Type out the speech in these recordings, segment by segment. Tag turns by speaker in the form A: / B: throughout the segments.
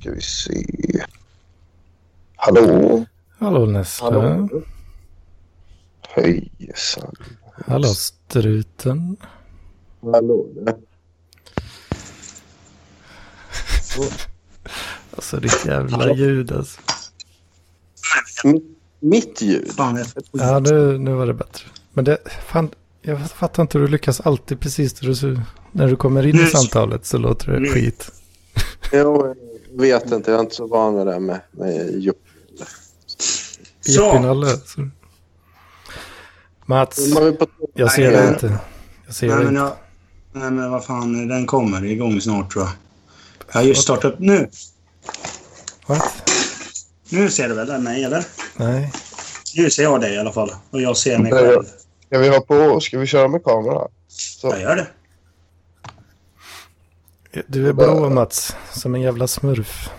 A: Ska vi se. Hallå?
B: Hallå Nessla.
A: Hallå? Hejsan.
B: Hallå struten.
A: Hallå?
B: Alltså ditt jävla ljud alltså.
A: M- Mitt ljud?
C: Fan, jag är på
B: Ja, nu, nu var det bättre. Men det, fan, jag fattar inte hur du lyckas alltid precis när du, så- när du kommer in i
C: Nu-
B: samtalet så låter det
C: Nu-
B: skit.
A: Jo, jag vet inte. Jag är inte så van vid det här med, med jobb.
C: Så!
B: Jippinalle. så- Mats,
A: Man vill på
B: jag ser
C: Nej,
B: dig
C: men-
B: inte. Jag ser
C: Nej
B: dig
C: men,
B: inte.
C: jag, nej men vad fan, den kommer igång snart tror jag. Jag har just startat upp nu.
B: What?
C: Nu ser du väl den? Nej, eller?
B: Nej.
C: Nu ser jag dig i alla fall. Och jag ser mig
A: Nej,
C: själv.
A: Ska vi ha på? Ska vi köra med kamera? Så.
C: Jag gör det.
B: Du är blå Mats, som en jävla smurf.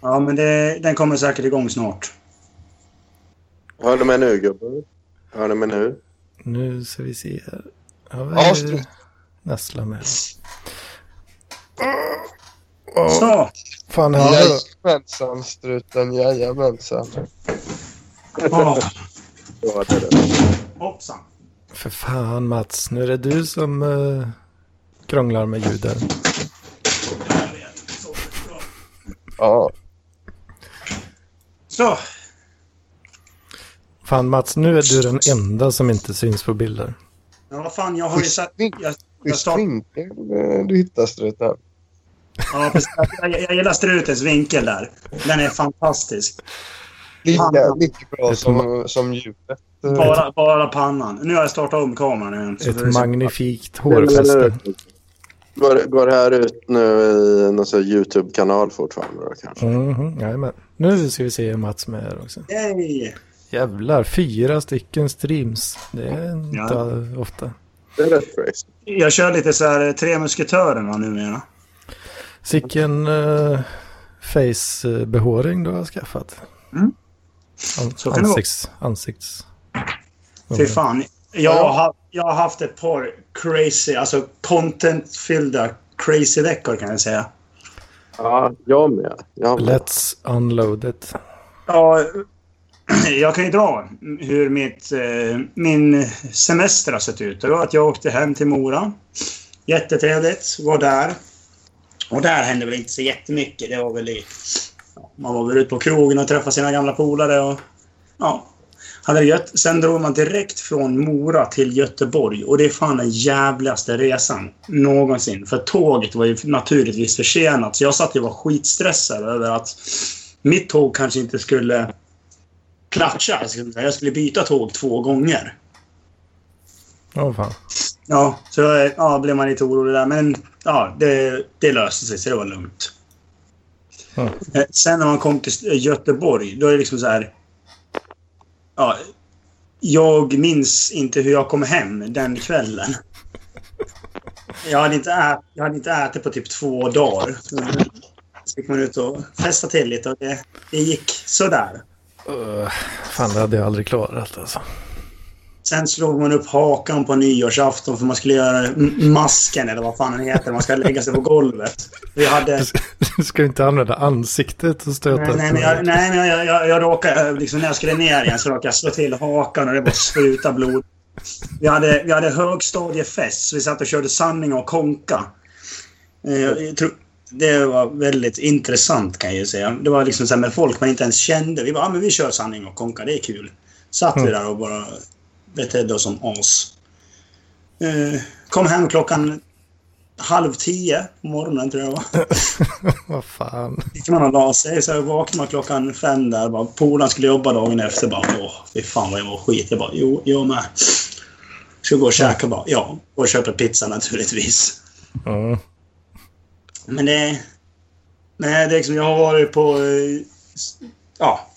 C: Ja, men det, den kommer säkert igång snart.
A: Hör du mig nu, gubben? Hör du mig nu?
B: Nu ska vi se här. Har vi
A: Ja, strut.
B: Nessla med?
C: Så!
B: Fan, han hör.
A: Jajamensan, struten. Jajamensan.
C: Ja,
A: Ja, det är det.
C: hoppsan.
B: För fan Mats, nu är det du som eh, krånglar med ljudet.
A: Ja.
C: Så!
B: Fan Mats, nu är du den enda som inte syns på bilder.
C: Ja, vad fan, jag har ju sett... Jag, jag,
A: Schysst
C: start,
A: vinkel eh, du hittar, struten.
C: ja, precis. jag, jag gillar strutens vinkel där. Den är fantastisk.
A: Lika,
C: Pannan.
A: lika bra
B: Ett
A: som, som ljudet.
C: Bara, bara pannan. Nu har jag startat om kameran igen. så det är
B: Ett
C: så-
B: magnifikt hårfäste.
A: Går, går det här ut nu i någon sån här YouTube-kanal fortfarande då kanske?
B: Mhm, jajamän. nu ska vi se Mats med här också.
C: Yay!
B: Jävlar, fyra stycken streams. Det är inte
C: Ja.
B: ofta.
A: Det är rätt crazy.
C: Jag kör lite så här eh, Tre Musketörerna numera.
B: Sicken uh, face-behåring du har skaffat.
C: Mm. Så
B: An-
C: kan det vara.
B: ansikts... ansikts.
C: Fy fan. Jag har, jag har haft ett par crazy, alltså contentfyllda crazy veckor kan jag säga.
A: Ja, jag med. Jag med.
B: Let's unload it.
C: Ja, jag kan ju dra hur mitt, eh, min semester har sett ut. Det var att jag åkte hem till Mora. Jättetrevligt. Var där. Och där hände väl inte så jättemycket. Det var väl i, ja, man var väl ute på krogen och träffade sina gamla polare. Och, ja, hade det gött. Sen drog man direkt från Mora till Göteborg. Och det är fan den jävligaste resan någonsin. För tåget var ju naturligtvis försenat. Så jag satt ju och var skitstressad över att mitt tåg kanske inte skulle klatscha. Jag skulle- Jag skulle byta tåg två gånger.
B: Åh fan.
C: Ja, så eh, ja, blev man lite orolig där. Men ja, det, det löste sig så det var lugnt.
B: Mm.
C: Eh, Sen när man kom till eh, Göteborg, då är det liksom så här... Ja, jag minns inte hur jag kom hem den kvällen. Jag hade inte, ä- jag hade inte ätit på typ två dagar. Så gick man ut och festade till lite och det, det gick sådär.
B: Öh, fan, det hade jag aldrig klarat alltså.
C: Sen slog man upp hakan på nyårsafton för man skulle göra m- masken eller vad fan den heter. Man ska lägga sig på golvet. Vi hade...
B: Du ska ju inte använda ansiktet och stöta
C: Nej, nej, men jag, nej, men jag, jag, jag råkade... eh, Liksom, när jag skulle ner igen så råkade jag slå till hakan och det bara sprutade blod. Vi hade, vi hade högstadiefest så vi satt och körde sanning och konka. Eh, Jag tror, det var väldigt intressant kan jag ju säga. Det var liksom så här med folk man inte ens kände. Vi bara, ah, men vi kör sanning och konka, det är kul. Satt vi där och bara betedde oss som as. Eh, Kom hem klockan halv tio på morgonen tror jag det var
B: Vad fan.
C: gick man och la sig. Så jag vaknade man klockan fem där. Bara, Polaren skulle jobba dagen efter. Bara, Åh, fy fan vad jag var skit. Jag bara, jo, jag med. Ska gå och käka bara. Ja, gå och köpa pizza naturligtvis.
B: Mm.
C: Men det... Nej, det är liksom, jag har varit på... eh, s- Ja.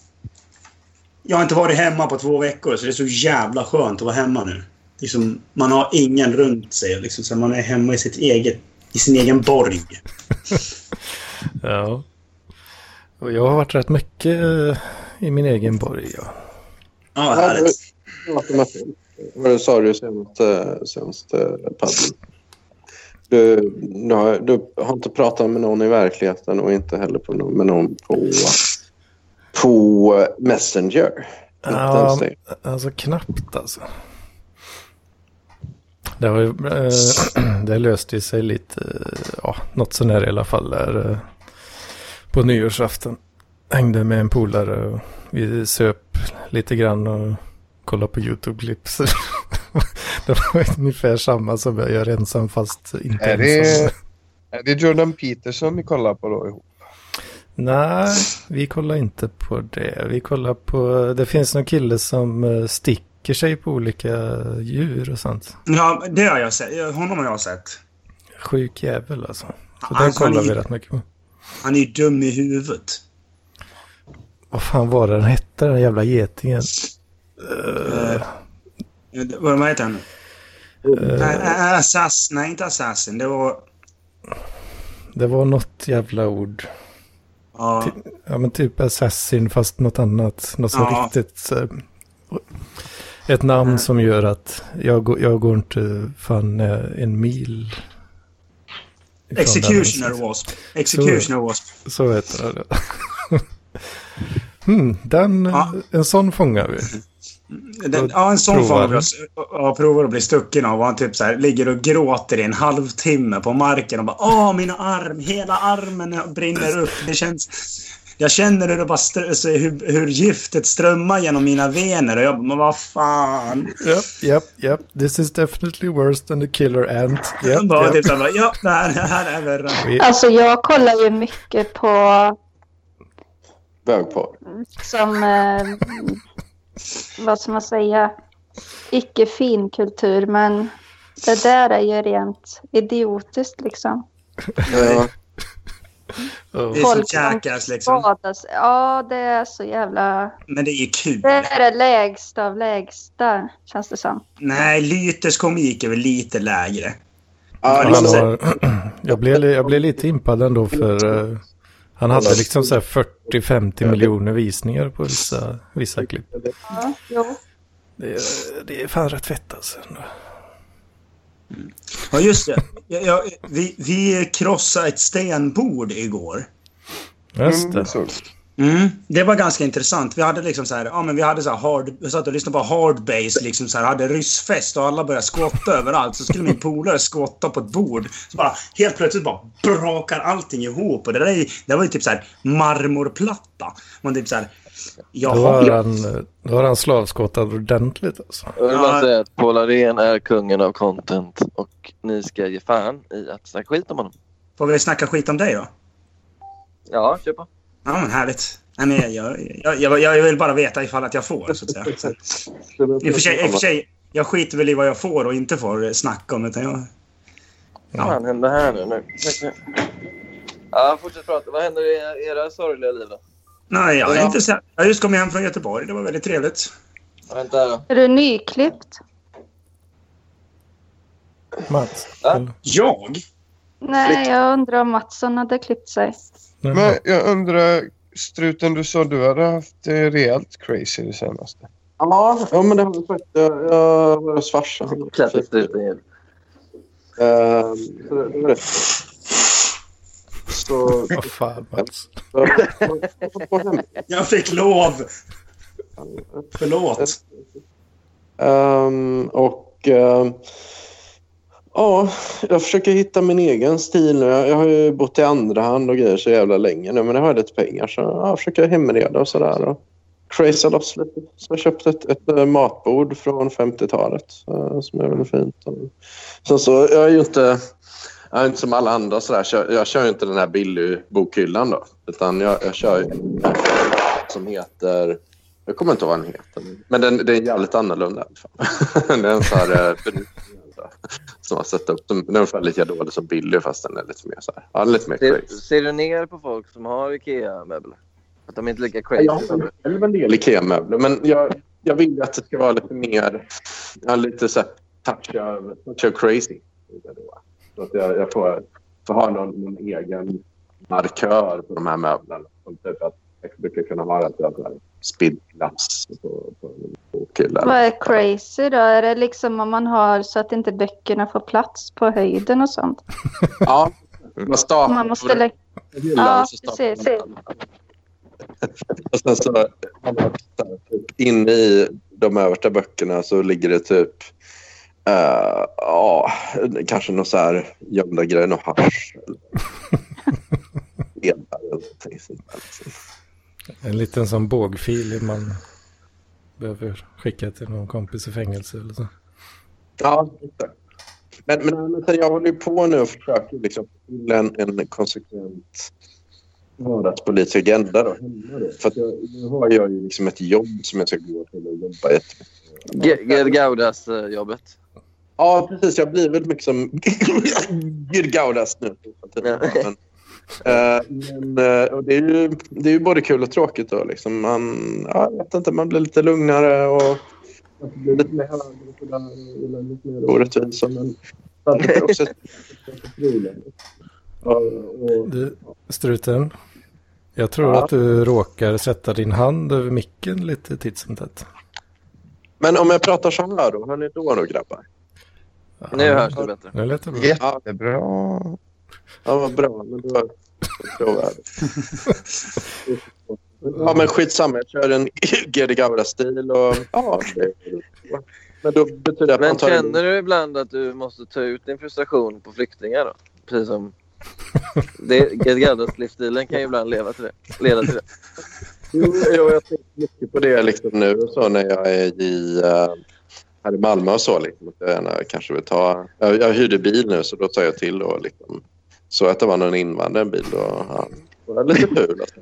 C: Jag har inte varit hemma på två veckor, så det är så jävla skönt att vara hemma nu. Liksom, man har ingen runt sig. Liksom, så man är hemma i, sitt eget, i sin egen borg.
B: Ja. Och jag har varit rätt mycket eh, i min egen borg. Ja.
C: Ja, härligt.
A: Vad sa du senast, eh, senast eh, Paddy? Du, du, har, du har inte pratat med någon i verkligheten och inte heller på någon, med någon på, på Messenger. Inte ens
B: Ja,
A: det.
B: alltså knappt alltså. Det, har ju, eh, det löste ju sig lite, eh, ja, något sånär i alla fall där eh, på nyårsafton. Hängde med en polare och vi söp lite grann och kollade på YouTube-klipp. det var ungefär samma som jag gör ensam fast inte
D: Är
B: ensam.
D: det, är det Jordan Peterson ni kollar på då ihop?
B: Nej, vi kollar inte på det. Vi kollar på, det finns någon kille som eh, sticker sig på olika djur och sånt.
C: Ja, det har jag sett. Honom har jag sett.
B: Sjuk jävel alltså. Så den
C: Alltså,
B: kollar
C: han är-
B: vi rätt mycket på.
C: Han är ju dum i huvudet.
B: Vad fan var det den hette, den jävla getingen?
C: Eh, Vad vad heter han? Uh, assassin. Nej, inte assassin. Det var...
B: Det var något jävla ord.
C: Ja,
B: Ja men typ assassin fast något annat. Något så
C: Ja. Mm.
B: riktigt... så här- ett namn som gör att jag, går- jag går inte fan eh, en mil. ifrån
C: Executioner
B: den.
C: Wasp. Executioner Wasp.
B: Så heter det. Mm, den,
C: Ja.
B: En sån fångar vi.
C: Den,
B: Då
C: ja, en sån
B: provar
C: får man
B: du.
C: bli- ja, provar att bli stucken av. Och Han typ så här, ligger och gråter i en halvtimme på marken och bara Åh, min arm! Hela armen brinner upp. Det känns... Jag känner hur, det bara str- så hur, hur giftet strömmar genom mina vener och jag bara, men vad fan.
B: Japp, japp, japp. This is definitely worse than the killer ant. Japp,
C: Bara,
B: japp.
C: typ så här, bara, ja, det här, det här är värre.
E: Alltså jag kollar ju mycket på
A: Bögporr.
E: som, eh, vad ska man säga, icke finkultur men det där är ju rent idiotiskt liksom.
A: Ja,
C: Det är
E: Folk
C: som
E: som-
C: Jackass liksom.
E: Badas. Ja, det är så jävla...
C: Men det är ju kul.
E: Det är det lägsta av lägsta, känns det som.
C: Nej, Lyters komik är väl lite lägre.
A: ja
B: Han
A: liksom,
B: har, jag, blev, li- jag blev lite impad ändå för eh, han hade liksom så här 40-50 miljoner visningar på vissa, vissa klipp.
E: Ja, jo.
B: Det är, det är fan rätt fett alltså.
C: Ja, just det. Jag, jag, vi, vi krossade ett stenbord igår.
B: Just det.
D: såg.
C: Mm, det var ganska intressant. Vi hade liksom så här, ja men vi hade så här hard, vi satt och lyssnade på hard bass liksom så här, hade ryssfest och alla började skotta överallt. Så skulle min polare skotta på ett bord. Så bara helt plötsligt bara brakar allting ihop och det där är, det var ju typ så här marmorplatta. Man typ så här,
B: Då har
C: jaha.
B: han, eh, då har han slavskottat ordentligt alltså.
F: Jag vill bara säga att Paul Arén är kungen av content och ni ska ge fan i att snacka skit om honom.
C: Får vi snacka skit om dig då?
F: Ja, kör på.
C: Ja men härligt. Nej, men jag, jag, jag, jag vill bara veta ifall att jag får så att säga. Så, i, och för sig, I och för sig, jag skiter väl i vad jag får och inte får snacka om utan jag...
F: Vad fan hände här nu? nu? Ja, fortsätt prata. Vad händer i era sorgliga liv då?
C: Nej, jag är
F: Ja.
C: inte så... Jag just kom hem från Göteborg. Det var väldigt trevligt.
F: Vänta här då.
E: Är du nyklippt?
B: Mats.
F: Ja.
B: eller?
C: Jag?
E: Nej, jag undrar om Mattsson hade klippt sig.
B: Nej,
D: Men jag undrar, struten du sa du hade haft det rejält crazy det senaste.
A: ja, ja, men det har vi sagt. Jag, jag var hos farsan.
F: Klättret ut igen.
A: Eh, så det- det var rätt. Så...
B: Vad fan Mats.
C: Jag fick lov! Förlåt.
A: Ehm, och ehm, ja, jag försöker hitta min egen stil nu. Jag, jag har ju bott i andra hand och grejer så jävla länge nu, men jag har lite pengar så ja, jag försöker hemreda och sådär. Och crazy loss lite. Så jag köpte ett, ett eh, matbord från 50-talet eh, som är väldigt fint. Och Sen så, jag är ju inte... Jag är inte som alla andra sådär. så Jag, jag kör ju inte den här Billy-bokhyllan då. Utan jag, jag kör ju den här som heter... Jag kommer inte ihåg vad den heter. Men den, den är jävligt annorlunda i alla fall. det är en så här... eh, som har sett upp den. Den är ungefär lika dålig som Billy fast den är lite mer så här. Ja, lite mer
F: Ser,
A: crazy.
F: ser du ner på folk som har IKEA-möbler? Att de inte är lika crazy?
A: Jag har själv en del IKEA-möbler men jag, jag vill ju att det ska vara lite mer... Ja, lite så här touch of, touch of crazy. Så att jag, jag får, får ha någon, någon egen markör på de här möblerna. Som typ att Jag brukar kunna ha rätt över spillglass på, på, på killar.
E: Vad är crazy då? Är det liksom om man har så att inte böckerna får plats på höjden och sånt?
A: Ja, man staplar
E: Man måste lä-
A: på hyllan
E: Ja,
A: så staplar man
E: precis.
A: Och sen så inne i de översta böckerna så ligger det typ eh, ja, kanske någon så här gömda grejer, någon hasch eller delar eller någonting sånt där.
B: En liten sån bågfil man behöver skicka till någon kompis i fängelse eller så.
A: Ja, exakt. Men, men men jag håller ju på nu och försöker liksom fylla en, en konsekvent vardagspolitisk agenda. Då, hemma då. För att jag, nu har jag ju liksom ett jobb som jag ska gå till och jobba jättemycket.
F: Gerd eh, Gaudas-jobbet.
A: Ja, precis. Jag blir väldigt mycket som Girgaudas nu.
F: Ja.
A: Men, eh, men, eh, och det, är ju, det är ju både kul och tråkigt. Då, liksom. man, ja, jag vet inte, man blir lite lugnare och man blir lite mer högre och sådär, eller lite mer orättvis. Men samtidigt är det också ett- och, och,
B: Du, struten. Jag tror
A: Ja.
B: att du råkar sätta din hand över micken lite titt som tätt.
A: Men om jag pratar så här då, hör ni då då grabbar?
F: Nu hörs det bättre.
B: Nu lät det bra.
D: Jättebra.
A: Ja, vad bra. Men då tror jag det. Ja, men skitsamma. Jag kör en GD Gauda-stil och ja, det Men då betyder det att man
F: Men
A: tar in...
F: känner du ibland att du måste ta ut din frustration på flyktingar då? Precis som... Det- Gerd Gaudas-livsstilen kan ju ibland leva till det. leda till det.
A: Jo, jo, jag tänker mycket på det liksom nu och så när jag är i, eh, här i Malmö och så. Liksom, att jag gärna kanske vill ta... Jag, jag hyrde bil nu så då tar jag till och liksom... Så att det var någon invandrare i en bil och ja, det var lite ful. Alltså.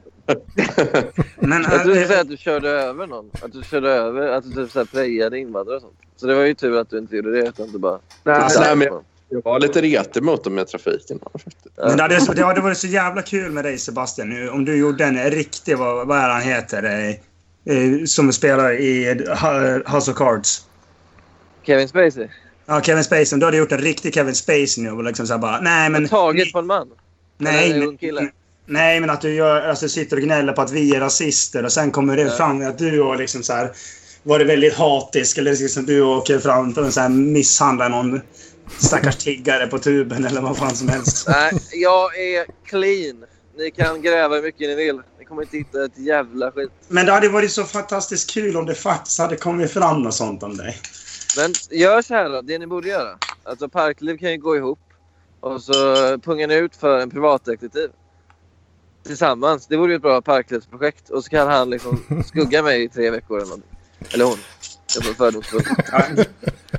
C: Men
F: Jag
C: äh,
F: trodde du
C: det,
F: säga att du körde över någon. Att du körde över, att du typ så här prejade invandrare och sånt. Så det var ju tur att du inte gjorde det utan att du bara...
A: Nej,
F: tittade
A: nej, men
F: på dem.
A: jag var lite retig mot dem i trafiken. faktiskt.
C: men det, hade, det hade varit så jävla kul med dig Sebastian nu om du gjorde en riktig, vad, vad är han heter, eh, eh, som spelar i eh, House of Cards.
F: Kevin Spacey.
C: Ja, Kevin Spacey. Om du hade gjort en riktig Kevin Spacey nu och liksom så här bara... Nej, men...
F: Taget på en man.
C: nej,
F: en
C: men-
F: ung kille.
C: Nej, men att du gör, alltså, sitter och gnäller på att vi är rasister och sen kommer det fram att du har liksom så här... Varit väldigt hatisk eller liksom du åker fram och så här misshandlar någon stackars tiggare på tuben eller vad fan som helst.
F: Nej, jag är clean. Ni kan gräva hur mycket ni vill. Ni kommer inte hitta ett jävla skit.
C: Men det hade varit så fantastiskt kul om det faktiskt hade kommit fram något sånt om dig.
F: Men gör så här då, det ni borde göra. Alltså parkliv kan ju gå ihop. Och så pungar ni ut för en privatdetektiv. Tillsammans. Det vore ju ett bra parklivsprojekt. Och så kan han liksom skugga mig i tre veckor eller någonting. Eller hon. Jag var fördomsfull.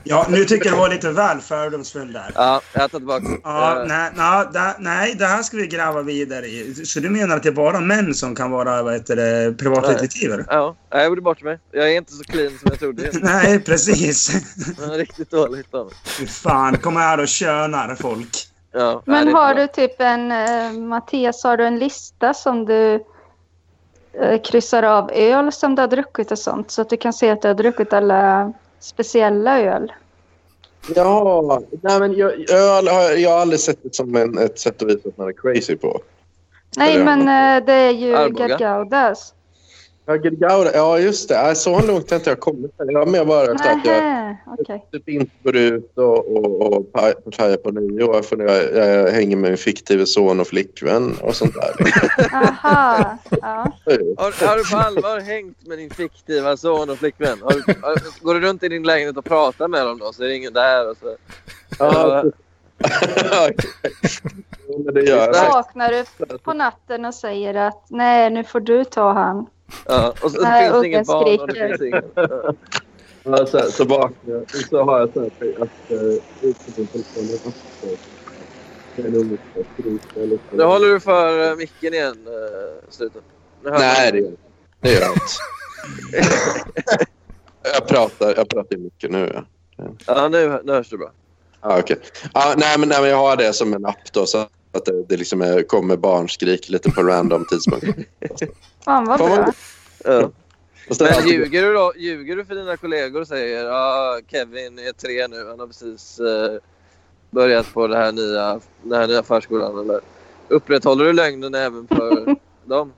C: Ja, nu tycker jag det var lite väl fördomsfull där.
F: Ja, jag tar tillbaka.
C: Ja,
F: Eh,
C: nej, nej, det- nej, det här ska vi gräva vidare i. Så du menar att det är bara män som kan vara vad heter det, privatdetektiver?
F: Eh, ja, nej, jag gjorde bort mig. Jag är inte så clean som jag trodde.
C: Nej, precis.
F: Jag är riktigt dåligt av mig.
C: Fy Fan, kommer här och könar folk.
F: Ja, nej, det
E: Men
F: är
E: har
F: bra.
E: du typ en, eh, Mattias, har du en lista som du eh, kryssar av öl som du har druckit och sånt? Så att du kan se att du har druckit alla speciella öl.
A: Ja, nej, men jag, öl har jag, jag har aldrig sett det som en, ett sätt att visa att man är crazy på.
E: Nej,
A: Eller-
E: men eh, det är ju
F: Arboga.
E: Gargaudas.
A: Höger Gouda, ja just det. Nej, Så långt har inte jag kommit. Jag har mer bara haft att jag
E: Nähä, okej.
A: typ inte går ut och, och, och par- partajar på nyår för när jag, jag hänger med min fiktive son och flickvän och sånt där. liksom.
E: Aha, ja.
F: Har, har du på allvar hängt med din fiktiva son och flickvän? Har, du- har, går du runt i din lägenhet och pratar med dem då så är det ingen där och så...
A: Ja,
F: Ja,
A: Jo, men det gör jag.
E: Vaknar du på natten och säger att nej, nu får du ta han.
F: ja, och så
E: Nej,
F: finns det ingen
E: ungen
F: barn och det
E: skriker.
F: finns ingen... Ja.
A: Ja, Så, här, så vaknar jag och så har jag så här att eh, ut på min telefon. och så- så- det är nog mycket att skryta lite.
F: Nu håller du för eh, micken igen, eh, sluten. Nu hör
A: Nej,
F: jag.
A: det gör jag inte. Det gör jag inte. jag pratar, jag pratar mycket nu. Ja.
F: Ja, nu, nu hörs det bra.
A: Ah, okay. ah, nej, men, nej, men jag har det som en app då, så att det, det liksom är, kommer barnskrik lite på random tidspunkt.
E: Fan vad
A: Fan, vad
E: bra.
F: Ja.
A: Och sen
F: Men
A: alltid-
F: ljuger du då? Ljuger du för dina kollegor och säger ja, Kevin är tre nu, han har precis eh, börjat på det här nya, den här nya förskolan eller? Upprätthåller du lögnen även för dem?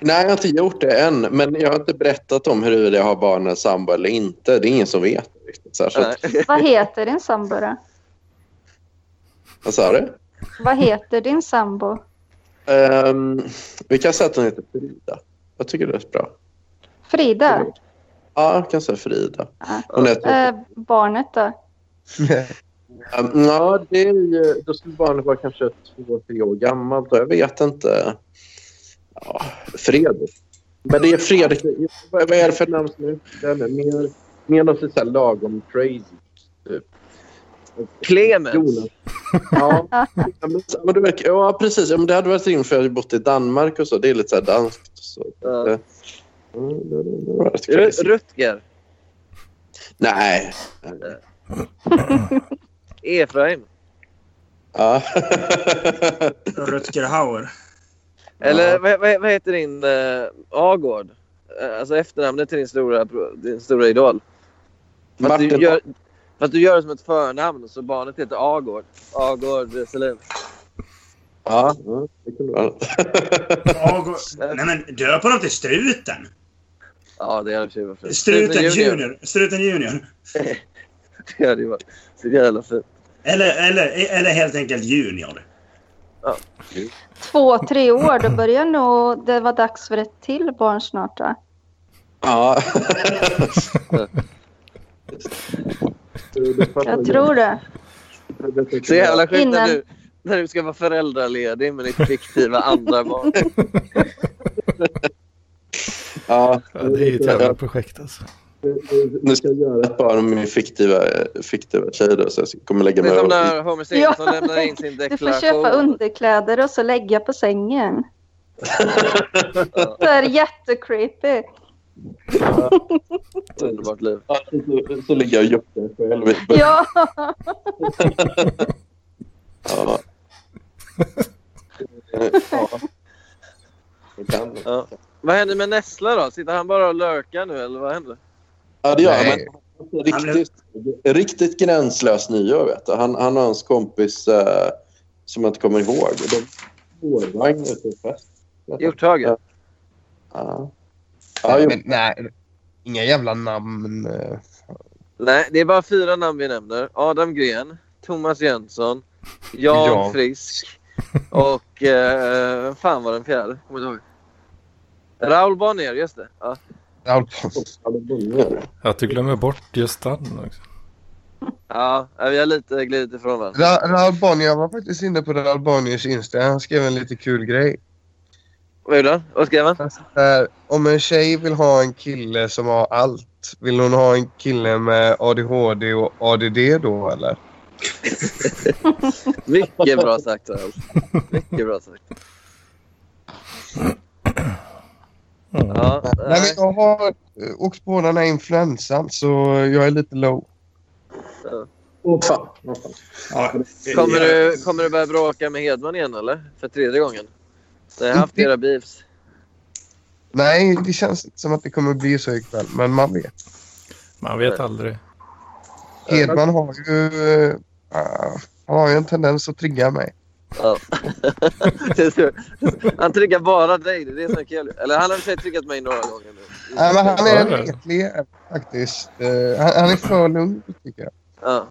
A: Nej, jag har inte gjort det än. Men jag har inte berättat om huruvida jag har barn eller sambo eller inte. Det är ingen som vet. riktigt. Så här, så
F: Nej.
A: att,
E: Vad heter din sambo då?
A: vad sa du?
E: Vad heter din sambo?
A: Ehm, vi kan säga att hon heter Frida. Jag tycker det är bra.
E: Frida?
A: Ja, jag kan säga Frida.
E: Ja.
A: Hon heter...
E: Eh, barnet då?
A: Ehm, Ja, det är ju... Då skulle barnet vara kanske två, tre år gammalt. och Jag vet inte. Ja, Fredrik. Men det är Fredrik. Vad vad är det för namn som är ute? Mer, mer något så här lagom crazy. Typ.
F: Clemens.
A: Jonas. Ja, Ja, men, ja, men det verkar, ja precis. Ja, men det hade varit rimligt för jag hade bott i Danmark och så. Det är lite så här danskt. Och så.
F: Ja.
A: Det, det, det, det var rätt
F: Ru-
A: crazy.
F: Rutger.
A: Nej.
F: Efraim.
A: Ja.
C: Rutger Hauer.
F: Eller
A: Ja.
F: vad, vad, vad heter din eh, Agård? Eh, alltså efternamnet till din stora, pro- din stora idol. För att, du
A: Martin
F: gör, för att du gör det som ett förnamn så barnet heter Agård. Agård Selin.
A: Ja, ja, det kunde vara något.
C: Ago... Nej, men döp honom till Struten.
F: Ja, det är det i och för sig.
C: Struten Junior. Struten Junior.
F: Det hade ju varit så jävla fint.
C: Eller, eller, eller helt enkelt Junior.
E: Två, tre år, då börjar nog det vara dags för ett till barn snart va?
A: Ja.
E: Jag tror det.
F: Så jävla sjukt när
E: Innan-
F: du, när du ska vara föräldraledig med ditt fiktiva andra barn.
A: Ja,
B: Ja, det är ju ett jävla projekt alltså.
A: Nu ska jag göra ett par med min fiktiva, fiktiva tjej då, så jag kommer lägga
F: Det
A: mig
F: är som
A: och-
F: när Homer Simpson
E: Ja.
F: lämnar in sin
E: Du får köpa
F: deklaration.
E: underkläder och så lägga på sängen. Det är jättecreepy.
F: Ett Underbart liv.
A: Ja, så, så ligger jag och jockar själv.
E: Ja,
A: Ja. ja. Det kan.
F: Ja. Vad händer med Nessla då? Sitter han bara och lurkar nu eller vad händer?
A: Ja, det gör han.
D: Nej.
A: men Riktigt, riktigt gränslös nyår, vet du. Han, han och hans kompis eh, som jag inte kommer ihåg. De spårvagn ute på fest.
F: Hjorthagen?
A: Ja. Ja,
D: Nej,
A: jo.
D: Eh, men, nej, inga jävla namn. eh.
F: Nej, det är bara fyra namn vi nämner. Adam Gren, Thomas Jönsson, Jan
D: Ja.
F: Frisk och... Eh, vem fan var den fjärde? Kommer inte ihåg. Raoul Bonnier, just det. Ja.
D: Raoul Pons.
B: Att du glömmer bort just han också.
F: ja, äh, vi har lite glidit ifrån varandra.
D: Ra- Raoul Bonnier, jag var faktiskt inne på Raoul Bonniers Insta. Han skrev en lite kul grej.
F: Vad gjorde han? Vad skrev han?
D: Han skrev så här, om en tjej vill ha en kille som har allt, vill hon ha en kille med ADHD och ADD då eller?
F: Mycket bra sagt Raoul. Mycket bra sagt. Ja,
D: Nej, men jag har eh, åkt på den här influensan så jag är lite low.
A: Åh, fan.
C: Ja.
F: Kommer du, kommer du börja bråka med Hedman igen eller? För tredje gången? Ni har haft era beefs.
D: Nej, det känns inte som att det kommer bli så ikväll, men man
A: Eh,
D: vet.
B: Man vet aldrig.
D: Hedman har ju, eh, ah, han har ju en tendens att trigga mig.
F: Ja. han triggar bara dig, det är det som är kul. Eller han har i och för sig triggat mig några gånger nu.
D: Nej, men han är
B: Ja, ja.
D: retlig faktiskt. Eh, Han, han är för lugn tycker jag.
F: Ja.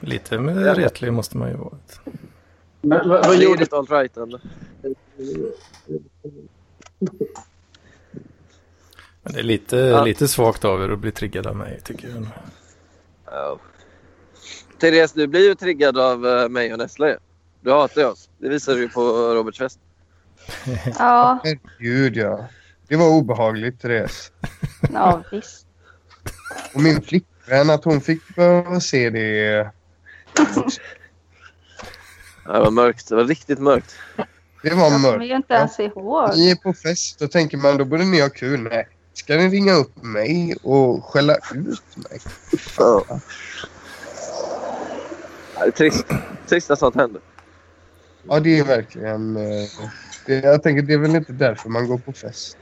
B: Lite mer retlig måste man ju vara.
A: Men, vad,
F: Vad
A: vad
F: gjorde
A: gjorde
F: ditt alt-rightande?
B: Men det är lite,
F: Ja.
B: lite svagt av er att bli triggad av mig tycker jag.
F: Ja. Therese, du blir ju triggad av eh, mig och Nessla ju. Du hatar ju oss. Det visade du ju på Roberts fest.
E: ja,
D: Herregud ja. Det var obehagligt Therese.
E: ja visst.
D: Och min flickvän, att hon fick behöva se det.
F: Ja, det var mörkt. Det var riktigt mörkt.
D: Det var
E: Jag kommer
D: mörkt.
E: ju inte ens ihåg.
D: Ni är på fest, då tänker man då borde ni ha kul. Nej, ska ni ringa upp mig och skälla ut mig?
F: Ja. Det är trist. Trist att sånt händer.
D: Ja, det är verkligen... eh, Det, jag tänker det är väl inte därför man går på fest.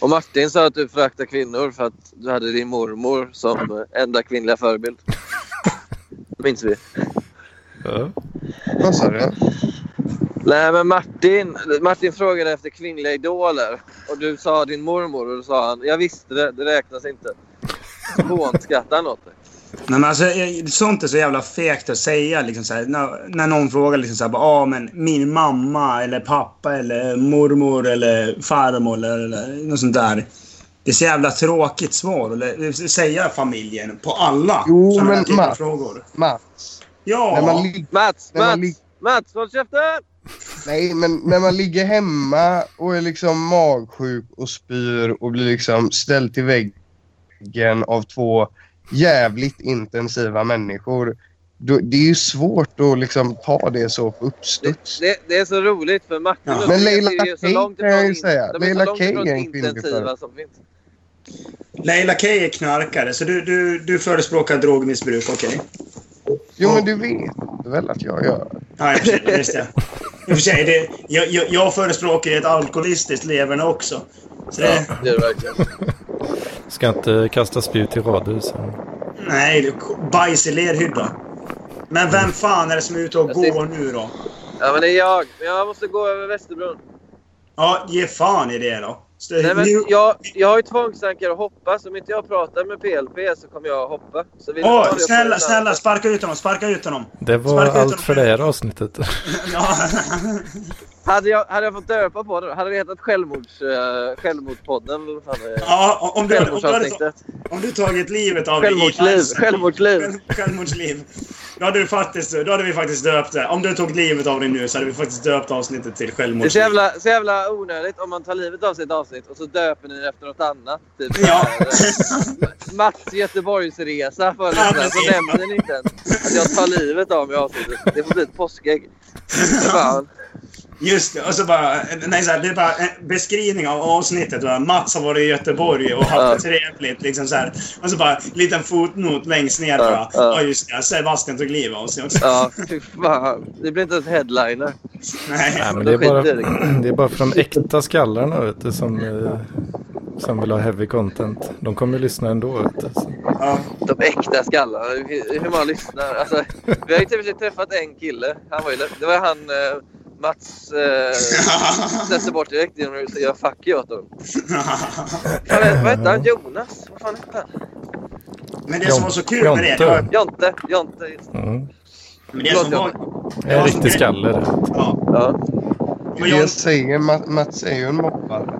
F: Och Martin sa att du föraktar kvinnor för att du hade din mormor som eh, enda kvinnliga förebild. Minns vi.
B: Ja.
D: Vad sa du?
F: Nej, men Martin, Martin frågade efter kvinnliga idoler och du sa din mormor och då sa han jag visste det, det räknas inte. Hånskrattar han åt dig?
C: Nej, men alltså, eh, sånt är så jävla fegt att säga. Liksom, så här, när, när någon frågar liksom, så här, bara, ah, men min mamma eller pappa eller mormor eller farmor eller, eller något sånt där. Det är så jävla tråkigt svar att lä- säga familjen på alla
D: Jo,
C: såna här
D: men
C: typer av
D: Mats.
C: frågor.
D: Mats.
C: Ja.
D: När man, lig-
F: Mats,
D: när man
F: Mats,
D: lig-
F: Mats, håll käften!
D: Nej, men när man ligger hemma och är liksom magsjuk och spyr och blir liksom ställd till väggen av två jävligt intensiva människor. Då, det är ju svårt att liksom ta det så på uppstuds.
F: Det, det är så roligt för Martin
C: Ja.
F: och
D: Men
F: Tobias
D: Leila
F: är ju så
D: Kay
F: långt
D: kan
F: ifrån
D: jag ju
F: in-
D: säga.
F: de är så
D: Leila
F: långt
D: Kay
F: ifrån
D: är en kvinnlig
F: intensiva
D: förebild.
F: som finns.
C: Leila K är knarkare, så du, du, du förespråkar drogmissbruk, okej?
D: Jo, men du vet väl att jag gör det?
C: Ja, i och för sig, just det. I och för sig, det, jag, jag, jag förespråkar ju ett alkoholistiskt leverne också. Så det,
F: Ja, det är det verkligen.
B: Ska inte kasta spjut i radhusen.
C: Nej, du, bajs i lerhydda. Men vem fan är det som är ute och
F: Jag
C: går
F: ser-
C: nu då?
F: Ja, men det är jag. Men Jag måste gå över Västerbron.
C: Ja, ge fan i det då. Så,
F: Nej, men
C: nu,
F: jag, jag har ju tvångstankar att hoppa. Så om inte jag pratar med PLP så kommer jag att hoppa. Så vill
C: Åh,
F: jag-
C: snälla, snälla, sparka ut honom, sparka ut honom.
B: Det var
C: Sparka ut
B: allt
C: honom.
B: för det här avsnittet.
C: Ja.
F: Hade jag, hade jag fått döpa på det, hade det hetat självmords, uh, Självmordspodden? eller vad fan det är?
C: ja, o- om, du, om, du hade,
F: Självmordsavsnittet.
C: om du tagit livet av dig i
F: Självmordsliv.
C: cancer-
F: Självmordsliv.
C: Själv- Självmordsliv. Då hade, vi faktiskt, då hade vi faktiskt döpt det. Om du tog livet av dig nu så hade vi faktiskt döpt avsnittet till
F: Det är så
C: självmordsliv.
F: jävla, så jävla onödigt om man tar livet av sig i ett avsnitt och så döper ni det efter något annat. Typ.
C: Ja.
F: Mats Göteborgsresa förra
C: Ja,
F: veckan.
C: precis.
F: Så nämner ni inte ens att jag tar livet av mig i avsnittet. Det får bli ett påskägg. Fan.
C: Just det, och så bara... Nej, så här, det är bara en beskrivning av avsnittet. Va? Mats har varit i Göteborg och haft det trevligt. Liksom så här. Och så bara en liten fotnot längst ner.
F: Ja,
C: Ja,
F: ja.
C: ja just det. Sebastian tog livet av sig också.
F: Ja, fy fan. Det blir inte ens headliner.
C: Nej.
B: Nej, men
F: då
B: det, är bara,
F: skiter jag
B: det är bara för de äkta skallarna vet du, som, eh, som vill ha heavy content. De kommer ju lyssna ändå. Vet du. så.
C: Ja.
F: De äkta skallarna. Hur hur man lyssnar. Alltså, vi har ju typ träffat en kille. Han var ju, det var han eh, Mats eh, sätter bort direkt genom att säga fuck you åt honom. Vad vet- vad hette han? Jonas? Vad fan hette han?
C: Men det som var så kul med det... det
B: Jonte.
C: var-
F: Jonte. Jonte. just det.
B: Mm.
C: Men det som var...
B: Jag är riktig skalle. det.
C: Ja.
F: Ja.
C: Men
D: Jag
C: jag,
D: säger, Ma- Mats är ju en mobbare.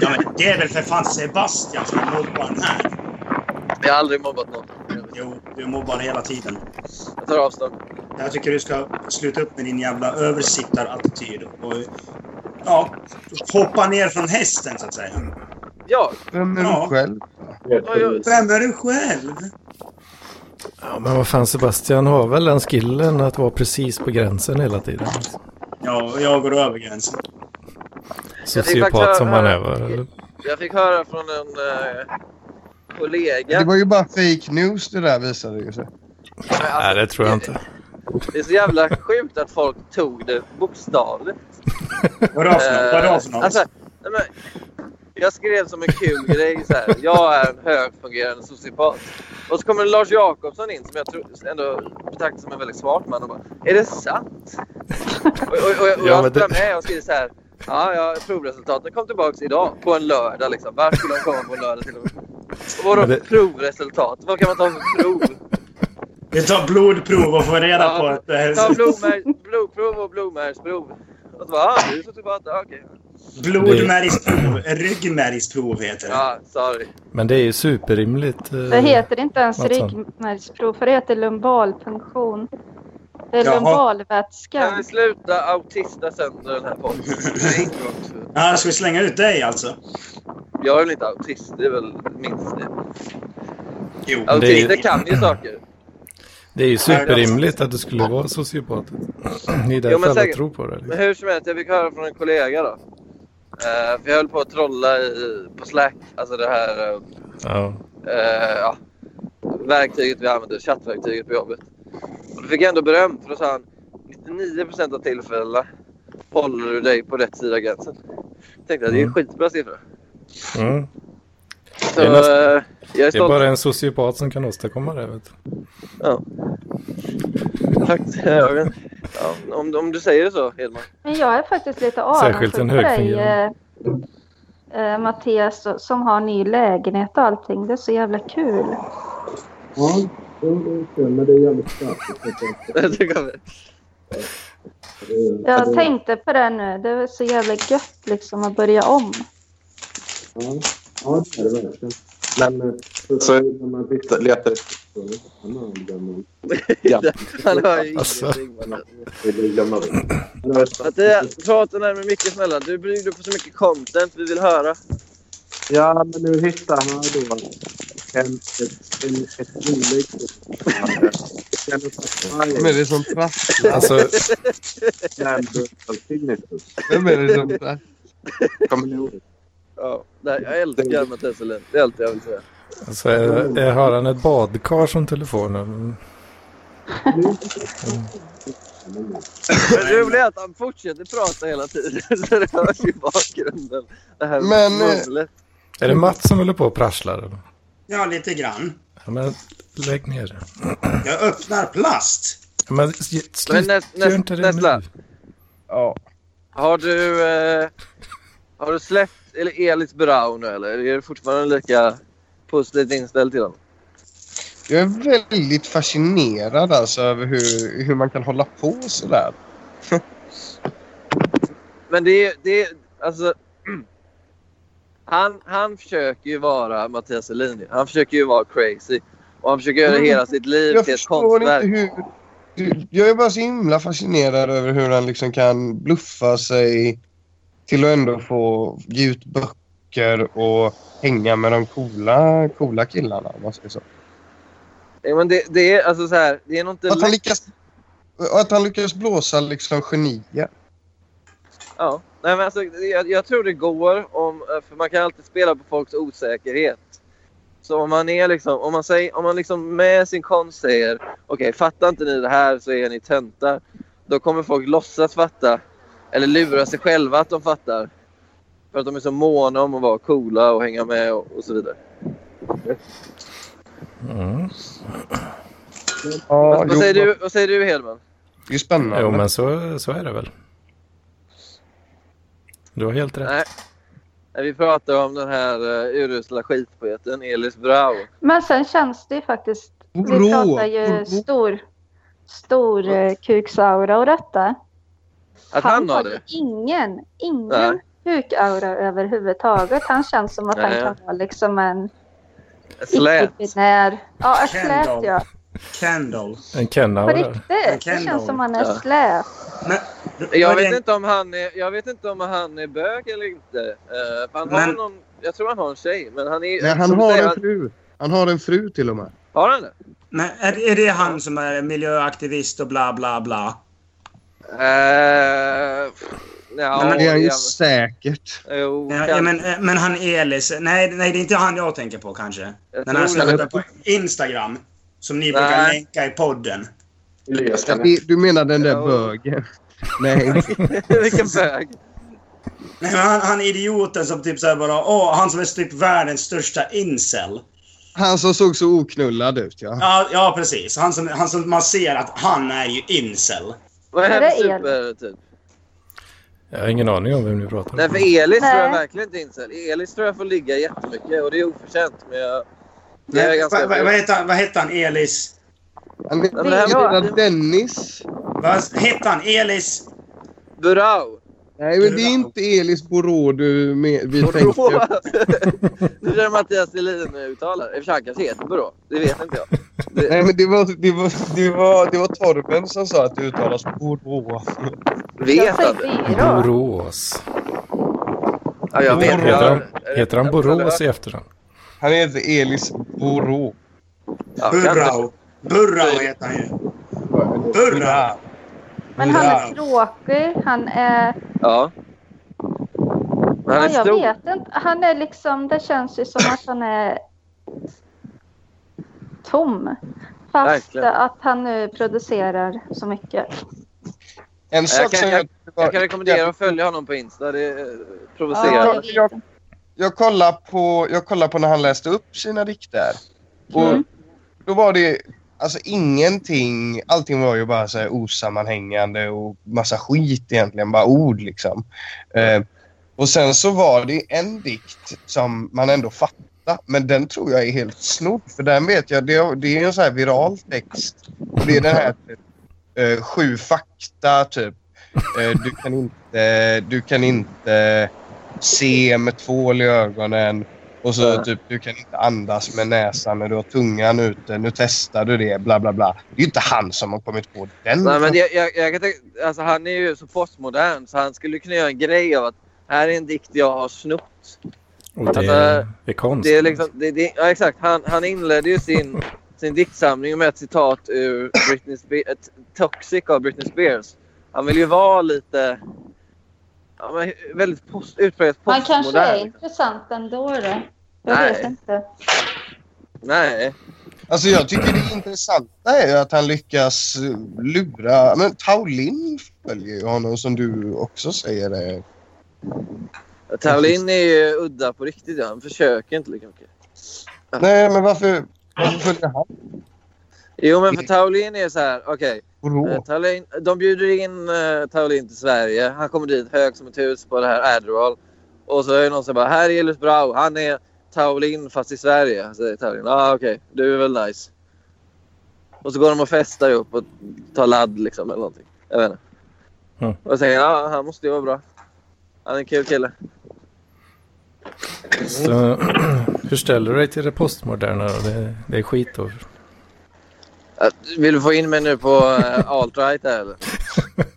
C: ja, men det är väl för fan Sebastian som är mobbaren här.
F: Jag har aldrig mobbat någon.
C: Jo, du mobbar hela tiden.
F: Jag tar avstånd.
C: Jag tycker du ska sluta upp med din jävla översittarattityd. Och, ja, hoppa ner från hästen så att säga.
F: Ja,
D: Vem är
C: Ja.
D: du själv?
F: vad gör-
C: Vem är du själv?
B: Ja, men vad fan Sebastian har väl den skillen att vara precis på gränsen hela tiden.
C: Ja, och jag går över gränsen.
B: Sociopat som han är. va? Eller?
F: jag fick höra från en eh, kollega.
D: Det var ju bara fake news det där visade ju sig.
B: Nej, det tror jag inte.
F: Alltså, Det är så jävla sjukt att folk tog det bokstavligt.
C: Vadå för något? Vadå för
F: Eh,
C: något?
F: Alltså, nej, men, jag skrev som en kul grej så här. Jag är en högfungerande sociopat. Och så kommer Lars Jakobsson in som jag tror, ändå betraktar som en väldigt smart man och bara Är det sant? Och, och, och, och
B: Ja,
F: jag
B: men
F: sprang
B: det-
F: med och skrev så här. Ja, ja, provresultaten kom tillbaka idag på en lördag liksom. Varför skulle de komma på en lördag till och med? Och vadå
B: Men det-
F: provresultat? Vad kan man ta för prov?
C: Vi tar blodprov och får reda på att...
F: Ta
C: Eh,
F: blodmär- blodprov och blodmärgsprov. Och så bara, ah, du är sociopat, ja, okej.
C: blodmärgsprov. Ryggmärgsprov heter det.
F: Ja, sorry.
B: Men det är ju superrimligt. eh,
E: Det heter inte ens
B: Mattsson.
E: ryggmärgsprov, för det heter lumbalpunktion. Det är
C: Jaha.
F: Kan
E: lumbalvätska.
F: vi sluta autista sönder den här podden? Det är inte bra.
C: Ja, ska vi slänga ut dig alltså?
F: Jag är väl inte autist, det är väl minst det.
C: Jo.
B: Ja, det är ju-
F: Autister kan ju saker.
B: Det är ju superrimligt att du skulle vara sociopat. Det är
F: Jo,
B: därför
F: men
B: alla
F: säkert.
B: tror på det. liksom.
F: Men hur som helst, jag fick höra från en kollega då. Eh, för jag höll på att trolla i, på Slack, alltså det här eh,
B: Ja.
F: eh, ja, verktyget vi använder, chattverktyget på jobbet. Och då fick jag ändå beröm för då sa han 99% av tillfällena håller du dig på rätt sida av gränsen. Jag tänkte att det är en
B: Mm.
F: skitbra siffra.
B: Mm.
F: Så,
B: Det är nästan-
F: eh, jag är
B: Det är
F: stolt.
B: bara en sociopat som kan åstadkomma det. Vet du.
F: Ja. Tack till högern. Ja, om, om du säger det så, Hedman.
E: Men jag är faktiskt lite avundsjuk
B: Särskilt
E: på
B: en
E: dig,
B: högfungerande.
E: eh, eh, Mattias, så- som har ny lägenhet och allting. Det är så jävla kul.
A: Ja, det är kul, men det är jävligt kraftigt.
F: Det kommer.
E: Jag tänkte på det nu. Det är så jävla gött liksom att börja om.
A: Ja, ja, det är det verkligen. Men eh, så- så när man tittar- letar efter han har en gammal- gammal-
F: Han har ju
B: Alltså.
F: ingenting. mannen.
A: gammal- Han har ett-
F: Mattias, prata närmare mycket snälla. Du bjuder på så mycket content vi vill höra.
A: Ja, men nu hittar han då en, ett, en, ett inlägg.
D: Vem är det som prasslar?
B: Alltså,
D: Vem är det som prasslar?
A: Kommer ni ihåg?
F: Ja, nej, jag älskar
B: Mm.
F: Mattias Helin. Det är allt jag vill säga.
B: alltså är, är, har han ett badkar som telefon? Mm.
F: Det roliga är att han fortsätter prata hela tiden. Så det hörs i bakgrunden. Det här
D: Men, eh,
F: mummlet.
B: Är det Mats som håller på och prasslar? eller?
C: Ja, lite grann.
B: Ja, men lägg ner det.
C: Jag öppnar plast.
B: Ja, men s-
F: Men
B: slut,
F: näst,
B: gör
F: näst,
B: inte det nu.
F: nästa.
D: Ja.
F: Har du, eh, har du släppt eller Elis Brau nu eller? Är du fortfarande lika positivt inställd till honom?
D: Jag är väldigt fascinerad alltså över hur, hur man kan hålla på sådär.
F: Men det är, det är alltså... Han, han försöker ju vara Mattias Helin. ju. Han försöker ju vara crazy. Och han försöker göra
D: Mm.
F: hela sitt liv
D: Jag
F: till ett
D: förstår inte
F: konstverk.
D: hur... du- Jag är bara så himla fascinerad över hur han liksom kan bluffa sig till att ändå få ge ut böcker och hänga med de coola, coola killarna. Om man säger så.
F: Ja, Men det, det är alltså så här, det är nog inte
D: Att han
F: lätt.
D: lyckas, och att han lyckas blåsa liksom genier.
F: Ja. Nej, men alltså, det- jag, jag tror det går om, eh, för man kan alltid spela på folks osäkerhet. Så om man är liksom, om man säger, om man liksom med sin konst säger okej fattar inte ni det här så är ni töntar. Då kommer folk låtsas fatta eller lura sig själva att de fattar. För att de är så måna om att vara coola och hänga med och, och så vidare.
B: Mm.
D: Ja,
F: vad, säger
D: jo,
F: du, vad säger du Hedman?
D: Det är spännande.
B: Jo, men så, så är det väl. Du har helt rätt.
F: Nej. Nej, Vi pratar om den här uh, urusla skitpoeten Elis Brau.
E: Men sen känns det ju faktiskt... Vi
D: Rå,
E: pratar ju
D: rå.
E: stor, stor eh, kuksaura och detta.
F: Att han, har det?
E: ingen, ingen
F: Nej.
E: kukaura överhuvudtaget. Han känns som att han
F: Nej.
E: kan vara liksom en
F: Slät.
E: icke-binär. Ja, ett
C: Ken
E: slät
C: då.
E: ja.
C: Kendall.
B: En
E: På
B: kennaur.
E: riktigt.
C: Ken
E: Det känns
C: då.
E: som han är
F: Ja.
E: slät.
C: Men,
F: Jag vet,
C: men-
F: inte om han är, jag vet inte om han är bög eller inte. Eh, för han har
C: Men-
F: någon, jag tror han har en tjej. Men han är,
D: Nej, han
F: som du
D: har
F: säger,
D: en fru. Han har en fru till och med.
F: har han det?
C: Men är, är det han som är miljöaktivist och bla bla bla?
F: Eh, pff, ja,
D: Men det är han ju
F: ja,
D: säkert.
F: jo,
C: Ja,
F: kanske.
C: ja, men, eh, men han Elis. Nej, nej, det är inte han jag tänker på kanske.
F: Jag
C: Den här
F: tror
C: som
F: det.
C: heter på Instagram. Som ni brukar
F: Nej.
C: länka i podden.
A: Elias
D: Ja,
A: kan
D: det- Du menar den där
F: Ja.
D: bögen? Nej.
F: Vilken bög.
C: Nej, men han, han idioten som typ såhär bara åh, han som är typ världens största incel.
D: Han som såg så oknullad ut, ja.
C: Ja, ja precis. Han som, han som man ser att han är ju incel.
F: Vad
E: Ja,
F: är
E: det
F: det
E: är
F: super, typ?
B: Jag har ingen aning om vem du pratar om.
F: Nej, för Elis
E: Nej.
F: tror jag verkligen inte är incel. Elis tror jag får ligga jättemycket och det är oförtjänt. Men jag, det är ganska...
C: Vad va, va heter, han- vad heter han Elis?
D: Han är-
F: Ja, men det här
D: Du
F: var-
D: menar Dennis?
C: Vad hette han? Elis?
F: Burau!
D: Nej, men det är inte Elis Borå du med, vi tänker
F: Borå!
D: på.
F: Nu kör Mattias Helin uttalar. I och för sig, han kanske heter Burå. Det vet inte jag.
D: Nej, men det var, det, var, det, var, det var Torben som sa att det uttalas Borå.
E: Jag
F: Vet han det?
E: säger byrå.
B: Borås.
F: Ja, jag vet.
D: Heter
F: jag-
B: han-
F: jag-
B: Heter han
F: jag-
B: Borås i efternamn?
D: Han heter Elis Borå.
F: Ja, kan inte-
C: Burrao. Burrao heter han ju. Burrao.
E: Men han är
C: Bra.
E: tråkig. Han är...
F: Ja. Men han
E: Ja,
F: är
E: jag
F: stor.
E: vet inte. Han är liksom... Det känns ju som att han är tom. Fast
F: Verkligen.
E: att han nu producerar så mycket.
D: En sak
F: kan-
D: som
F: jag-
D: var-
F: Jag kan rekommendera att följa honom på Insta. Det är eh, provocerande.
E: Ja, jag vet.
D: jag kollade på, jag kollade på när han läste upp sina dikter. Och
E: Mm.
D: Då var det Alltså ingenting. Allting var ju bara så här osammanhängande och massa skit egentligen. Bara ord liksom. Eh, och sen så var det en dikt som man ändå fattar. Men den tror jag är helt snodd. För den vet jag, det, det är en så här viral text. Och det är den här typ, eh, sju fakta typ. Eh, du kan inte, du kan inte se med tvål i ögonen. Och så typ, du kan inte andas med näsan när du har tungan ute. Nu testar du det, bla bla bla. Det är ju inte han som har kommit på den.
F: Nej, men jag, jag, jag kan tänka, alltså, han är ju så postmodern så han skulle kunna göra en grej av att här är en dikt jag har snott.
B: Och det
F: Alltså,
B: är, det är konst.
F: Det är liksom, det, det, ja, exakt. Han, han inledde ju sin, sin diktsamling med ett citat ur Britney Spe- ett Toxic av Britney Spears. Han vill ju vara lite... Ja, men väldigt post, utpräglat
E: Han kanske
F: postmodern.
E: är intressant ändå då. Jag
F: Nej.
E: vet inte.
F: Nej.
D: Alltså jag tycker det intressanta är ju att han lyckas eh, lura... Men Taulin följer ju honom som du också säger. eh.
F: Taolin är ju udda på riktigt. Ja. Han försöker inte lika mycket.
D: Nej, men varför, varför följer han
F: Jo, men för Taolin är så här. Okej.
D: Brå?
F: eh, Taolin, de bjuder in eh, Taolin till Sverige. Han kommer dit hög som ett hus på det här Adderall. Och så är det någon som bara “Här är Elis Brau. Han är Taolin fast i Sverige”. Säger Taolin. “Ah, okej. Du är väl nice.” Och så går de och festar upp och tar ladd liksom eller någonting. Jag vet inte.
B: Mm.
F: Och säger “Ja, han måste ju vara bra. Han är en kul kille.”
B: Så, hur ställer du dig till det postmoderna då? Det, det är skit då.
F: Äh, Vill du få in mig nu på eh, alt-right här eller?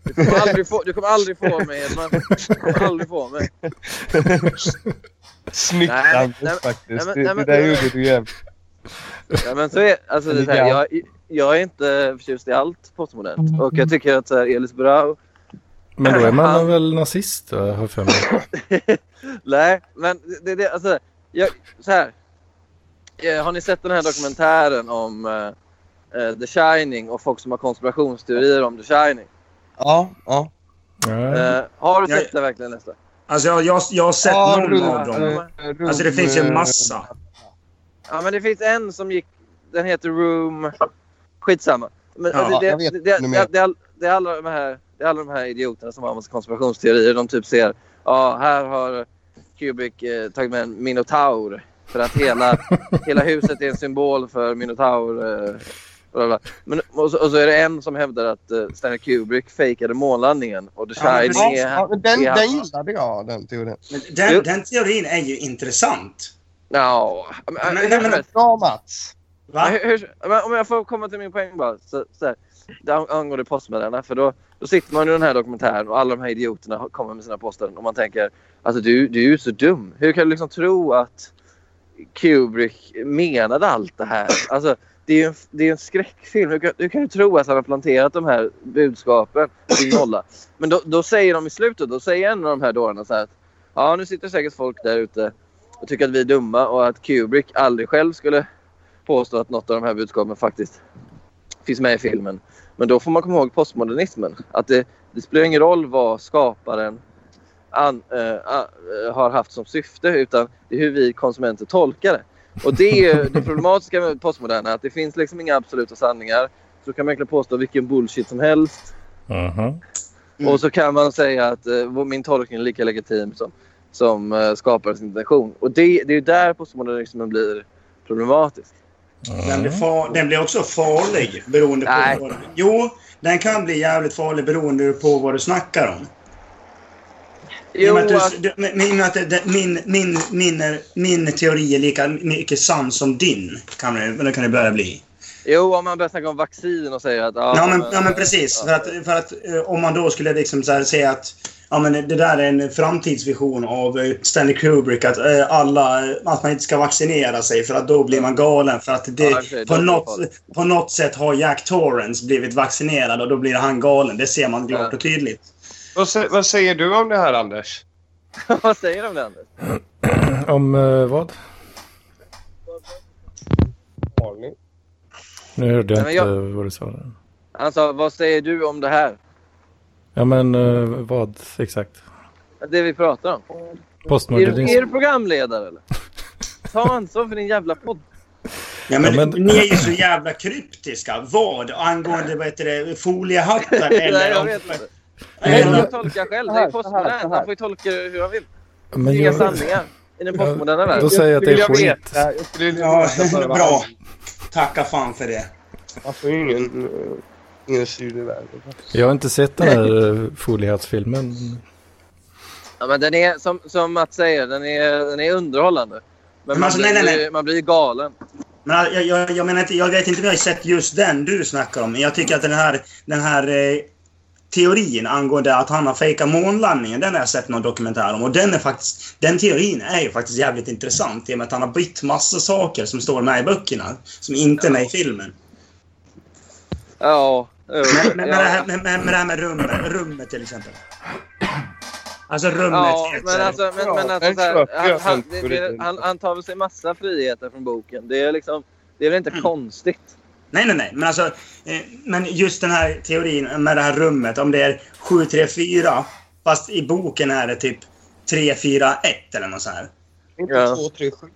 F: Du kommer aldrig få, du kommer aldrig få mig Edman. Du kommer aldrig få mig.
D: Snyggt
F: Nej,
D: Anders,
F: nej, men-
D: faktiskt.
F: nej, men-
D: Det-
F: nej, men-
D: det där gjorde du jävligt.
F: Ja, men så är, alltså, det är så här, jag, jag är inte förtjust i allt postmodernt. Och jag tycker att så här, Elis Brau...
B: Men då är man
F: Han-
B: väl nazist då, har jag för mig.
F: Nej, men det, det, alltså, jag, så här. Eh, Har ni sett den här dokumentären om eh, eh, The Shining och folk som har konspirationsteorier om The Shining?
D: Ja, ja.
B: Ja.
F: Eh, har du
C: Jag-
F: sett det verkligen Nesta?
C: Alltså jag, jag, jag har sett
D: Ja,
C: någon
D: runt,
C: av dem.
D: eh, runt,
C: Alltså det finns ju en
D: eh,
C: massa.
F: Ja, men det finns en som gick... Den heter Room... Skitsamma. Men,
C: Ja,
F: alltså, det,
D: jag vet
F: det,
D: inte
F: det,
D: mer.
F: det, det, är all- det, är alla de här, det är alla de här idioterna som har en massa konspirationsteorier. De typ ser... Ja, här har Kubrick eh, tagit med en minotaur. För att hela, hela huset är en symbol för minotaur. Eh, bla, bla. Men, och, så, och så är det en som hävdar att eh, Stanley Kubrick fejkade månlandningen. Och The
D: Ja,
F: Shining är...
D: ja, men den,
F: är-
D: den gillade jag, den teorin.
C: Men
F: Jo.
C: den, den teorin är ju intressant.
F: Ja.
C: Men-
F: men-
C: men- men-
D: Bra Mats!
F: Ja,
C: Va?
F: hur, hur, men om jag får komma till min poäng bara. Så, så här, det an- angående postmeddelandena. För då, då sitter man i den här dokumentären och alla de här idioterna har- kommer med sina påståenden. Och man tänker alltså du, du är ju så dum. Hur kan du liksom tro att Kubrick menade allt det här? Alltså, det är ju en, det är ju en skräckfilm. Hur kan, hur kan du tro att han har planterat de här budskapen till nolla? Men då, då säger de i slutet, då säger en av de här dårarna så här att ja, nu sitter säkert folk där ute och tycker att vi är dumma och att Kubrick aldrig själv skulle påstå att något av de här budskapen faktiskt finns med i filmen. Men då får man komma ihåg postmodernismen. Att det, det spelar ingen roll vad skaparen an, eh, a, eh, har haft som syfte utan det är hur vi konsumenter tolkar det. Och det är ju det problematiska med postmoderna. Att det finns liksom inga absoluta sanningar. Så kan man egentligen påstå vilken bullshit som helst.
B: Mhm.
C: Mm.
F: Och så kan man säga att eh, vår- min tolkning är lika legitim som, som eh, skaparens intention. Och det, det är ju där postmodernismen blir problematisk.
C: Den blir, far, den blir också farlig beroende på...
F: Nej.
C: Vad, jo, den kan bli jävligt farlig beroende på vad du snackar om. I och
F: Jo, alltså-
C: med att,
F: att-
C: du, du, men- men i och med att det- det- min, min, min, är- min teori är lika mycket sann som din, kan det, eller kan det börja bli.
F: Jo, om man börjar snacka om vaccin och säger att...
C: Ja, men, ja, men precis.
F: ja.
C: För att, för att eh, om man då skulle liksom så här säga att ja, men det där är en framtidsvision av eh, Stanley Kubrick, att, eh, alla, eh, att man inte ska vaccinera sig för att då blir man galen. För att det,
F: Ja, i och för sig,
C: på,
F: det är
C: något,
F: farligt.
C: på något sätt har Jack Torrance blivit vaccinerad och då blir han galen. Det ser man klart
F: Ja.
C: och tydligt.
D: Vad, sä- vad säger du om det här Anders?
F: Vad säger de om det? Anders?
B: Om eh, vad?
D: Har ni?
B: Nu hörde jag
F: Nej, men
B: inte vad du sa. där.
F: Han sa, vad säger du om det här?
B: Ja men eh, vad exakt?
F: Det vi pratar om. Är, du-
B: Postmodernism?
F: är du programledare eller? Ta ansvar för din jävla podd.
C: Ja, men,
B: Ja, men-
C: Ni är ju så jävla kryptiska. Vad angående vad heter det, foliehattar
F: Nej,
C: eller...
F: jag
C: om-
F: vet inte.
C: Nej,
F: Nej,
B: men-
F: jag tolkar själv. Det är ju postmodern. Han får ju tolka det hur han vill. Det är
B: Men
F: inga
B: jag,
F: sanningar i den postmoderna världen.
B: då säger jag att det är
D: skulle vilja
B: skit.
D: veta- jag skulle vilja
C: Ja,
D: veta bara vad
C: bra.
D: han-
C: Tacka fan för det.
D: Man får ju ingen, eh, ingen syn i världen.
B: Jag har inte sett den här eh, foliehattsfilmen.
F: Ja, men den är, som, som Mats säger, den är, den är underhållande. Men
C: Men
F: man
C: alltså, nej,
F: blir,
C: nej, nej.
F: man blir galen.
C: Men jag, jag, jag menar inte, jag vet inte om jag har sett just den du snackar om, men jag tycker att den här, den här eh, teorin angående att han har fejkat månlandningen, den har jag sett någon dokumentär om. Och den är faktiskt, den teorin är ju faktiskt jävligt intressant i och med att han har bytt massa saker som står med i böckerna, som inte är med i filmen.
F: Ja.
C: Men, men, men, det, här,
F: ja.
C: men, men men det här med rummet, rummet till exempel. Alltså rummet
F: Ja,
C: heter-
F: men alltså, men, men alltså
D: den
F: så här,
D: köper
F: han,
D: jag
F: han,
D: sen
F: det,
D: för
F: det,
D: lite.
F: han, han tar väl sig massa friheter från boken. Det är liksom, det är väl inte
C: Mm.
F: konstigt.
C: Nej, nej, nej. Men, alltså, eh, men just den här teorin med det här rummet, om det är 734, fast i boken är det typ 341 eller något så här.
D: Inte
F: Ja.
D: 237?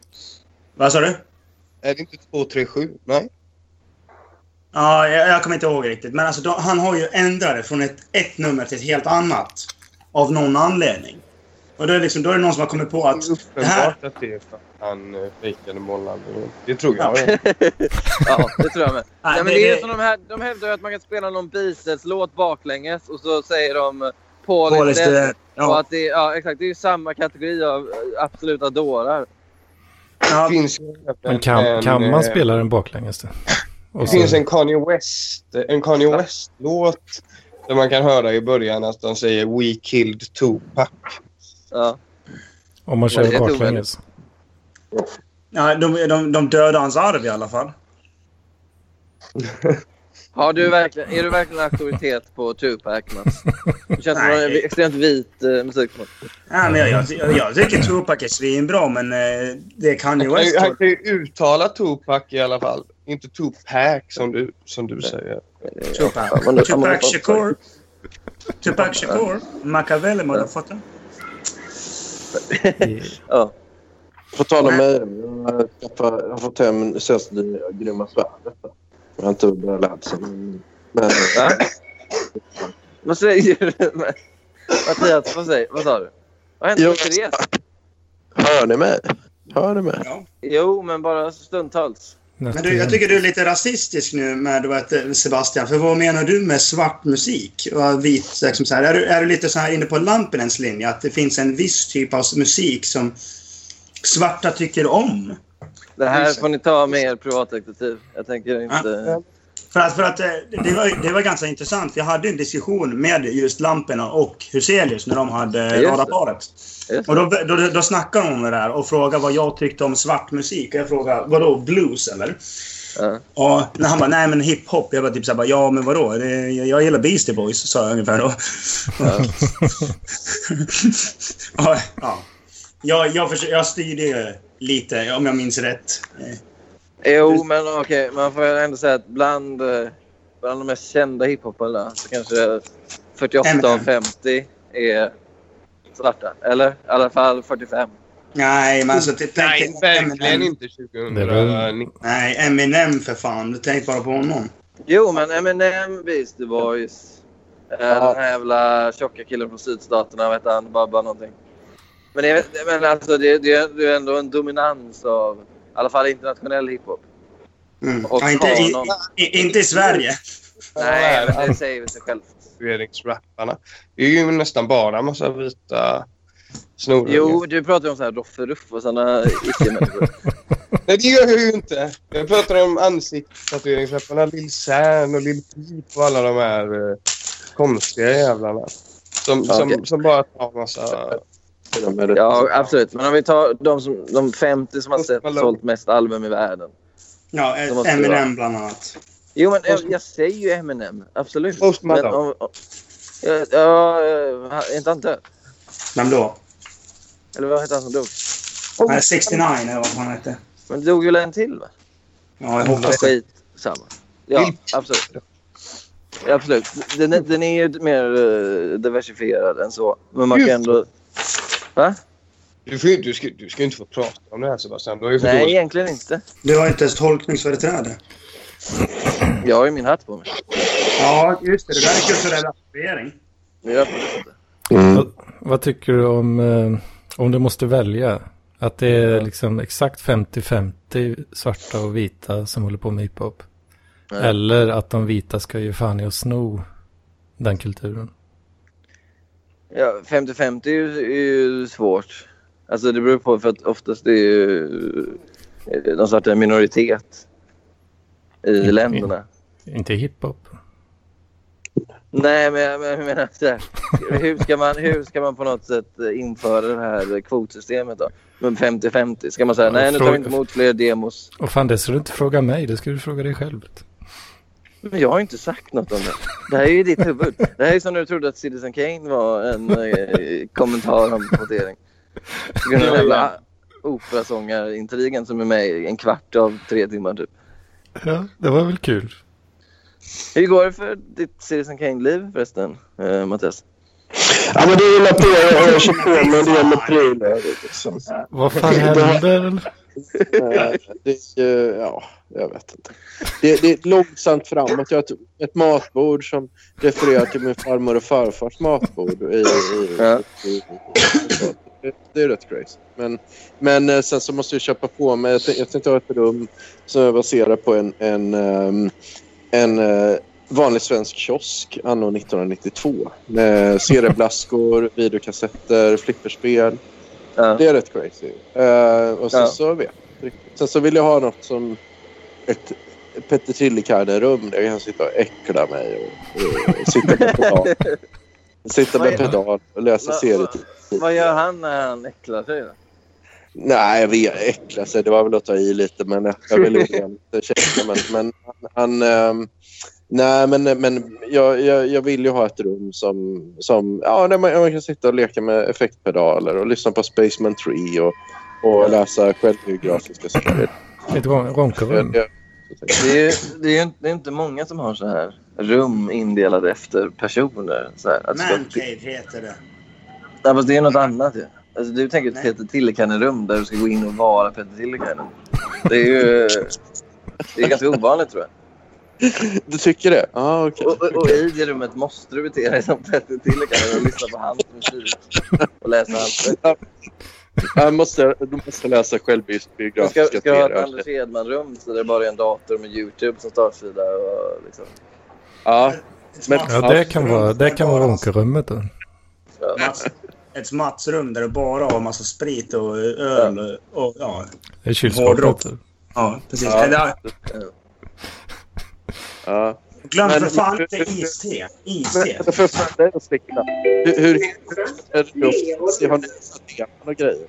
C: Vad sa du?
D: Är det inte 237? Nej.
C: Ja, jag, jag kommer inte ihåg riktigt. Men alltså, då, han har ju ändrat det från ett, ett nummer till ett helt annat. Av någon anledning. Och då är, det liksom, då är det någon som har kommit på att...
D: Det är uppenbart att det är för att han eh, fejkade månlandningen. Det tror jag. Ja.
F: Ja, det tror jag med.
C: Nej,
F: Nej, men
C: det-
F: det är
C: det-
F: ju som de här, de hävdar ju att man kan spela någon Beatles-låt baklänges och så säger de eh, Paul,
C: Paul
F: is
C: is
F: dead.
C: dead.
F: Och
C: Ja,
F: att det, ja, exakt. Det är ju samma kategori av eh, absoluta dårar.
D: Det
C: ja,
D: finns ju
B: Men
D: även
B: kan,
D: en,
B: kan man
D: eh,
B: spela den baklänges? då? Och
D: Det
B: så,
D: finns en Kanye West, eh, en Kanye West-låt där man kan höra i början att de säger We killed Tupac.
F: Ja.
B: om man
F: Det är
B: kör
F: otroligt.
B: baklänges.
C: ja, de, de, de dödar hans arv i alla fall.
F: Har du verkligen, är du verkligen auktoritet på Tupac, Mats? Det känns som
C: Nej.
F: en extremt vit eh, musiksmak.
C: Ja, men jag, jag, jag, jag tycker Tupac är svinbra, men eh, det kan ju
D: Han,
C: West.
D: han kan ju uttala Tupac i alla fall. Inte Tupac som du, som du säger.
C: Tupac.
F: Ja, men-
C: Tupac Shakur. Tupac Shakur. Machiavelli, motherfucker.
F: Ja.
A: På tal om mig, jag skaffade- jag har fått hem det senaste nya grymma svärdet. Jag har inte börjat läsa men... men
F: Va? Vad säger du? Mattias, vad, säger, vad sa du? Vad hände
A: Jo.
F: med Therese?
A: hör ni mig? Hör ni mig?
F: Jo, men bara stundtals.
C: Men du, jag tycker du är lite rasistisk nu med du vet, Sebastian. För vad menar du med svart musik? Och vit, liksom så här. Är, du, är du lite så här inne på Lampinens linje? Att det finns en viss typ av musik som svarta tycker om?
F: Det här får ni ta med er privatdetektiv. Jag tänker inte...
C: För att, för att eh, det, var, ju- det var ganska intressant. Vi hade en diskussion med just Lampinen och Huselius när de hade
F: just det.
C: radarparet.
F: Just
C: Och då, då, då snackade de om det där och frågade vad jag tyckte om svart musik. Och jag frågade, vadå blues eller?
F: Ja.
C: Och när han bara, nej men hiphop. Jag bara typ såhär, ja men vadå? Det, jag, jag gillar Beastie Boys, sa jag ungefär då. ja. ja. Jag, jag, försö- jag styrde ju lite, om jag minns rätt. Eh,
F: Jo, men okej. Man får ändå säga att bland, eh, bland de mest kända hiphoparna så kanske 48 av
C: Eminem.
F: 50 är svarta. Eller i alla fall 45.
C: Nej, men alltså... Typ,
D: Nej,
C: tänk-
D: verkligen
C: Eminem.
D: inte 2019.
B: Det är väl-
C: Nej, Eminem för fan. Tänk bara på honom.
F: Jo, men Eminem, Beastie Boys. eh, Den här jävla tjocka killen från sydstaterna, vet han, Babba någonting. Men, jag vet, men alltså, det, det, det är ändå en dominans av i alla fall internationell hiphop.
C: Mm.
F: Och
C: Ja, inte, i,
F: honom.
C: i, inte i Sverige.
F: Nej, men det säger väl sig självt.
D: Rapparna. Det är ju nästan bara en massa vita snorungar.
F: Jo, du pratar ju om så här Roffe Ruff och såna icke-människor.
D: Nej, det gör jag ju inte. Jag pratar om ansiktstatueringsrapparna. Lill Zern och Lill Peep och alla de här eh, konstiga jävlarna. Som,
F: Ja, okej.
D: som, som bara tar massa...
A: Hör ni mig?
F: Ja, absolut. Men om vi tar de, som, de 50 som har sett, sålt mest album i världen.
C: Ja,
F: Det måste det vara.
C: Eminem bland annat.
F: Jo, men jag, jag säger ju Eminem. Absolut.
D: Post
F: Men
D: Malone.
F: om, om, ja, ja, eh, är inte han död?
C: Vem då?
F: Eller vad hette han som dog?
C: Nej, 69 eller vad fan hette.
F: Men det dog ju en till, va?
C: Ja, jag hoppas det.
F: Skit samma. Ja, absolut. Ja, Absolut. Den, är- den är ju mer eh, diversifierad än så. Men man kan ändå... Va?
D: Du, får, ju- du, ska, du ska ju inte få prata om det här Sebastian. Du har ju för
F: Nej,
D: dåligt-
F: egentligen inte.
C: Du har inte ens tolkningsföreträde.
F: Jag har ju min hatt på mig.
C: Ja, just det. Det där är kulturell appropriering.
F: Men jag får inte.
A: Mm.
B: Vad tycker du om, eh, om du måste välja? Att det är liksom exakt 50-50 svarta och vita som håller på med hiphop.
F: Nej.
B: Eller att de vita ska ge fan i att sno den kulturen.
F: Ja, 50-50 är ju, är ju svårt. Alltså det beror på för att oftast är ju eh, de svarta en minoritet i
B: Mm.
F: länderna.
B: Inte hiphop.
F: Nej, men jag men jag menar så här. Hur ska, man, hur ska man på något sätt eh, införa det här kvotsystemet då? Men 50-50, ska man säga
B: Ja,
F: nej nu tar vi
B: fråga-
F: inte emot fler demos?
B: Och fan, det ska du inte fråga mig, det ska du fråga dig själv.
F: Men jag har inte sagt något om det. Det här är ju ditt huvud. Det här är som när du trodde att Citizen Kane var en eh, kommentar om kvotering. På grund av den jävla operasångarintrigen som är med i en kvart av tre timmar typ.
B: Ja, det var väl kul.
F: Hur går det för ditt Citizen Kane-liv förresten, eh, Mattias?
A: Ja, men det rullar på. Jag jag kör på med det med prylar. Liksom.
B: Vad fan händer?
A: Eh, Det, eh, ja, jag vet inte. Det, det är långsamt framåt. Jag har ett, ett matbord som refererar till min farmor och farfars matbord. I, i,
F: Ja.
A: i, i, det, det är rätt crazy. Men, men eh, sen så måste jag köpa på mig. Jag, tän- jag tänkte ha ett rum som jag baserar på en, en, ehm, en eh, vanlig svensk kiosk anno 1992. Med serieblaskor, videokassetter, flipperspel.
F: Ja.
A: Det är rätt crazy. Eh, och sen
F: Ja.
A: så vet jag inte riktigt. Sen så vill jag ha något som ett Petter Trillekalle-rum där jag kan sitta och äckla mig och, och sitta med pedal. Sitta
F: Vad
A: med
F: är-
A: pedal och läsa
F: Vad-
A: serietidningar.
F: Vad gör han när han äcklar sig då?
A: Nej, jag vet, äckla sig. Det var väl att ta i lite, men jag- jag vill inte käka. Men, men han... han ehm, nej, men, men jag, jag, jag vill ju ha ett rum som... som ja, där man, man kan sitta och leka med effektpedaler och lyssna på Spaceman 3 och, och läsa självbiografiska serier.
B: Ett ron- ronkorum.
A: Jag-
F: Det är, ju, det, är ju inte, det är inte många som har så här rum indelade efter personer. Så här, att ska,
C: Mancave heter det.
F: nej, fast det är något annat ju. Alltså, du tänker ett
C: Nej.
F: Peter Tillekanen-rum där du ska gå in och vara Peter Tillekanen. Det är ju det är ganska ovanligt tror jag.
A: jag- Du tycker det? Ja, ah, okej.
F: Och, och, och i det rummet måste du bete dig som Peter Tillekanen och lyssna på hans musik och läsa hans böcker.
A: Jag måste, du måste läsa
F: Du
A: självbiografiska
F: ska, ska ha ett
A: serier.
F: Anders Hedman-rum så det är bara är en dator med Youtube som startsida och liksom.
A: Ja, Men-
B: Ja, det kan vara, det kan vara ronkorummet då.
C: Mats- Ett Mats-rum där du bara har massa sprit och öl och, och ja.
B: Det är
C: Hårdrock.
B: kylskåpet.
C: Ja, precis.
A: Ja.
C: Eller,
A: ja.
C: glöm
A: Men-
C: för fan inte iste. Iste.
A: Men för fan, det är att sticka. Hur, hur är det då? Jag har nästan teman och grejer.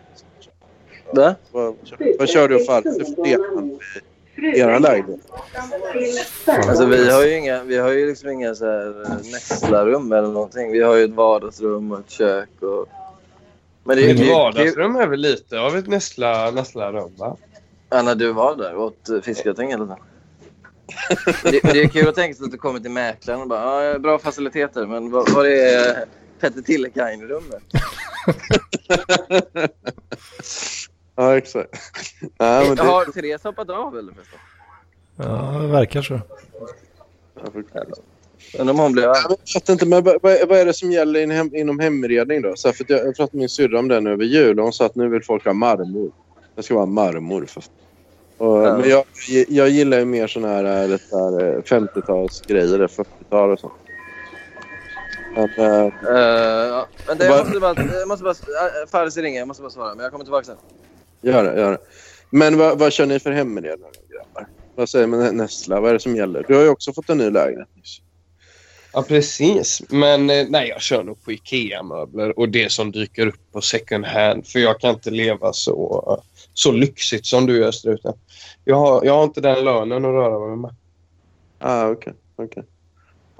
F: Va?
A: Vad, vad kör du för Du får teman i era lägenhet.
F: Alltså vi har ju inga, vi har ju liksom inga så här eh, nästlarrum eller någonting. Vi har ju ett vardagsrum och ett kök och... Men det är ju
D: Mitt
F: det är- det är-
D: vardagsrum är väl lite av ett nästla, nästlarum va?
F: Anna, du var där och åt eh, fiskgratäng eller nåt. Det, det är kul att tänka sig att du kommer till mäklaren och bara ja, bra faciliteter men var, var är Petter Tillekainen-rummet?
A: Ja, exakt. Nej, men det,
F: Har Therese hoppat av eller? förresten?
B: Ja, det verkar så.
F: Undrar om hon blev arg.
A: jag vet inte, men vad, vad vad är det som gäller in hem, inom hemredning då? Så här, för att jag, jag pratade med min syrra om den över jul och hon sa att nu vill folk ha marmor. Jag ska vara marmor för fan. och,
F: Ja.
A: Men jag, jag gillar ju mer såna här, äh, lite här äh, 50-talsgrejer, eller 40-tal och sånt. Men, äh,
F: Eh, ja. Men det,
A: Vad-
F: jag måste bara... jag måste bara eh, Farsi ringer, jag måste bara svara. Men jag kommer tillbaka sen.
A: Gör det, gör det. Men vad, vad kör ni för hemredare, grabbar? Vad säger man Nessla? Vad är det som gäller? Du har ju också fått en ny lägenhet nyss.
D: Ja, precis. Men eh, nej, jag kör nog på IKEA-möbler och det som dyker upp på second hand. För jag kan inte leva så, så lyxigt som du gör, Struten. Jag har, jag har inte den lönen att röra mig med.
A: Ah, okej. Okay,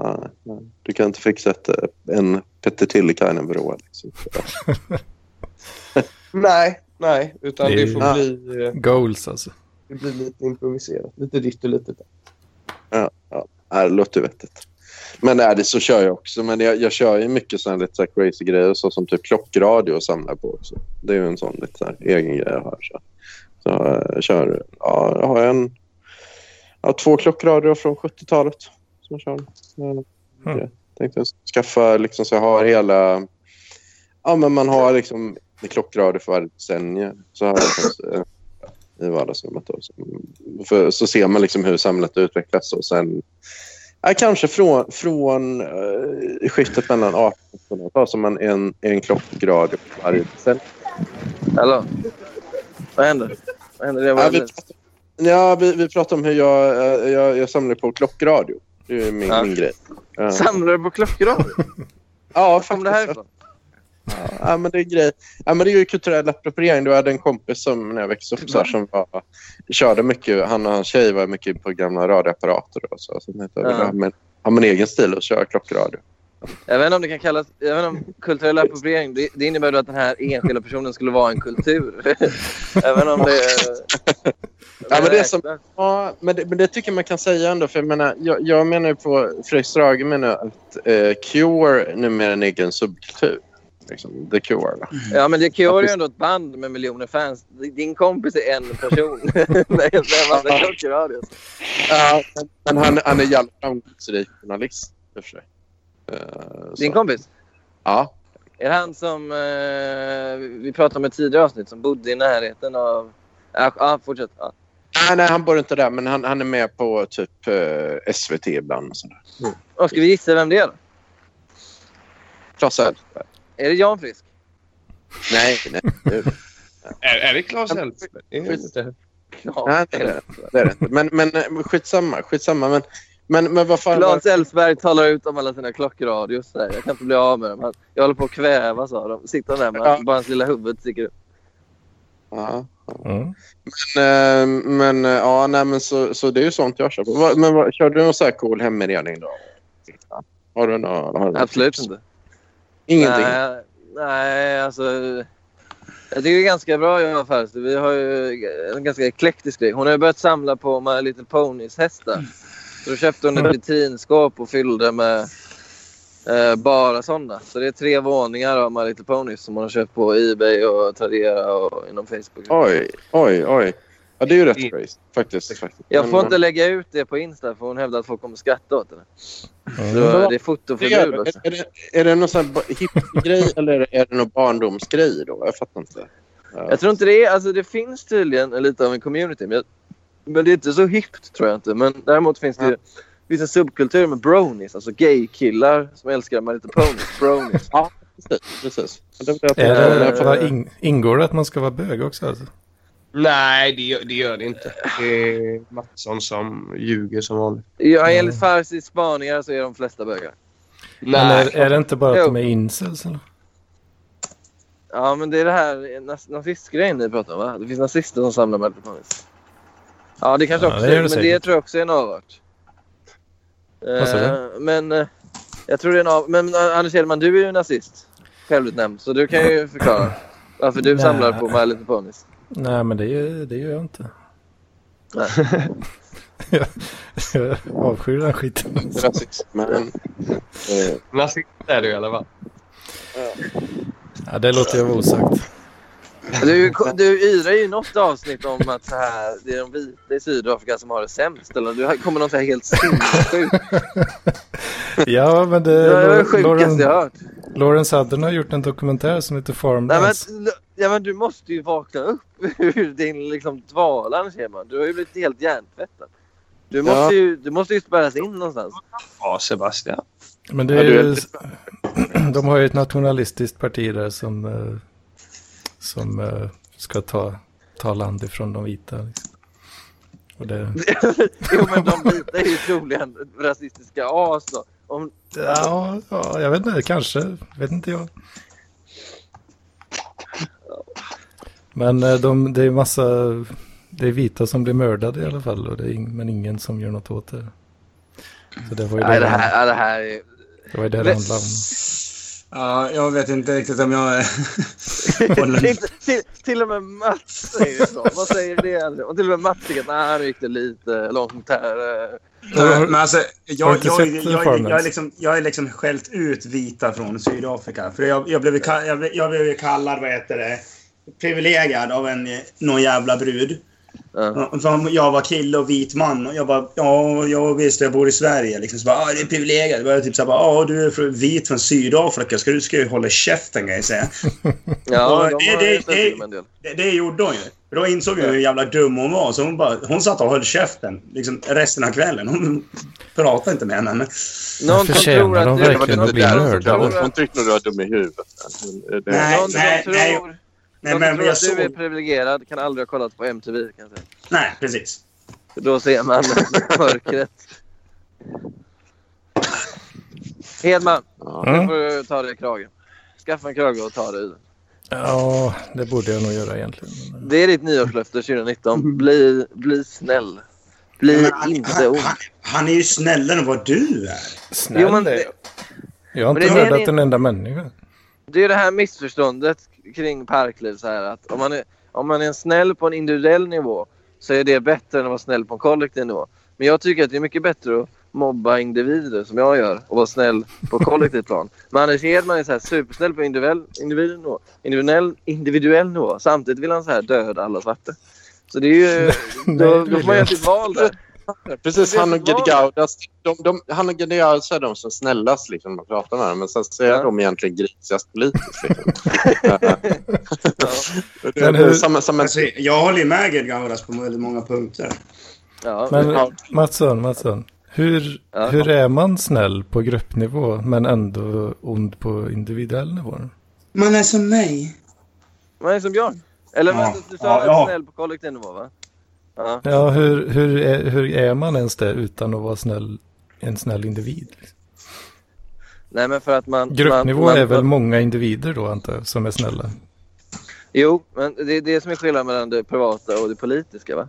A: Ah, nej. du kan inte fixa ett, eh, en Petter Tillikainen-vrå? Liksom.
D: Nej, nej. Utan det får
A: Nej.
D: bli, eh,
B: Goals alltså.
D: det blir lite improviserat. Lite ditt och lite där.
A: Ja, det låter vettigt. Men är det så kör jag också. Men jag, jag kör ju mycket sådana lite så här crazy grejer så som typ klockradio och samlar på också. Det är ju en sån lite så här egen grej jag har. Så, så jag kör, ja, jag har en, jag har två klockradio från 70-talet som jag kör. Ja, Jag tänkte skaffa liksom så jag har hela, ja men man har liksom en klockradio för varje decennium. Så har jag liksom, eh, i vardagsrummet då. Så, för, så ser man liksom hur samhället utvecklas och sen Ja, kanske från, från eh, skiftet mellan 18 och 1900-tal som man en, en klockgrad på varje decennium.
F: Hallå? Vad händer? Vad händer? Det var
A: Ja, vi, pratar- ja, vi, vi pratar om hur jag, eh, jag, jag samlar på klockradio. Det är ju min,
F: Ja.
A: min grej. Ja,
F: Samlar du på klockradio?
A: ja
F: Kom det
A: faktiskt.
F: härifrån?
A: Ja, men det är grej. Ja, men det är ju kulturell appropriering. Du hade en kompis som när jag växte upp så här, som var, körde mycket. Han och hans tjej var mycket på gamla radioapparater och så. så jag tänkte, jag vill
F: Ja.
A: ha min- ha min egen stil och köra klockradio.
F: Jag vet inte om det kan kallas... Jag vet inte om kulturell appropriering, det, det innebär då att den här enskilda personen skulle vara en kultur. Även om det...
A: Ja, men det är som- Ja, men det, men det tycker jag man kan säga ändå. För jag, menar, jag, jag menar ju på Fredrik Strage menar att eh, Cure numera är en egen subkultur. Liksom, The Cure. va?
F: Ja, men det Cure är ju ändå ett band med miljoner fans. Din kompis är en person. Nej, vem hade klockradio?
A: Ja, men- men han, han är jävligt framgångsrik journalist i och för sig. Eh,
F: Din
A: så-
F: kompis?
A: Ja.
F: Är det han som eh, vi pratade om i ett tidigare avsnitt som bodde i närheten av... Ja, ah, fortsätt. Ja.
A: Nej, nej, han bor inte där, men han, han är med på typ eh, SVT ibland. Och sådär.
F: Och ska vi gissa vem det är då?
A: Claes Elfberg.
F: Är det Jan Frisk?
A: Nej, nej. det-
D: Är, är det Claes Elfsberg? Det är inte-
A: nej, det är det inte. Det är det inte. Men, men eh, skitsamma. skitsamma men, men, men vad fan...
F: Claes Elfsberg talar ut om alla sina klockradios. Där. Jag kan inte bli av med dem. Han- Jag håller på att kvävas av dem. Sitter där med
A: Ja.
F: bara hans lilla huvud sticker upp.
A: Ja.
B: Mm.
A: Eh, men eh, ja, nej, men så, så det är ju sånt jag kör på. Vad- Men vad, kör du någon så här cool hemredning då? Har du någon, har du någon
F: Absolut
A: tips?
F: inte.
A: Ingenting?
F: Nej, nej, alltså. Jag tycker det är ganska bra Johan Färster. Vi har ju en ganska eklektisk grej. Hon har ju börjat samla på My Little Ponies hästar. Så då köpte hon ett vitrinskåp och fyllde med eh, bara sådana. Så det är tre våningar av My Little Ponies som hon har köpt på Ebay och Tradera och inom Facebook.
A: Oj, oj, oj. Ja, det är ju
D: I-
A: rätt crazy faktiskt. Mm. faktiskt.
F: Jag
A: Men-
F: får inte lägga ut det på Insta för hon hävdar att folk kommer skratta åt henne.
B: Mm.
F: Så det är
A: Det gör
F: fotoförbud
A: du.
F: också.
A: är, det, är det någon sån här ba- hippie-grej eller är det någon barndomsgrej då? Jag fattar inte. Ja.
F: Jag tror inte det är... Alltså det finns tydligen lite av en community. Men, jag, men det är inte så hippt tror jag inte. Men däremot finns det ju... Det finns en subkultur med bronies, alltså gay-killar som älskar My Little Ponies. Bronies.
A: Precis. precis. Men Det, var det,
B: Är
A: jag
F: Eh,
A: tänkte.
B: det,
A: Jag fattar.
B: vad ing, ingår det att man ska vara bög också? Alltså?
D: Nej, det gör, det gör det inte. Det är Mattsson som ljuger som vanligt.
F: Ja, enligt Farsis spaningar så är de flesta bögar.
B: Men
D: Nej,
B: är, är det inte bara att
F: Jo.
B: de är incels? Eller?
F: Ja, men det är det här nas- nazistgrejen ni pratar om va? Det finns nazister som samlar My Little Ponies. Ja, det kanske
B: Ja,
F: också
B: det gör
F: är,
B: det
F: men det
B: säkert.
F: tror jag också är en avart.
B: Vad sa du?
F: Eh, men eh, jag tror det är en av... Men eh, Anders Hedman, du är ju nazist. Självutnämnd. Så du kan ju förklara varför du
B: Nej.
F: samlar på My Little Ponies.
B: Nej, men det, gör- det gör jag inte. jag, jag avskyr den skiten.
A: Rasism, men, eh,
D: nazist alltså, är du i alla fall.
B: Ja, det låter jag vara osagt.
F: Du, du yrar ju i något avsnitt om att så här, det är de vita i Sydafrika som har det sämst. Eller du kommer någon så här helt sinnessjuk.
B: Ja, men det...
F: Det var det
B: Lauren-
F: sjukaste jag
B: Lauren,
F: har hört.
B: Lauren Southern har gjort en dokumentär som heter
F: Nej, men,
B: Farmlands.
F: ja, men du måste ju vakna upp ur din liksom, dvalan, Scheman. Du har ju blivit helt hjärntvättad. Du måste,
A: Ja.
F: ju, du måste ju spärras in någonstans.
D: Ja, Sebastian.
B: Men det
A: Ja,
B: är
A: du är
B: ju, de har ju ett nationalistiskt parti där som, eh, som eh, ska ta, ta land ifrån de vita. Liksom. Och det,
F: jo, men de vita är ju troligen rasistiska as. Då. Om,
B: ja, ja, jag vet inte, kanske, vet inte jag. Men eh, de, det är massa, det är vita som blir mördade i alla fall, och det är ing, men ingen som gör något åt det. Så det var ju
F: nej,
B: det
F: det
B: det,
F: här, ja, det här är...
B: var ju det det handlade om.
C: Ja, jag vet inte riktigt om jag...
F: till, till, till och med Mats säger så. Vad säger det? Och till och med Mats tycker att nej, han gick det lite långt här. eh,
C: Nej, men alltså,
B: Har du
C: jag,
B: inte
C: jag,
B: sett
C: jag,
B: The
C: jag, jag,
B: Farmers?
C: är liksom, jag är liksom skällt ut vita från Sydafrika. För jag, jag, blev, ka- jag, blev, jag blev kallad, vad heter det, privilegierad av en, eh, någon jävla brud.
F: Ja.
C: För jag var kille och vit man. Och jag bara, ja, jag visst, jag bor i Sverige. Liksom, så bara, ah, det är privilegierat. Då var jag typ så här, bara, ja, du är från- vit från Sydafrika. Ska du ska ju hålla käften, kan jag säga.
F: Ja, men
C: Ja,
F: de
C: det-
F: har
C: det-
F: ju ställt
C: det-
F: till med en del.
C: Det, det gjorde hon ju. För Då insåg jag hur jävla dum hon var. Så hon, bara, hon satt och höll käften liksom, resten av kvällen. Hon pratade inte med henne.
F: Någon som
B: förtjänar
F: tror att
B: de
F: det är-
G: Det var
B: verkligen
G: inte
B: att bli
G: där hon
B: mördad.
G: förklarade. Hon tyckte nog du var dum i huvudet. Det-
C: Nej.
F: Någon som
C: nej.
F: tror-
C: Nej,
F: de
C: men
F: tror
C: jag
F: att du är
C: såg...
F: privilegierad kan aldrig ha kollat på MTV. Kan jag säga.
C: Nej, precis.
F: För då ser man mörkret. Hedman, nu
B: Mm.
F: får du ta dig i kragen. Skaffa en krage och ta dig i den.
B: Ja, det borde jag nog göra egentligen.
F: Det är ditt nyårslöfte 2019. Bli, bli snäll. Bli
C: Men han,
F: inte
C: han,
F: ond.
C: han, han är ju snällare än vad du är.
B: Snäll
F: Jo, men
B: är
F: det-
B: jag. Jag har
F: men
B: inte
F: det är det-
B: mördat en enda människa.
F: Det är ju det här missförståndet kring parkliv. Så här, att om, man är, om man är snäll på en individuell nivå så är det bättre än att vara snäll på en kollektiv nivå. Men jag tycker att det är mycket bättre att mobba individer som jag gör och vara snäll på kollektivt plan. Men Anders Hedman är så här supersnäll på individuell, individuell, nivå, individuell, individuell nivå. Samtidigt vill han så här döda alla svarta. Så det är ju... då,
B: det
F: då
B: vill
F: får
B: jag
F: man göra sitt val där.
G: Precis,
F: Men
G: han
F: det
G: och
F: som var-
G: Gedgaudas, de, de, han och Gedgaudas är de som snällast liksom, när man pratar med dem. Men sen så är
F: Ja.
G: de egentligen grisigast politiskt. Liksom.
F: Ja.
G: Det-
B: Men
G: det är
B: hur-
G: samma, samma,
C: Alltså, jag håller ju med Gedgaudas på väldigt många punkter.
F: Ja.
B: Men Mattsson, Mattsson. Hur,
F: Ja.
B: hur är man snäll på gruppnivå men ändå ond på individuell nivå?
C: Man är som mig.
F: Man är som Björn. Eller
C: Ja.
F: men, du sa
C: Ja,
F: att
C: ja.
F: snäll på kollektiv nivå va? Ja.
B: Ja, hur, hur, är, hur är man ens det utan att vara snäll, en snäll individ?
F: Nej men för att man...
B: Gruppnivå
F: man, man,
B: är väl många individer då antar jag som är snälla?
F: Jo, men det är det som är skillnaden mellan det privata och det politiska va?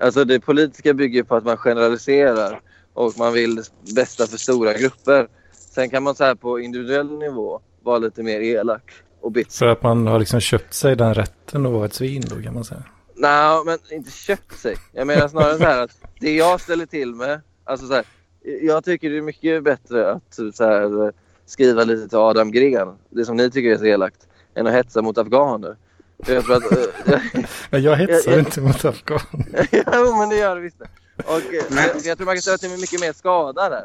F: Alltså det politiska bygger på att man generaliserar och man vill det bästa för stora grupper. Sen kan man så här på individuell nivå vara lite mer elak och bitch.
B: För att man har liksom köpt sig den rätten att vara ett svin då kan man säga.
F: Nej, men inte köpt sig. Jag menar snarare så här att det jag ställer till med. Alltså så här, jag tycker det är mycket bättre att typ så här, skriva lite till Adam Gren, det som ni tycker är så elakt, än att hetsa mot afghaner. Jag tror att... eh,
B: Men jag hetsar
F: jag-
B: inte mot afghan.
F: jo, men det gör det visst. Och, eh,
C: Nej.
F: jag, jag tror man kan ställa till med mycket mer skada där.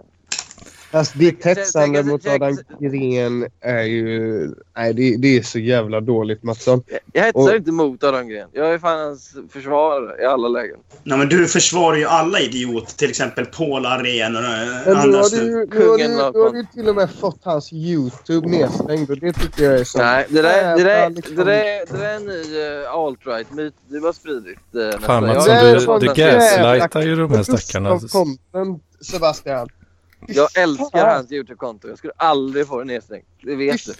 D: Fast ditt
F: Tänk-
D: hetsande
F: tänk-
D: mot
F: tänk-
D: Adam Gren är ju... Nej, det, det är så jävla dåligt Mattsson.
F: Jag hetsar
D: Och-
F: inte mot Adam Gren. Jag är fan hans försvarare i alla lägen.
C: Nej, men du försvarar ju alla idioter, till exempel polarenor och eh,
D: Men alltså, nu
C: andra
D: har du,
C: stu-
D: ju- nu har du,
F: Kungen var
D: nu har du ju till och med fått hans YouTube nedstängd och det tycker jag är så...
F: Nej, det där, det där, det
D: jävla liksom-
F: där, det där, är en ny eh, alt-right-myt du har spridit. eh, nästa.
B: Fan
F: Jag-
B: Mattsson,
D: det är
B: du,
D: sån
B: du
D: jävla-
B: gaslightar ju de här stackarna.
D: Just av content, Sebastian. Fy
F: Jag älskar
D: fan.
F: hans YouTube-konto. Jag skulle aldrig få det nedstängt. Det vet du.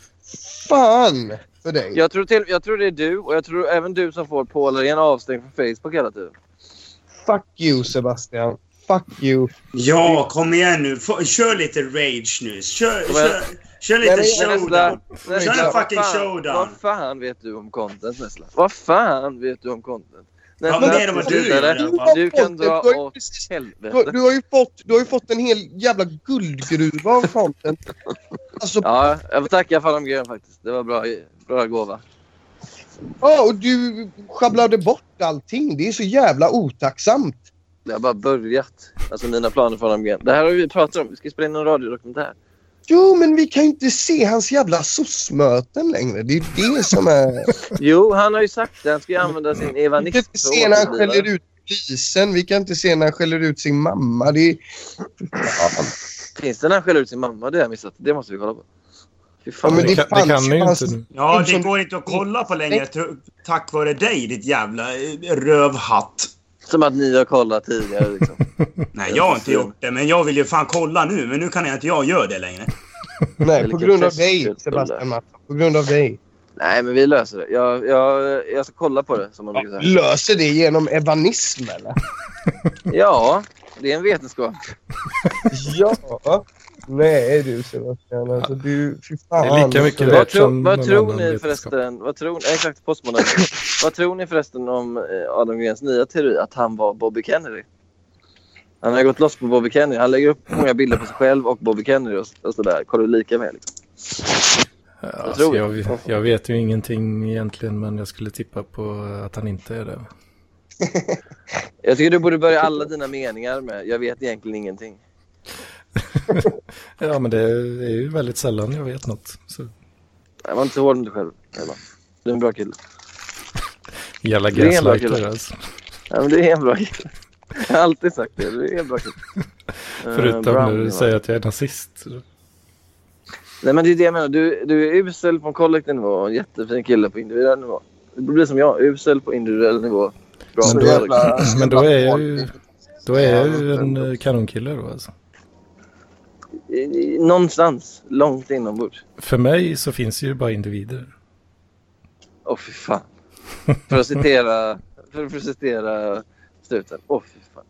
D: Fan för dig.
F: Jag tror, till, jag tror det är du och jag tror även du som får Polaren avstängd från Facebook hela tiden.
D: Fuck you Sebastian. Fuck you.
C: Ja, kom igen nu. Få- Kör lite rage nu. Kör,
F: Men-
C: kör, kör
D: Men
C: lite
D: det är
C: showdown. Kör en fucking
F: vad fan-
C: showdown.
F: Vad fan vet du om content Nessla? Vad fan vet du om content?
C: Ja, men det är det vad du gör i alla fall.
F: Du kan dra
D: Du har ju
F: åt
D: precis- Du,
F: helvete.
D: har- du, har ju fått, du har ju fått en hel jävla guldgruva av content. Alltså, ja.
F: Ja, jag får tacka för de grejerna faktiskt. Det var bra, bra gåva.
D: och du sjabblade bort allting. Det är så jävla otacksamt.
F: Jag har bara börjat. Alltså mina planer för de grejerna. Det här har vi pratat om. Vi ska spela in en radiodokumentär.
D: Jo, men vi kan ju inte se hans jävla sossmöten längre. Det är ju det som är...
F: Jo, han har ju sagt det. Han ska ju använda sin Eva
D: Vi kan inte
F: Nix.
D: se när han skäller ut polisen. Vi kan inte se när han skäller ut sin mamma. Det är...
F: Finns det när han skäller ut sin mamma? Det har jag missat. Det måste vi kolla på. Fy
D: Ja,
F: fan.
D: men
B: Det
D: det,
B: kan, det
D: fanns
B: kan ju
D: fanns-
B: inte nu.
C: Ja, det
D: Som-
C: går inte att kolla på längre tro- tack vare dig, ditt jävla eh, rövhatt.
F: Som att ni har kollat tidigare liksom.
C: Nej, jag har inte gjort det, men jag vill ju fan kolla nu. Men nu kan jag inte jag göra det längre.
D: Nej, på
F: Vilken
D: grund av
F: fest
D: dig,
F: det
D: Sebastian Mattsson. På grund av dig.
F: Nej, men vi löser det. Jag, jag, jag ska kolla på det som man brukar säga.
D: Löser det genom evanism, eller?
F: Ja, det är en vetenskap.
D: Ja. Nej du Sebastian, alltså du, fy fan. alltså.
B: Det är lika mycket
F: Vad,
B: värt
F: tro,
B: som
F: vad
B: någon
F: tror
B: annan
F: ni
B: vetenskap.
F: förresten? Vad tror, nej, exakt, postmodern. vad tror ni förresten om eh, Adam Grens nya teori att han var Bobby Kennedy? Han har gått loss på Bobby Kennedy. Han lägger upp många bilder på sig själv och Bobby Kennedy och, och sådär. Kollar du lika med liksom.
B: Ja,
F: tror
B: alltså, jag, jag vet ju ingenting egentligen, men jag skulle tippa på att han inte är det.
F: Jag tycker du borde börja alla dina meningar med “Jag vet egentligen ingenting”.
B: Ja, men det är ju väldigt sällan jag vet något. Så.
F: Nej, var inte så hård mot dig själv. Emma. Du är en bra kille.
B: Jävla
F: Det är en bra
B: gaslighter
F: kille.
B: alltså.
F: Ja, men du är en bra kille. Jag har alltid sagt det. Du är en bra kille. Eh,
B: Förutom
F: Brown,
B: när du
F: Emma.
B: säger att jag är nazist.
F: Nej men det är det jag menar. Du, du är usel på en kollektiv nivå och en jättefin kille på individuell nivå. Du blir som jag, usel på individuell nivå. Bra
B: Men
F: på
B: då-
F: kollektiv.
B: Men då är jag ju, då är jag ju en eh, kanonkille då alltså.
F: I- i- Någonstans långt inombords.
B: För mig så finns ju bara individer.
F: Åh fy fan. För att citera, för att citera struten. Åh fy fan.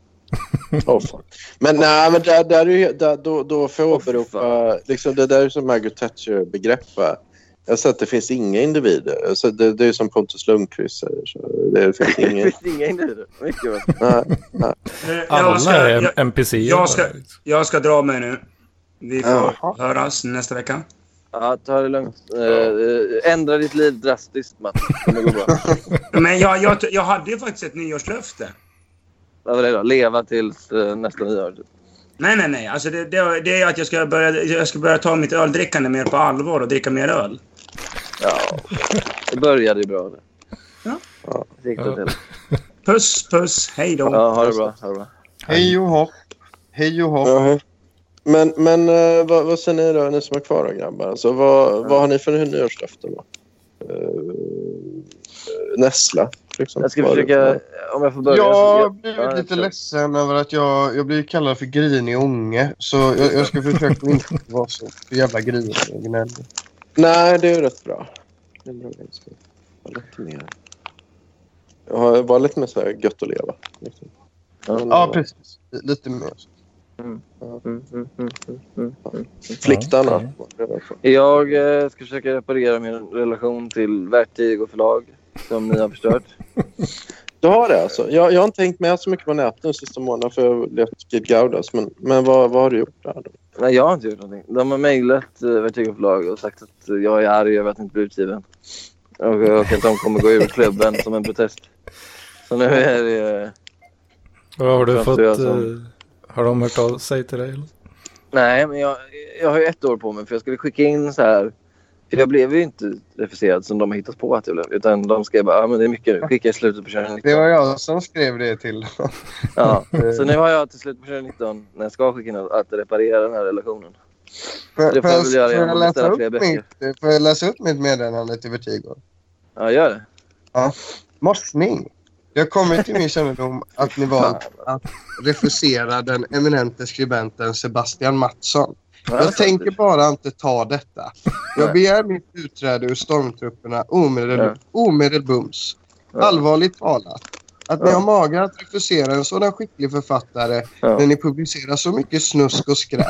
A: Åh, fan. Men nej, men där, där är ju, där, då, då får jag
F: Åh, fy
A: åberopa... liksom, det där är ju som Margaret Thatcher-begrepp. va? Jag sa att det finns inga individer. Alltså, det, det är ju som Pontus Lundqvist säger. Så det finns
F: Det
A: inga...
F: finns inga individer. Mycket bra.
A: nej.
C: Eh,
B: Alla
C: jag, ska,
B: är
C: jag,
B: NPCer.
C: jag ska-
B: bara, liksom.
C: jag ska dra mig nu. Vi får
A: Jaha.
C: höras nästa vecka.
F: Ja, ta det lugnt. Eh, eh, ändra ditt liv drastiskt Mats. Det kommer gå bra.
C: Men jag, jag, jag hade ju faktiskt ett nyårslöfte.
F: Vad var det då? Leva tills eh, nästa nyår. typ.
C: Nej, nej, nej. Alltså det, det, det är att jag ska, börja, jag ska börja ta mitt öldrickande mer på allvar och dricka mer öl.
F: Ja, det började ju bra. Det.
C: Ja.
F: Det gick det
B: Ja.
F: till.
C: Puss, puss. Hej då.
F: Ja, ha det bra. Ha det bra.
D: Hej och hopp. Hej och hopp.
A: Ja, hej. Men, men eh, vad, vad säger ni då, ni som är kvar då grabbar? Alltså, vad, vad har ni för nyårslöften då? Uh, Nessla? Liksom.
F: Jag ska
A: Vad är det
F: försöka,
A: för-
F: om jag får börja.
D: Jag
F: så-
D: har
F: ja,
D: blivit
F: jag
D: lite
F: kör.
D: ledsen över att jag, jag blir kallad för grinig unge. Så jag, jag ska försöka inte vara så jävla grinig och gnällig.
A: Nej, det är ju rätt bra. Det är bra ganska. Bara lite mer... Jag har bara lite mer så här gött att leva. Liksom. Men,
D: Ja,
A: eh,
D: precis. Lite mer.
F: Mm, mm, mm, mm, mm.
A: Fliktarna.
B: Ja,
F: Jag eh, ska försöka reparera min relation till Vertigo förlag som ni har förstört.
A: Du har det alltså? Jag, jag har inte hängt med så mycket på nätet de sista månaderna för jag har levt Kid Gaudas. Men, men vad, vad har du gjort där? Då?
F: Nej, jag har inte gjort någonting. De har mejlat eh, Vertigo förlag och sagt att eh, jag är arg över att inte bli utgiven. Och, eh, och att de kommer gå ur klubben som en protest. Så nu är det... eh,
B: Vad har du
F: Jag tror
B: fått?
F: jag som-
B: eh, Har de hört av sig till dig? eller?
F: Nej, men jag, jag har ju ett år på mig för jag skulle skicka in så här. För jag blev ju inte refuserad som de har hittat på att jag blev. Utan de skrev bara, ja men det är mycket nu. Skicka i slutet på
D: Det
F: 2019.
D: var jag som skrev det till
F: Ja. Så nu har jag till slut på 2019, när jag ska skicka in, att reparera den här relationen.
D: Får,
F: Det
D: får,
F: får jag
D: jag,
F: väl göra
D: får,
F: igen
D: jag
F: om
D: läsa
F: beställa
D: upp
F: fler böcker.
D: mitt, får jag läsa upp mitt meddelande till Vertigo?
F: Ja, gör det.
D: Morsning! Det har kommit till min kännedom att ni valt att refusera den eminente skribenten Sebastian Mattsson.
F: Ja,
D: Jag tänker bara inte ta detta. Jag begär mitt utträde ur stormtrupperna omedelb- omedelbums.
F: Ja.
D: Allvarligt talat. Att ni
F: Ja.
D: har mage att refusera en sådan skicklig författare
F: Ja.
D: när ni publicerar så mycket snusk och skräp.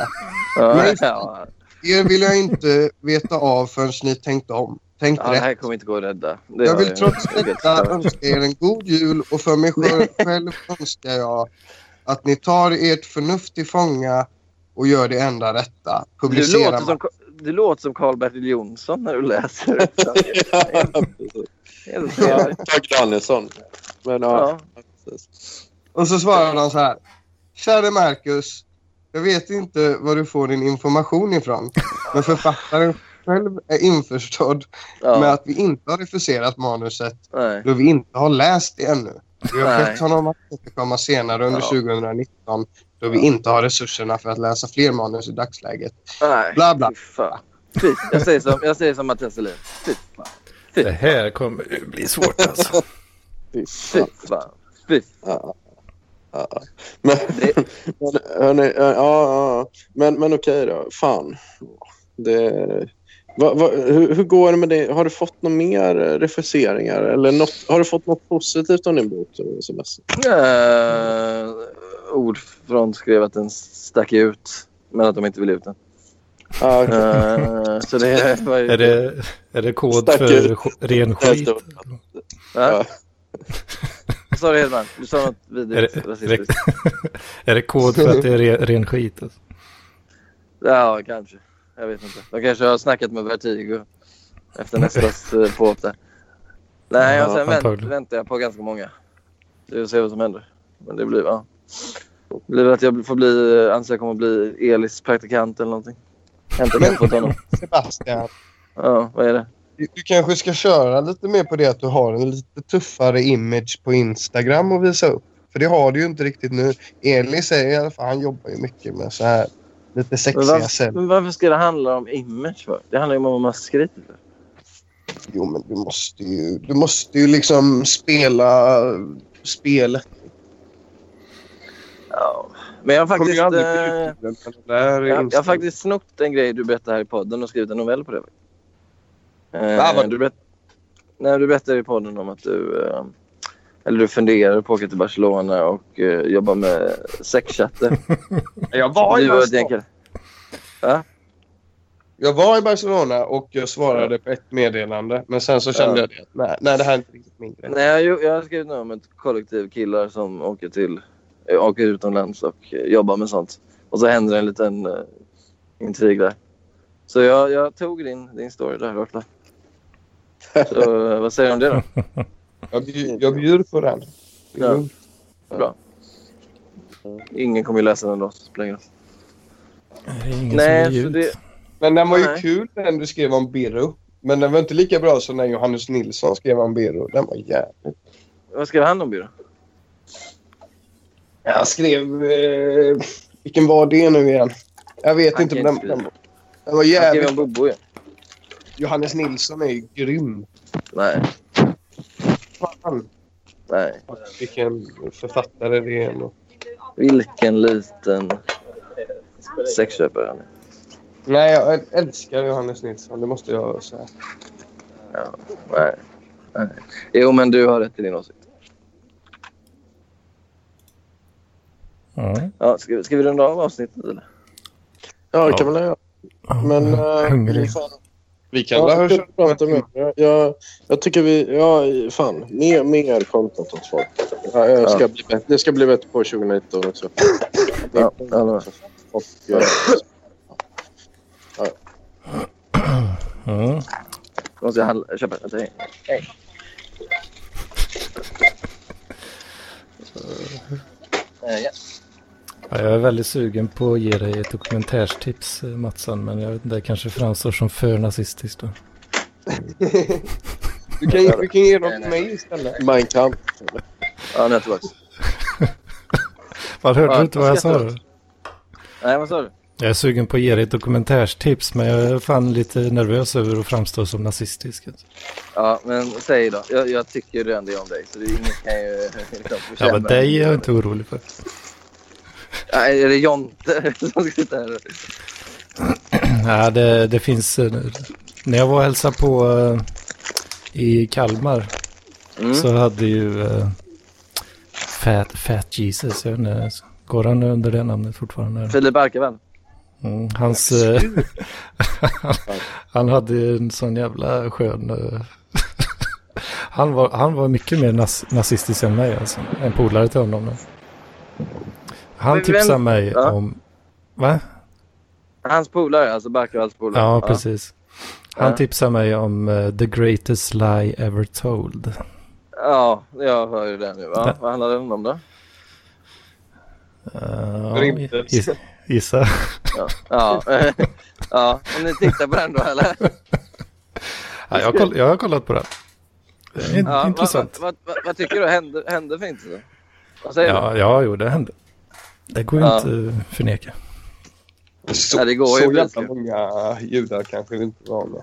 F: Ja,
D: Nej.
F: ja.
D: Er vill jag inte veta av förrän ni tänkt om. Tänkt
F: ja, det
D: rätt.
F: här kommer inte gå att rädda. Det
D: Jag
F: har
D: vill
F: jag-
D: trots
F: jag vet.
D: detta önska er en god jul och för mig själv, själv önskar jag att ni tar ert förnuft till fånga och gör det enda rätta.
F: Du
D: Publicera
F: låter, som, du låter som Karl-Bertil Jonsson när du läser. Helt trevligt.
A: Tag Danielsson. Men ja.
F: Ja.
A: precis.
D: Och så svarar han så här. Käre Marcus, jag vet inte var du får din information ifrån. Men författaren själv är införstådd med
F: Ja.
D: att vi inte har refuserat manuset
F: Nej.
D: då vi inte har läst det ännu. Vi har
F: Nej.
D: bett honom att återkomma senare under
F: Ja.
D: 2019 då vi inte har resurserna för att läsa fler manus i dagsläget.
F: Nej.
D: Bla, bla.
F: Fy fan. Fy, jag säger som, jag säger som Mattias Selin. Fy fan.
B: Det här kommer ju bli svårt alltså.
A: Fy
F: Fy
A: fan.
F: fan. Fy.
A: Ja. Ja. Men,
F: Det-
A: men, hörni, eh, ja, ja, ja. men, men okej då. Fan. Det, va, va, hur, hur går det med det? Har du fått några mer eh, refuseringar? Eller något, har du fått något positivt om din bok? eh, Sylvester?
F: Uh, Ordfront skrev att den stack ut, men att de inte ville ut den.
A: Ja, okej.
F: Eh, så det var ju...
B: Är det, är det kod
A: Stack
B: för
A: ut.
B: sk- ren skit?
A: Helt
F: Ja. sa du Hedman? Du sa något
B: Är
F: vidrigt
B: det,
F: rasistiskt.
B: är det kod för att det är re, ren skit? Alltså?
F: Ja, kanske. Jag vet inte. De kanske har snackat med Vertigo efter nästas eh, påhopp där. Nej,
B: Ja,
F: och sen vänt,
B: antagligen.
F: väntar jag på ganska många. Vi får se vad som händer. Men det blir, ja. Det blir väl att jag får bli, eh, ansöka om att bli Elis praktikant eller någonting. Hämta
D: Men-
F: kaffe åt honom.
D: Sebastian,
F: Ja, vad är det?
D: du du kanske ska köra lite mer på det att du har en lite tuffare image på Instagram att visa upp. För det har du ju inte riktigt nu. Eli säger i alla fall, han jobbar ju mycket med så här lite
F: Men
D: sexiga
F: varför,
D: celler.
F: men varför ska det handla om image för? Det handlar ju om vad man skryter för.
D: Jo, men du måste ju, du måste ju liksom spela spelet.
F: Ja. Men jag har
D: Kommer
F: faktiskt...
D: ju aldrig
F: eh,
D: bli utgiven på den där
F: Jag, jag har
D: Instagram.
F: faktiskt snott en grej du berättade här i podden och skrivit en novell på det. Eh,
D: Va, vad-
F: du, berätt... Nej, du berättade i podden om att du, eh, eller du funderar på att åka till Barcelona och eh, jobba med sexchatter.
D: Jag var i
F: du var ett
D: Barcelona.
F: gäng killar.
D: Jag var i Barcelona och jag svarade på ett meddelande. Men sen så kände
F: Ja.
D: jag det. att Nej, nej, det här är inte riktigt min grej.
F: Nej, jag, jag har skrivit något om ett kollektiv killar som åker, till, eh, åker utomlands och eh, jobbar med sånt. Och så händer en liten eh, intrig där. Så jag, jag tog din, din story där, Rotla. Så eh, vad säger du om det då?
D: Jag, bjud, jag bjuder på den.
F: Ja. Bra. Ingen kommer ju läsa den då. så spelar det ingen roll.
B: Är det ingen
F: Nej,
B: som vill ge
F: så
B: ut?
F: det,
D: Men den var ju
F: Nej.
D: kul den du skrev om Birro. Men den var inte lika bra som när Johannes Nilsson skrev om Birro. Den var jävligt...
F: vad skrev han om byrå?
D: Jag skrev... Eh, vilken var det nu igen? Jag vet
F: Han
D: inte.
F: kan
D: Men den,
F: inte skriva.
D: den, den var
F: Han skrev
D: jävligt...
F: om Bobo ju.
D: Johannes Nilsson är ju grym.
F: Nej,
D: Fan,
F: nej.
D: vilken författare det är ändå.
F: Vilken liten sexköpare han är.
D: Nej, jag äl- älskar Johannes Nilsson. Det måste jag säga.
F: Nej. nej. Jo, men du har rätt i din åsikt.
B: Ja.
F: Ja, ska, ska vi runda av avsnittet eller?
A: Ja, det
B: Ja.
A: kan väl jag göra.
B: Ja,
A: Men...
B: jag är
A: eh,
B: hungrig.
A: fan,
D: Vi kan
A: Ja,
D: väl
A: jag,
D: höra
A: ska prata med jag, jag, jag tycker vi... Ja, fan. Mer, mer content åt folk. Ja, jag ska
F: Ja.
A: bli bättre, det ska bli bättre på 2019 också.
F: Ja, jag lovar.
A: Och, ja,
B: Ja.
F: Då måste jag handla, köpa en tidning. Hej. Eh, ja.
B: Ja, jag är väldigt sugen på att ge dig ett dokumentärstips, eh, Matsan, men jag vet inte, det kanske framstår som för nazistiskt. Då.
D: Du kan, du kan ge dem
F: Nej,
D: till
F: nej.
D: mig istället.
A: Mein Kampf.
F: Ja, nu är jag tillbaka.
B: Vad hörde
F: Ja,
B: du inte vad jag sa?
F: skrattar.
B: då?
F: Nej, vad sa du?
B: Jag är sugen på att ge dig ett dokumentärstips, men jag är fan lite nervös över att framstå som nazistisk. alltså.
F: Ja, men säg då. Jag, jag tycker ju redan det om dig, så det är inget kan ju liksom,
B: Ja, men
F: försämra.
B: dig är jag inte orolig för.
F: Nej, är det Jonte som sitter här?
B: Nej, det, det finns... eh, När jag var och hälsade på eh, i Kalmar
F: Mm.
B: så hade ju eh, Fat, Fat Jesus, jag vet inte, går han under det namnet fortfarande?
F: Filip Arkevall?
B: Mm, hans... eh, han, han hade en sån jävla skön... eh, han, var, han var mycket mer nas, nazistisk än mig alltså. En polare till honom. då. Han
F: Men vem-
B: tipsade mig
F: Ja.
B: om... Va?
F: Hans polare, alltså Barkevalls polare?
B: Ja, precis. Han
F: Ja.
B: tipsade mig om eh, The Greatest Lie Ever Told.
F: Ja, jag hör ju det nu. Ja,
B: Ja.
F: vad handlar den om då?
B: Eh,
D: Rymden.
B: ja, gissa. gissa.
F: Ja. Ja. ja, om ni tittar på den då eller?
B: Ja, jag, har koll, jag har kollat på det. Det är in-
F: Ja,
B: intressant.
F: Vad, vad, vad, vad tycker du? Hände, hände fint? Då? Vad säger
B: Ja, ja, jo, det hände. Det går ju
F: Ja.
B: inte att förneka.
D: Så,
F: Ja, det går ju
D: så jävla
F: precis.
D: många judar kanske det inte var. Med.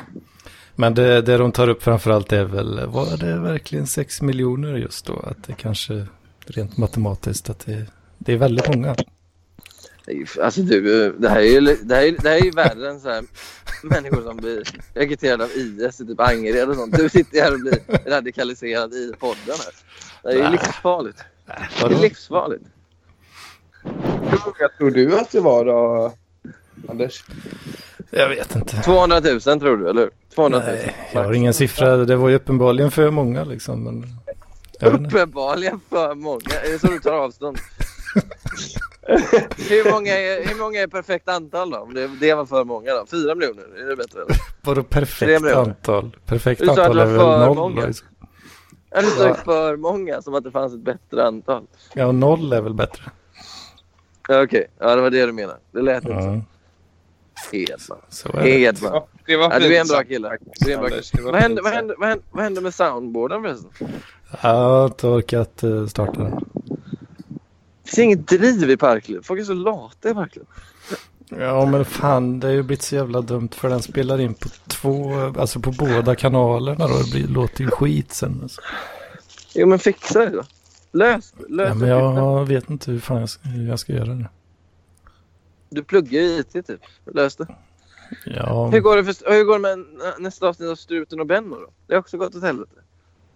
B: Men det, det de tar upp framförallt är väl, var det verkligen 6 miljoner just då? Att det kanske rent matematiskt att det, det är väldigt många.
F: du? Alltså du, det här är ju, det här är, det här är ju värre än så här människor som blir rekryterade av IS i typ Angered och sånt. Du sitter här och blir radikaliserad i podden här. Det här är ju
B: Nej.
F: livsfarligt. Det
B: Vadå?
F: är livsfarligt.
D: Hur många tror du att det var då, Anders?
B: Jag vet inte.
F: 200 000 tror du, eller hur? 200 000.
B: Nej, jag har ingen siffra. Det var ju uppenbarligen för många liksom. Men Jag vet inte.
F: Uppenbarligen för många. Är det så du tar avstånd? hur, många är, hur många är perfekt antal då? Om det, det var för många då? Fyra miljoner? Är det bättre eller?
B: Vadå
F: Tre
B: perfekt
F: miljoner.
B: antal? Perfekt
F: Du sa att
B: antal
F: det
B: är
F: var
B: väl
F: för
B: noll? liksom.
F: många.
B: Då?
F: Eller så är det för många som att det fanns ett bättre antal.
B: Ja, noll är väl bättre.
F: Ja, Okej, ja det var det du menade. Det lät inte så.
B: Ja,
F: Hedman.
B: så är det.
F: Hedman.
H: Det var
F: Ja, du är en bra
H: pinsamt.
F: kille. Du är en bra kille.
H: Anders, det var
F: Vad hände,
H: pinsamt.
F: vad, hände, vad, hände, vad hände med soundboarden förresten?
B: Jag har inte orkat eh, starta den.
F: Det finns inget driv i Parkliv. Folk är så lata i Parkliv.
B: Ja, men fan, det har ju blivit så jävla dumt för den spelar in på två, alltså på båda kanalerna då. Det blir, låter ju skit sen. Alltså.
F: Jo men fixa det då. Lös lös
B: Ja, men
F: uppgiften.
B: jag vet inte hur fan jag ska, hur jag ska göra det.
F: Du pluggar ju IT typ. Lös det.
B: Ja,
F: Hur går det, för, hur går det med nästa avsnitt av Struten och Benno då? Det har också gått åt helvete.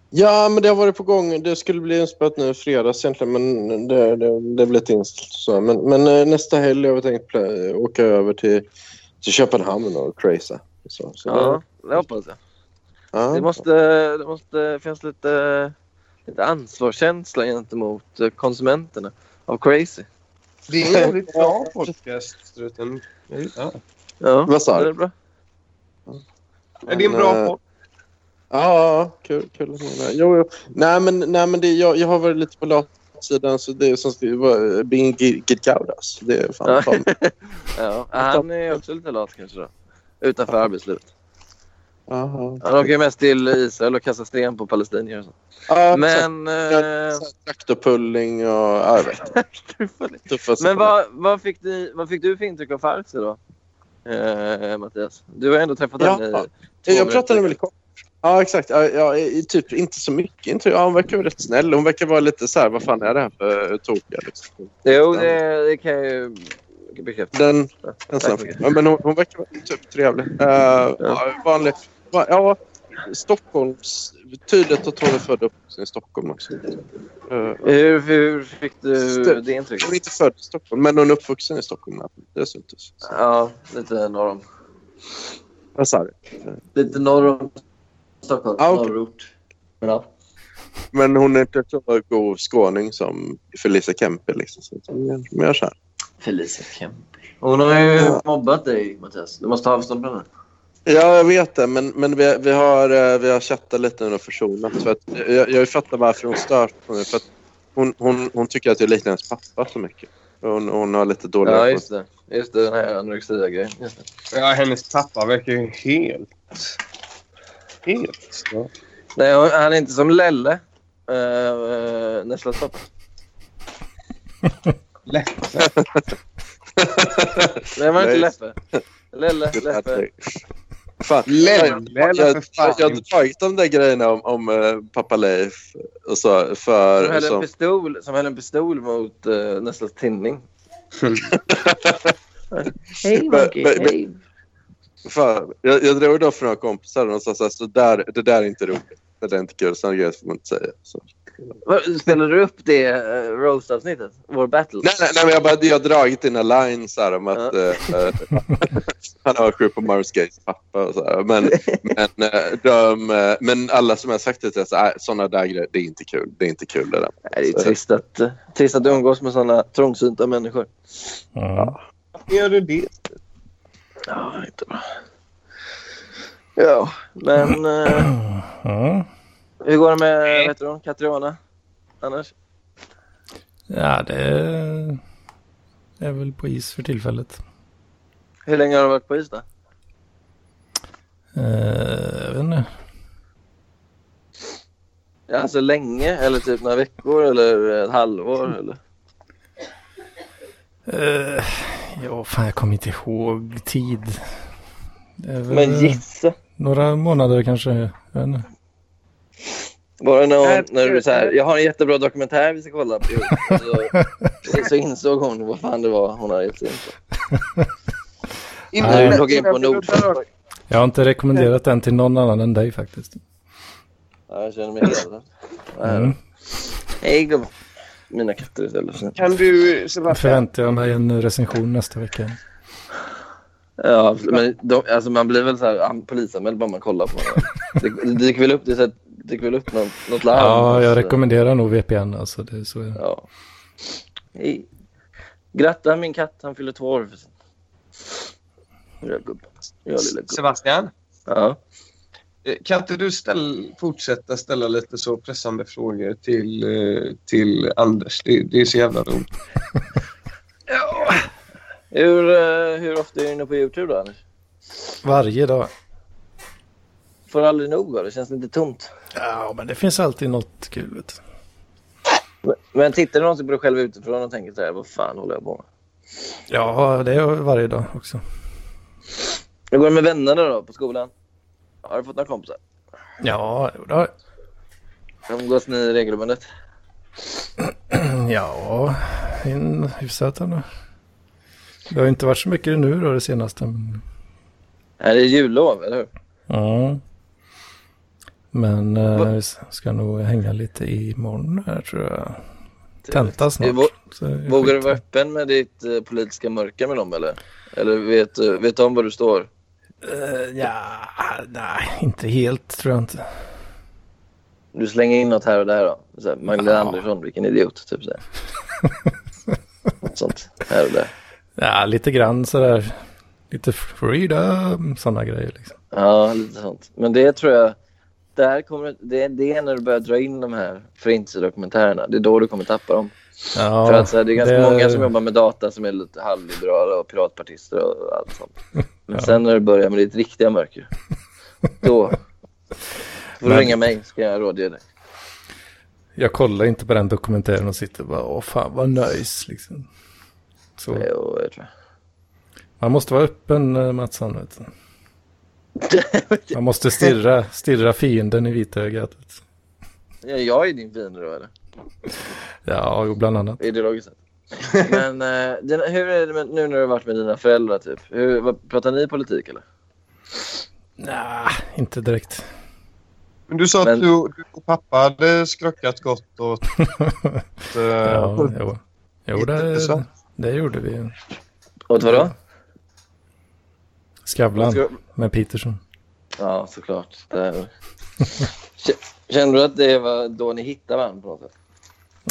A: Ja, men det har varit på gång. Det skulle bli inspelat nu i fredags egentligen, men det, det, det blev ett inställt. Så. Men, men eh, nästa helg har vi tänkt plä- åka över till, till Köpenhamn och tracea. Så, så
F: Ja, det hoppas jag.
A: ja.
F: Det måste, det måste finnas lite, lite ansvarskänsla gentemot eh, konsumenterna av Crazy.
D: Det är en jävligt bra podcast, Struten.
H: Ja.
F: Ja,
A: Vad sa
F: det
A: du?
F: är bra.
H: Är det en
A: Men,
H: bra
A: eh,
H: podd?
A: Ja, kul, kul att ni är med. Jo, jo. Nej, men, nej, men det, jag, jag har varit lite på latsidan så det är som ska vara being gidgaudas. Det är fan
F: Ja.
A: fan.
F: Ja, han är också lite lat kanske då. Utanför arbetslivet.
A: Aha.
F: Han åker ju mest till Israel och kastar sten på palestinier och så.
A: Ja, men...
F: Men... Eh,
A: Traktorpulling och ja, jag vet inte. Tuffa saker.
F: Men vad, vad, fick ni, vad fick du för intryck av Farsi då? Eh, Mattias, du har ändå träffat
A: Ja.
F: henne i två
A: Jag
F: minuter.
A: pratade väldigt kort. Ja, exakt. Ja, ja, i- typ inte så mycket. Inte, ja, hon verkar vara rätt snäll. Hon verkar vara lite så här, vad fan är det här för tokiga? Liksom.
F: Jo, det, det kan jag ju bekräfta.
A: Den, den
F: Tack
A: snabba.
F: så mycket.
A: ja, men hon, hon verkar vara typ trevlig. Uh, ja. Vanlig. Va, ja, Stockholms... Tydligt att hon är född upp i Stockholm också. Eh,
F: Hur, hur fick du
A: Stöd.
F: det intrycket?
A: hon är inte född i Stockholm, men hon är uppvuxen i Stockholm. Det syntes.
F: Ja, lite norr om.
A: Vad sa du?
F: Lite norr om Stockholm.
A: Ah, okej.
F: Norrort. Men ja.
A: Men hon är inte så god skåning som Felicia Kempe. Liksom. Så, men jag så här.
F: Felicia Kempe. Hon har ju
A: Ja.
F: mobbat dig, Mattias. Du måste ta avstånd från henne.
A: Ja, jag vet det. Men, men vi, vi, har, eh, vi har chattat lite nu och försonat. För att, jag, jag fattar varför hon stör på mig. För att hon, hon, hon tycker att jag liknar hennes pappa så mycket. Hon, hon har lite dålig
F: Ja,
A: relation.
F: just det. Just det, den här anorexia-grejen. Just det.
D: Ja, hennes pappa verkar ju helt... Helt stört.
F: Nej, hon- han är inte som Lelle. Uh, Näsla Stopp.
D: Leffe.
F: Nej, var det inte
A: Nej.
F: Leffe? Lelle, Leffe.
A: Fan.
D: Lelle,
A: Jag, jag,
D: för fan.
A: jag hade tagit de där grejerna om, om eh, pappa Leif. Och så,
F: Som
A: för,
F: höll, en
A: som,
F: pistol, som höll en pistol mot uh, Nesslas tinning.
E: Hej,
A: Men-
E: Mogge,
A: men-
E: hej.
A: för, jag, jag drog då för några kompisar och de sa så, här, så där, det där är inte roligt. Det där är inte kul. Sådana grejer får man inte säga. Så.
F: Vad, Spelade du upp det eh, roast-avsnittet? Vår battle?
A: Nej, nej, nej men jag, bara, jag har dragit dina lines här om att eh, eh, han har sju på Marvin Gayes pappa och så här. Men, men, eh, de, eh, men alla som jag sagt det till är så här, sådana där grejer, det är inte kul. Det är inte kul det där.
F: Nej, det är trist att, eh, trist att umgås med såna trångsynta människor.
B: ja.
D: Varför gör du det?
F: Ja, inte bra. Ja, men eh,
B: Ja.
F: hur går det med vet du, Katriana? Annars?
B: ja, det är väl på is för tillfället.
F: Hur länge har du varit på is då?
B: Eh, jag vet inte.
F: Ja, alltså länge eller typ några veckor eller ett halvår eller?
B: Eh, ja, fan, jag kommer inte ihåg tid. Det är väl,
F: Men
B: eh,
F: gissa.
B: Några månader kanske. Jag vet inte.
F: Var det
D: Nej,
F: någon, när du
D: det-
F: så här, jag har en jättebra dokumentär vi ska kolla på. Så, så insåg hon vad fan det var hon hade gett sig in på.
B: Nej.
F: När du loggade in på Nordshop.
B: Jag har inte rekommenderat den till någon annan än dig faktiskt.
F: Ja, jag känner mig hedrad.
B: Mm.
F: Hej gubben. Mina katter istället.
D: Kan du,
B: Jag
D: Sebastian,
B: förväntar jag mig en recension nästa vecka.
F: Ja, men de, alltså man blir väl så här an- polisanmäld bara man kollar på det. Det dyker väl upp det är så här dyker väl upp något, något larm.
B: Ja, alltså- jag
F: Så-
B: rekommenderar nog VPN alltså. Det, är så är det.
F: Ja. Hej. Gratta min katt, han fyller två år. Ja, gubben. Ja, lilla gubben.
H: Sebastian,
F: Ja.
H: eh, kan inte du ställ, fortsätta ställa lite så pressande frågor till, eh, till Anders? Det, det är så jävla roligt.
F: Hur, eh, hur ofta är du inne på YouTube då, Anders?
B: Varje dag.
F: Får du aldrig nog va? Det känns lite tomt.
B: Ja, men det finns alltid något kul. Vet du.
F: Men- Men tittar du någonsin på dig själv utifrån och tänker så här, vad fan håller jag på med?
B: Ja, det är varje dag också.
F: Hur går det med vännerna då på skolan? Har du fått några kompisar?
B: Ja, jo, det har jag.
F: Umgås ni regelbundet?
B: Ja, en hyfsat ändå. Det har ju inte varit så mycket nu då det senaste. Men,
F: Nej, det är jullov, eller hur?
B: ja. men eh,
F: Va-
B: vi ska nog hänga lite imorgon här tror jag. Tenta
F: Eh,
B: snart.
F: vå-
B: så det är
F: Vågar du
B: skit.
F: vara öppen med ditt eh, politiska mörker med dem eller? Eller vet, du- vet de var du står?
B: Eh, ja, nej, inte helt tror jag inte.
F: Du slänger in något här och där då? Så här, Magdalena
B: Ja.
F: Andersson, vilken idiot. Typ så här. något sånt här och där.
B: Ja, lite grann sådär. Lite freedom, sådana grejer liksom.
F: Ja, lite sånt. Men det tror jag... Det, här kommer, det, det är när du börjar dra in de här förintelsedokumentärerna. Det är då du kommer tappa dem.
B: Ja,
F: För att så här, det är ganska många som jobbar med data som är lite halvliberala och piratpartister och allt sånt. Men sen när du börjar med ditt riktiga mörker, då får du
B: Men-
F: ringa mig så kan jag rådge dig.
B: Jag kollar inte på den dokumentären och sitter bara, åh fan vad nice liksom. Så.
F: Jo, jag tror.
B: Man måste vara öppen eh, Mattsson. Vet du. Man måste stirra, stirra fienden i vitögat. Vet du.
F: Ja, jag är din fiende då eller?
B: Ja, jo, bland annat.
F: Ideologiskt sett. Men eh, den, hur är det med, nu när du har varit med dina föräldrar typ? Hur, vad, pratar ni politik eller?
B: Nej, inte direkt.
D: Men du sa
F: Men-
D: att du, du och pappa hade skrockat gott åt... eh,
B: Ja, jo. jo det,
D: Så.
B: det gjorde vi.
F: Och
B: Mm.
F: vadå?
B: Skavlan med Peterson.
F: Ja, såklart. Det är... K- Känner du att det var då ni hittade varandra på något sätt?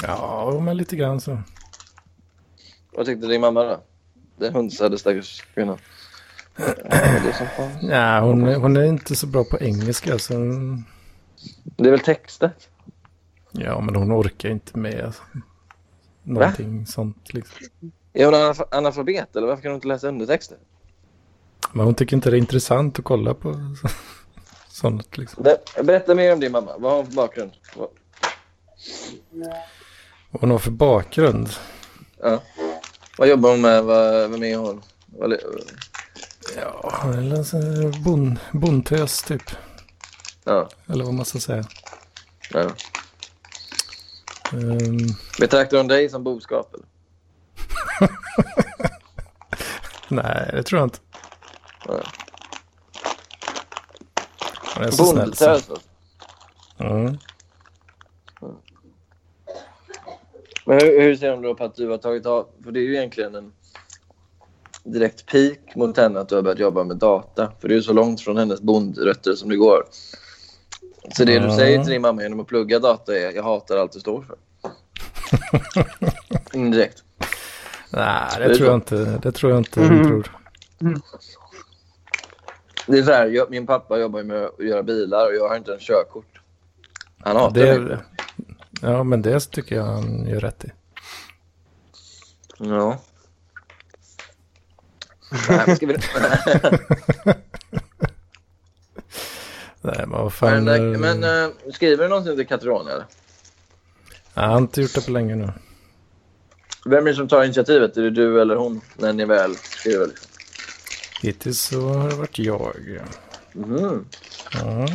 B: Ja, jo, men lite grann så.
F: Vad tyckte din mamma då? Den hunsade stackars kvinnan. Ja, det är som fan.
B: Nej, hon, är- hon är inte så bra på engelska. Så... hon-
F: Det är väl textet?
B: Ja, men hon orkar inte med alltså. någonting sånt. Liksom.
F: Är hon analf- analfabet eller varför kan hon inte läsa undertexter?
B: Men hon tycker inte det är intressant att kolla på så- sånt. Liksom.
F: Ber- Berätta mer om din mamma. Vad har hon för bakgrund? Vad-
B: Vad hon har för bakgrund?
F: Ja. Vad jobbar hon med? Vad, vem är hon? Vad, le-
B: Ja, eller en sån här bon, bondtös typ.
F: ja.
B: Eller vad man ska säga.
F: ja.
B: Ehm,
F: Betraktar hon dig som boskap? Eller?
B: nej, det tror jag inte.
F: Nej.
B: Hon är så snäll. så-
F: Bondtös? alltså.
B: Mm.
F: Men hur, hur ser hon då på att du har tagit av? För det är ju egentligen en direkt pik mot henne att du har börjat jobba med data. För det är ju så långt från hennes bondrötter som det går. Så det du
B: Ja.
F: säger till din mamma genom att plugga data är jag hatar allt du står för. Indirekt.
B: Nej,
F: Det är
B: det tror
F: så. Mm.
B: jag inte. Det tror jag inte hon tror.
F: Det är så här, jag, min pappa jobbar ju med att göra bilar och jag har inte ens körkort. Han hatar
B: Det
F: mig.
B: är, ja, men det tycker jag han gör rätt i.
F: Ja. Nej, men ska vi...
B: Nej, men vad fan.
F: men, eh,
B: eh,
F: men eh, skriver du någonting till Caterone eller?
B: jag har inte gjort det på länge nu.
F: Vem är det som tar initiativet? Är det du eller hon när ni väl skriver? Liksom?
B: Hittills så har det varit jag.
F: Mm.
B: Ja.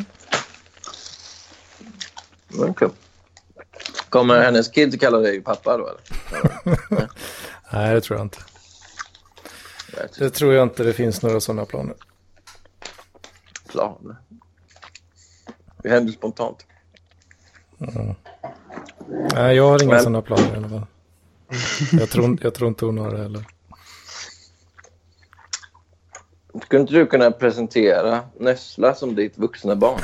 F: okej. Kommer hennes kids kalla dig pappa då eller?
B: Nej, det tror jag inte.
F: Jag vet inte.
B: Det tror jag inte det finns några sådana planer.
F: Plan. Det händer spontant.
B: Nej, jag har inga
F: Men-
B: sådana planer i alla fall. Jag tror, jag tror inte hon har det heller.
F: Skulle inte du kunna presentera Nessla som ditt vuxna barn?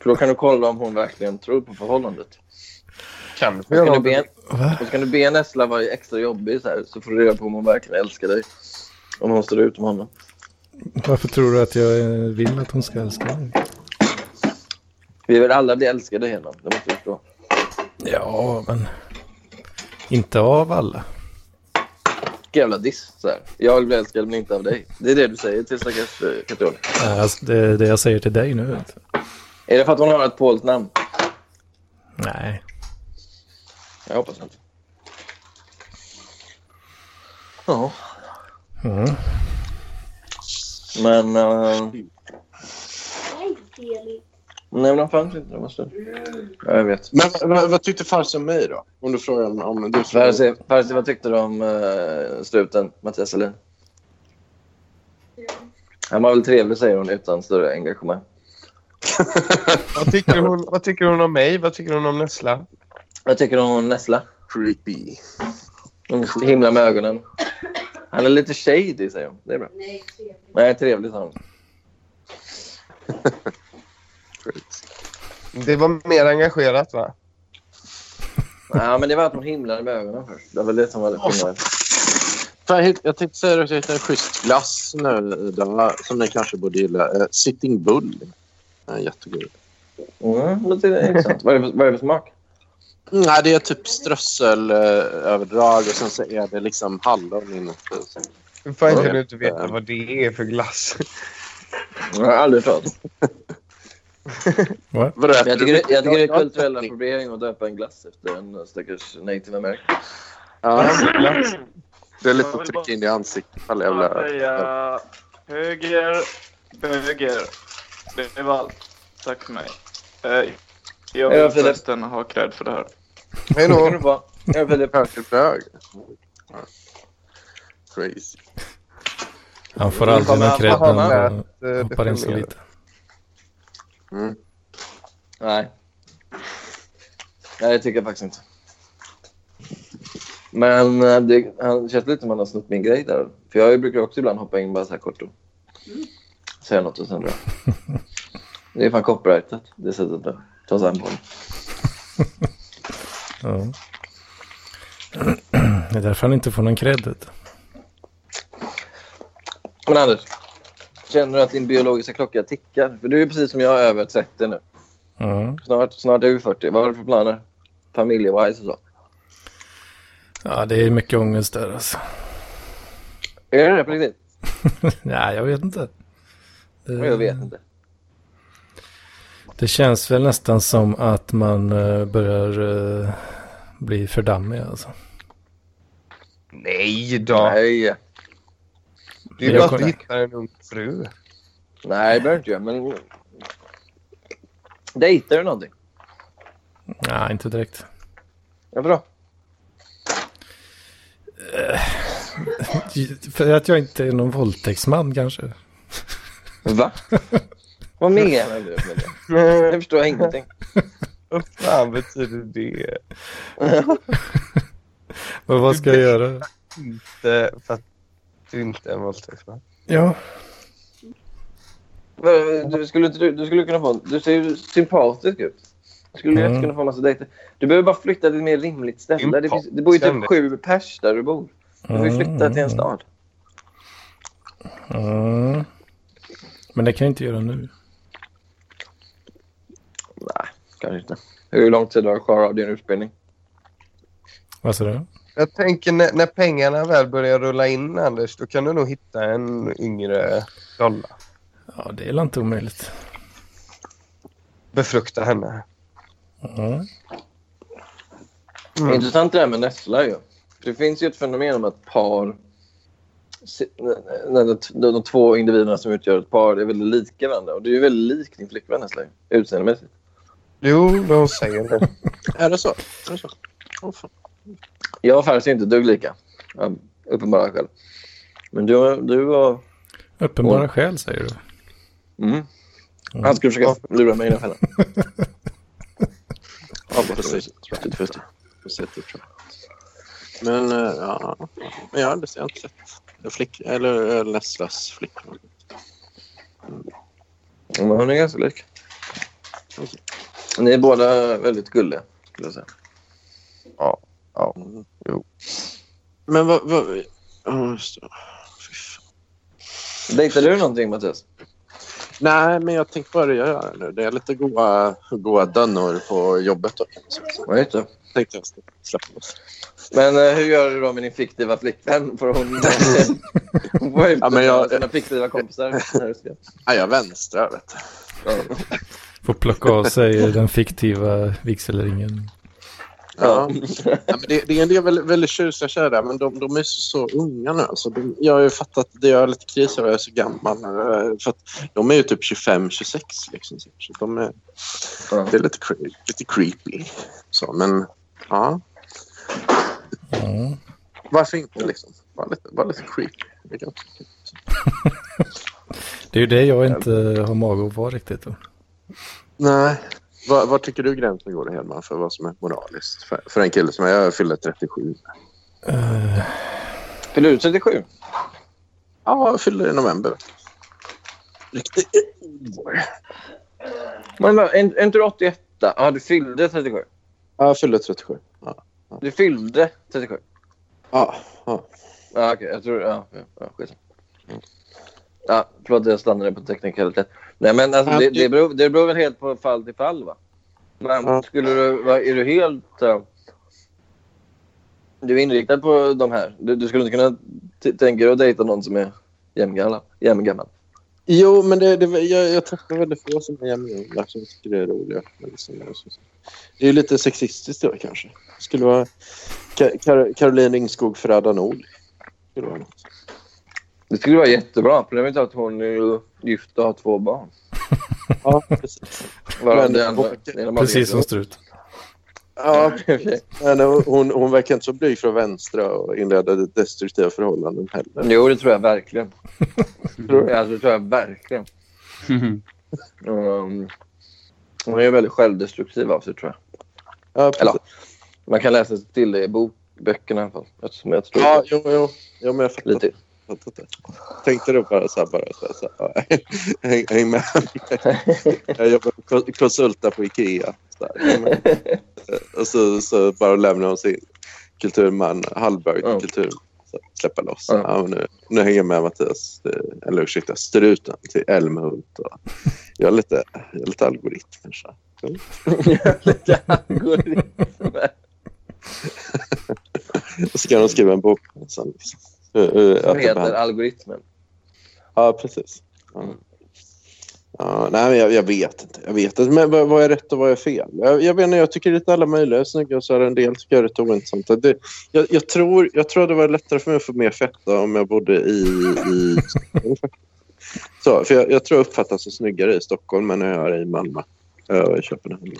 F: För då kan du kolla om hon verkligen tror på förhållandet.
H: Kanske
F: Och så
H: jag
F: kan du
H: har
F: be,
B: Va?
F: och så kan du be Nessla vara extra jobbig så här, så får du reda på om hon verkligen älskar dig. Om hon står ut med honom.
B: Varför tror du att jag eh, vill att hon ska älska mig?
F: Vi vill alla bli älskade genom, det måste du förstå.
B: Ja, men inte av alla.
F: Vilken jävla diss. Så här. Jag vill bli älskad men inte av dig. Det är det du säger till stackars eh, Katjol.
B: Nej, Alltså, det, det jag säger till dig nu. alltså.
F: Är det för att hon har ett polskt namn?
B: Nej,
F: Jag hoppas inte. Ja.
B: Mm.
F: Men... eh, nej, men han fanns inte. Det måste... Ja, jag vet.
A: Men vad- vad, vad tyckte farsan om mig då? Om du frågar om, om du frågar.
F: Percy, Percy, vad tyckte du om eh, struten, Mattias Selin? Han var väl trevlig, säger hon, utan större engagemang.
H: Vad tycker, hon, vad tycker hon om mig? Vad tycker hon om Nessla?
F: Vad tycker du om Nessla?
A: Creepy.
F: Hon himlar med ögonen. Han är lite shady, säger hon. Det är bra.
I: Nej, trevligt.
F: Nej, trevlig, sa hon.
H: Det var mer engagerat, va?
F: Ja, men det var att hon himlade med ögonen först. Det var det som var det skillnaden.
A: Jag hitt- jag tänkte säga att jag hittade en schysst glass nu, Donna, som ni kanske borde gilla. Eh, Sitting Bull. Den är jättegod.
F: Mm, men det är intressant. Vad är det för- vad är det för smak?
A: Mm, nej, det är typ strösselöverdrag och sen så är det liksom hallon inuti. Så-
H: Hur fan
A: Ja.
H: kan du inte veta vad det är för glass?
F: Jag har aldrig pratat.
A: Vadå,
F: Jag tycker, det- jag tycker det är
A: har-
F: kulturell appropriering att döpa en glass efter en stackars native american.
A: Ja, det är lite
J: Jag
A: att
J: vill bara-
A: trycka in i ansiktet. ifall jag
J: Jag
A: vill-
J: säga höger, böger. Det var allt. Tack för mig. Eh, Jag
F: Ja,
J: vill
F: Filip.
J: förresten ha cred för det här.
H: Hej
F: Kan
H: då!
F: du få? Jag vill Filip.
A: Högerbög. Crazy.
B: han får aldrig någon cred
H: Han
B: när
H: har
B: han
H: lärt,
B: eh,
H: eh,
B: hoppar in så
H: definiera.
B: lite.
F: Nej. Nej, det tycker jag faktiskt inte. Men eh, det han känns lite som han har snott min grej där. För jag brukar också ibland hoppa in bara så här kort och säga något och sen dra. Det är fan copyrightat, det sättet att ta sig an på det.
B: Ja. Det är därför han inte får någon cred. vet du.
F: Men Anders, känner du att din biologiska klocka tickar? För du är precis som jag, över 30 nu.
B: Mm.
F: Snart, snart är du 40. Vad har du för planer? Familjewise och så.
B: Ja, det är mycket ångest där alltså.
F: Är det det på riktigt?
B: Nej, jag vet inte. Det,
F: Jag vet inte.
B: det känns väl nästan som att man eh, börjar eh, bli för dammig alltså.
H: Nej då!
F: Nej,
H: Det är
B: Jag
H: bara att
B: kommer-
H: du hittar en ung fru.
F: nej det behöver du inte göra. Men... Dejtar du någonting?
B: Nej, inte direkt.
F: Varför då?
B: För att jag inte är någon våldtäktsman kanske.
F: Va? Vad menar du med det? Jag förstår ingenting.
H: Vad fan betyder det?
B: Men vad ska jag göra?
H: Inte för att du inte är en våldtäktsman.
B: Ja,
F: Vad- Du skulle, inte- du, du skulle kunna få... Du ser ju sympatisk ut. Du skulle
B: Mm.
F: lätt kunna få en massa dejter. Du behöver bara flytta till ett mer rimligt ställe. Det, finns, det bor ju typ
H: Sympatisk.
F: sju pers där du bor. Du får ju flytta till en stad.
B: Mm. Men det kan jag inte göra nu.
F: Kanske inte. Hur lång tid har du kvar av din utbildning?
B: Vad sa du?
H: Jag tänker när, när pengarna väl börjar rulla in, Anders, då kan du nog hitta en yngre dolla.
B: Ja, det är väl inte omöjligt.
H: Befrukta henne.
B: Mm.
H: Mm.
F: Intressant det här med Nessla ju. För det finns ju ett fenomen om att par... se- När de, de, de två individerna som utgör ett par är väldigt lika varandra. Och du är ju väldigt lik din flickvän Nessla ju, utseendemässigt.
H: Jo, de säger det.
A: Är det så? Är det så? Åh, fan.
F: Jag och Fares är inte ett dugg lika. Av uppenbara skäl. Men du, du var...
B: Uppenbara
F: Och-
B: skäl säger du.
F: Mm. Han skulle försöka lura mig i den fällan.
A: Ja, precis. Precis, det tror jag. Men eh, ja, men jag har aldrig jag har inte sett flick, eller eh, Nesslas flickvän.
F: Men hon är ganska lik. Ni är båda väldigt gulliga, skulle jag säga.
D: Ja, ja,
F: Mm.
D: jo.
A: Men vad... vad ja, just det. Fy fan.
F: Dejtar du någonting, Mattias?
A: Nej, men jag tänkte börja göra det nu. Det är lite goa, goa dönnor på jobbet. Då.
F: Jag inte.
A: Tänkte jag ska släppa loss.
F: Men eh, hur gör du då med din fiktiva flickvän? Får hon... hon får ju
A: Ja, men jag-
F: sina fiktiva kompisar. när du ska-
A: Nej, jag vänstrar. Vet du.
F: Ja.
B: Får plocka av sig den fiktiva vigselringen.
A: Ja. Ja, men det, det är en del väldigt, väldigt tjusiga tjejer där, men de, de är så, så unga nu. Alltså, de, jag har ju fattat det jag är lite kris över, jag är så gammal. eh, För att de är ju typ 25-26 liksom. Så så de är,
F: Ja.
A: Det är lite, cre- lite creepy. Så, men ja,
B: Mm.
A: varför inte liksom? Bara lite, bara lite creepy. Det kan-
B: Det är ju det jag inte har mage att vara riktigt. Då.
A: Nej. Vad vad tycker du gränsen går Hedman för vad som är moraliskt? För, för en kille som jag, jag fyller 37.
B: Eh,
F: Fyller du 37?
A: Ja, jag fyller i november. Riktigt.
F: Men, är är inte du 81? Ja, du fyllde 37.
A: Ja, jag fyller 37. Ja.
F: Du fyllde 37.
A: Ja, ja.
F: Ja, okej. Jag tror... Ja, ja, ja skit. Ja, förlåt, jag stannade på teknikalitet. Nej, men alltså, det, det, beror, det beror väl helt på fall till fall, va? Men
A: Ja.
F: skulle du... Va, är du helt... eh, du är inriktad på de här. Du, du skulle inte kunna t- tänka dig att dejta någon som är jämngammal. jämngammal.
A: Jo, men det, det, jag, jag träffar väldigt få som är jämngamla som tycker det är roligt. Men liksom, jag syns- det är ju lite sexistiskt då kanske. Det skulle vara Ka- Kar- Caroline Ringskog Ferrada Nord. Skulle vara något.
F: Det skulle vara jättebra. Problemet är att hon är gift och har två barn.
A: Ja, precis.
F: Varav
A: Men-
F: det andra- det ena
B: precis som
F: barnet-
B: strut.
A: Ja,
F: Okej.
A: men hon, hon verkar inte så blyg för att vänstra och inleda destruktiva förhållanden heller.
F: Jo, det tror jag verkligen. Ja, det tror jag verkligen. Um, hon är väldigt självdestruktiv av sig, tror jag.
A: Ja, precis.
F: Eller, man kan läsa sig till det i bok, böckerna i alla fall. Eftersom jag tror
A: ja jo, jo. jo, men jag fattar.
F: lite.
A: fattat det. Tänkte du bara så här, bara så här, så här. ja, häng, häng med. Jag jobbar som konsult där på Ikea. Så här. Ja, men, eh, Och så, så bara lämnar hon sin kulturman Hallberg till
F: Ja.
A: kultur. Så släppa loss.
F: Ja.
A: Ja. men nu, nu hänger jag med Mattias, eh, eller ursäkta, struten till Älmhult. Och jag är lite, jag är lite algoritmer. Så. här.
F: lite algoritmer.
A: Och så kan hon skriva en bok. Sen, liksom. Eh, eh, att
F: Som
A: det
F: heter
A: behandlar-
F: algoritmen.
A: Ja, precis. Ja. Ja, nej, men jag, jag vet inte. Jag vet inte. Men vad, vad är rätt och vad är fel? Jag, jag vet inte, jag tycker lite alla möjliga snygga så är det en del tycker jag är rätt ointressanta. Det, jag, jag, tror, jag tror det var lättare för mig att få mer fetta om jag bodde i... i så, för jag, jag tror jag uppfattas som snyggare i Stockholm än jag är i Malmö eh, och i Köpenhamn.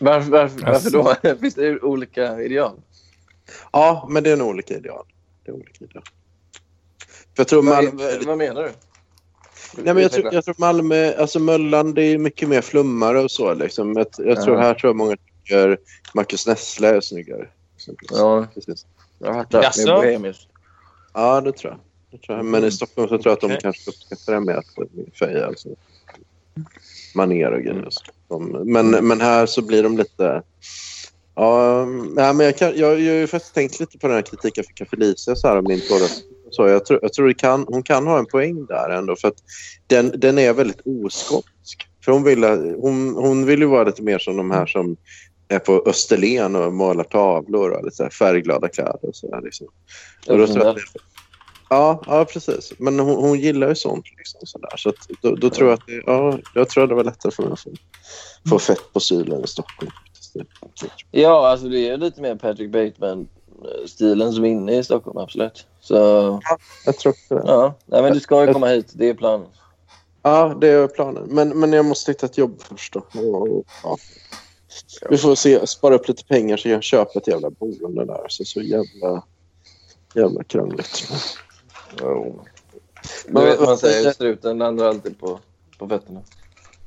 F: Varför, varför, varför
B: Alltså.
F: då? Finns det olika ideal?
A: Ja, men det är nog olika ideal. Det är olika ideal. För jag tror
F: Vad,
A: Malmö...
F: vad, vad menar du?
A: Nej, men jag, tror, jag tror Malmö, alltså Möllan, det är mycket mer flummare och så. Liksom. Jag, jag tror
F: Ja.
A: här tror jag många tycker Marcus Nessle är snyggare. exempelvis.
F: Ja,
A: Precis.
F: jag har hört det här
J: Jaså?
F: med bohemiskt.
A: ja, det tror jag. Det tror jag. Men i Stockholm så tror jag att de
J: Okej.
A: kanske uppskattar det med att feja alltså. manér och grejer. och så. De, men, men här så blir de lite... Ja, nej, men jag, kan, jag, jag har ju faktiskt tänkt lite på den här kritiken jag fick av Felicia så här, om min torra så jag tror, jag tror det kan, hon kan ha en poäng där ändå för att den, den är väldigt oskotsk. För hon vill, hon, hon vill ju vara lite mer som de här som är på Österlen och målar tavlor och lite så här färgglada kläder och sådär. Liksom. Och då tror jag att det, ja, ja, precis. Men hon, hon gillar ju sånt. Liksom, så där. så att, då, då tror jag att det, ja, jag tror att det var lättare för mig att få, få fett på sylen i Stockholm. faktiskt. Det-
F: Ja, alltså det är lite mer Patrick Bateman-stilen som är inne i Stockholm, absolut. Så
A: Jag tror också det.
F: ja, Nej, men du ska ju komma hit. Det är planen.
A: Ja, det är planen. Men, men jag måste hitta ett jobb först. Då. Och, och, ja. Vi får se, spara upp lite pengar så jag köper ett jävla boende där. Så, så jävla, jävla krångligt.
F: Du vet, man säger struten landar alltid på, på fötterna.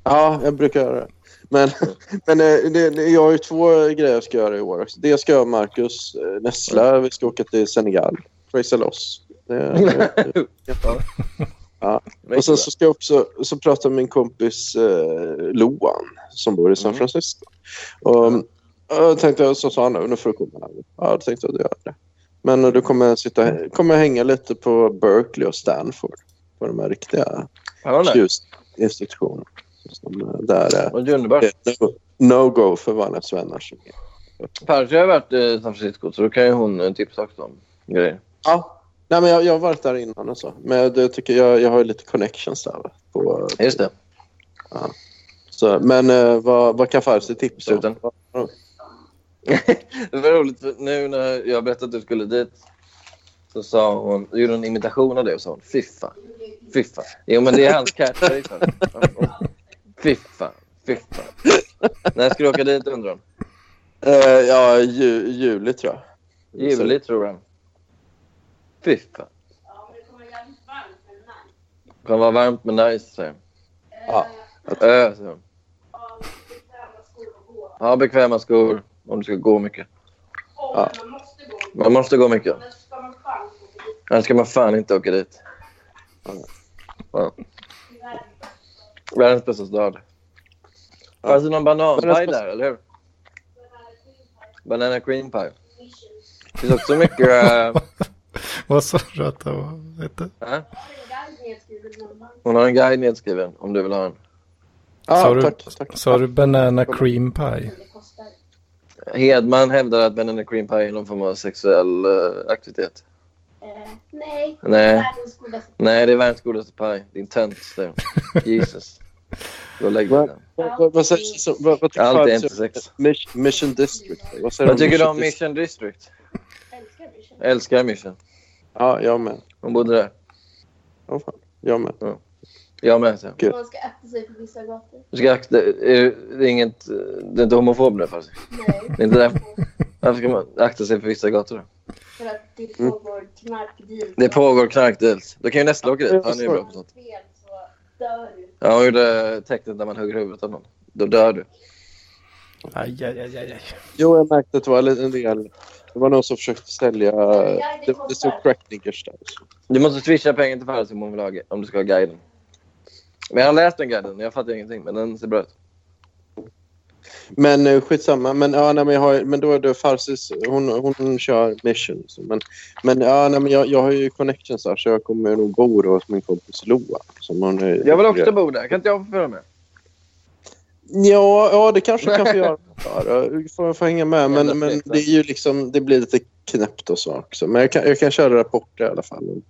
A: Ja, jag brukar göra det. Men, men eh, det, det, jag har ju två eh, grejer jag ska göra i år också. Det ska jag och Marcus eh,
F: Mm.
A: Nessla. Vi ska åka till Senegal. Prisa loss. Det, det,
F: Ja.
A: Och sen så ska jag också så prata med min kompis eh, Loan som bor i San
F: Mm.
A: Francisco. Och, och jag tänkte, så sa han nu, nu får du komma här. Ja, då tänkte jag att jag gör det. Men eh, du kommer, sitta, kommer hänga lite på Berkeley och Stanford. På de här riktiga
F: Ja, nej.
A: institutionerna. Som, eh, där är
F: Och det är underbart.
A: Eh, no- no-go för vanliga svennar.
F: Percy har varit i San Francisco så då kan ju hon eh, tipsa också om grejer.
A: Ja. Nej, men jag, jag har varit där innan och så. Men jag tycker jag, jag har ju lite connections där. va, På,
F: Just det.
A: Så, men eh, vad, vad kan Farsi tipsa om?
F: Sluten. det var roligt för nu när jag berättade att du skulle dit. Så sa hon, gjorde en imitation av det och sa hon fiffa. Fiffa. Jo men det är hans catchphrase. här. Fiffa. Fiffa. När ska du åka dit undrar hon?
A: Eh, ja, ju, juli tror jag.
F: Juli tror han. Fiffa. Det kommer vara varmt men nice säger hon.
A: Ja.
F: Ö säger hon. Ha bekväma skor om du ska gå mycket.
A: Ja.
F: Man måste gå mycket. Annars ska man fan inte åka dit. Ja. Världens bästa stad. Fanns det någon bananpaj där, eller hur? Banana cream pie. Det finns också mycket... eh,
B: Vad sa du att det var? Hette?
F: här. Hon har en guide nedskriven om du vill ha en.
B: Sa
A: Ja,
B: du-
A: Ah, tack, tack.
B: Sa du banana cream pie?
F: Hedman hävdar att banana cream pie är någon form av sexuell eh, aktivitet.
I: Eh, Nej.
F: Nej. Nej, det är världens godaste paj. Din tönt, säger hon. Jesus. Då lägger vi den.
A: Vad- vad- vad sägs- så- vad- vad tycker
F: Allt är
A: Farsi-
F: inte sex.
A: Mis- Mission District. Vad, säger
F: Vad tycker du om
A: District?
F: Mission District? Älskar Mission.
A: Ja, jag med.
F: Hon bodde där.
A: Ja, fan. Jag med.
F: Jag med. Sen.
I: Man ska akta sig på vissa gator.
F: Du ska akta, är, det är inget, det är inte homofob nu faktiskt.
I: Nej,
F: Det är inte där. Varför ska man akta sig för vissa gator då?
I: för att det pågår knarkdeal.
F: Mm. Det pågår knarkdeals. Då kan ju Nessla åka dit. Han är ju bra på sånt.
I: Fel så dör du.
F: Ja, hon gjorde tecknet när man hugger huvudet av någon. Då dör du.
B: Aj, aj, aj, aj. aj.
A: Jo, jag märkte att det var en del... Det var någon som försökte sälja... Det, det stod cracknickers där.
F: Du måste swisha pengar till Farsi om hon vill ha, gu- om du ska ha guiden. Men jag har läst den guiden. Jag fattar ingenting, men den ser bra ut.
A: Men eh, skitsamma. Men, ja, nej, men, jag har, men då är det Farsis. Hon, hon kör mission. Så, men men, ja, nej, men jag, jag har ju connections där så jag kommer nog bo då hos min kompis Loa. Som hon är,
F: Jag vill också bo där. Kan inte jag få följa med?
A: Ja, ja det kanske kan få göra. Ja, du får, får hänga med. Men, men det är ju liksom, det blir lite knäppt och så också. Men jag kan, jag kan köra rapporter i alla fall. om-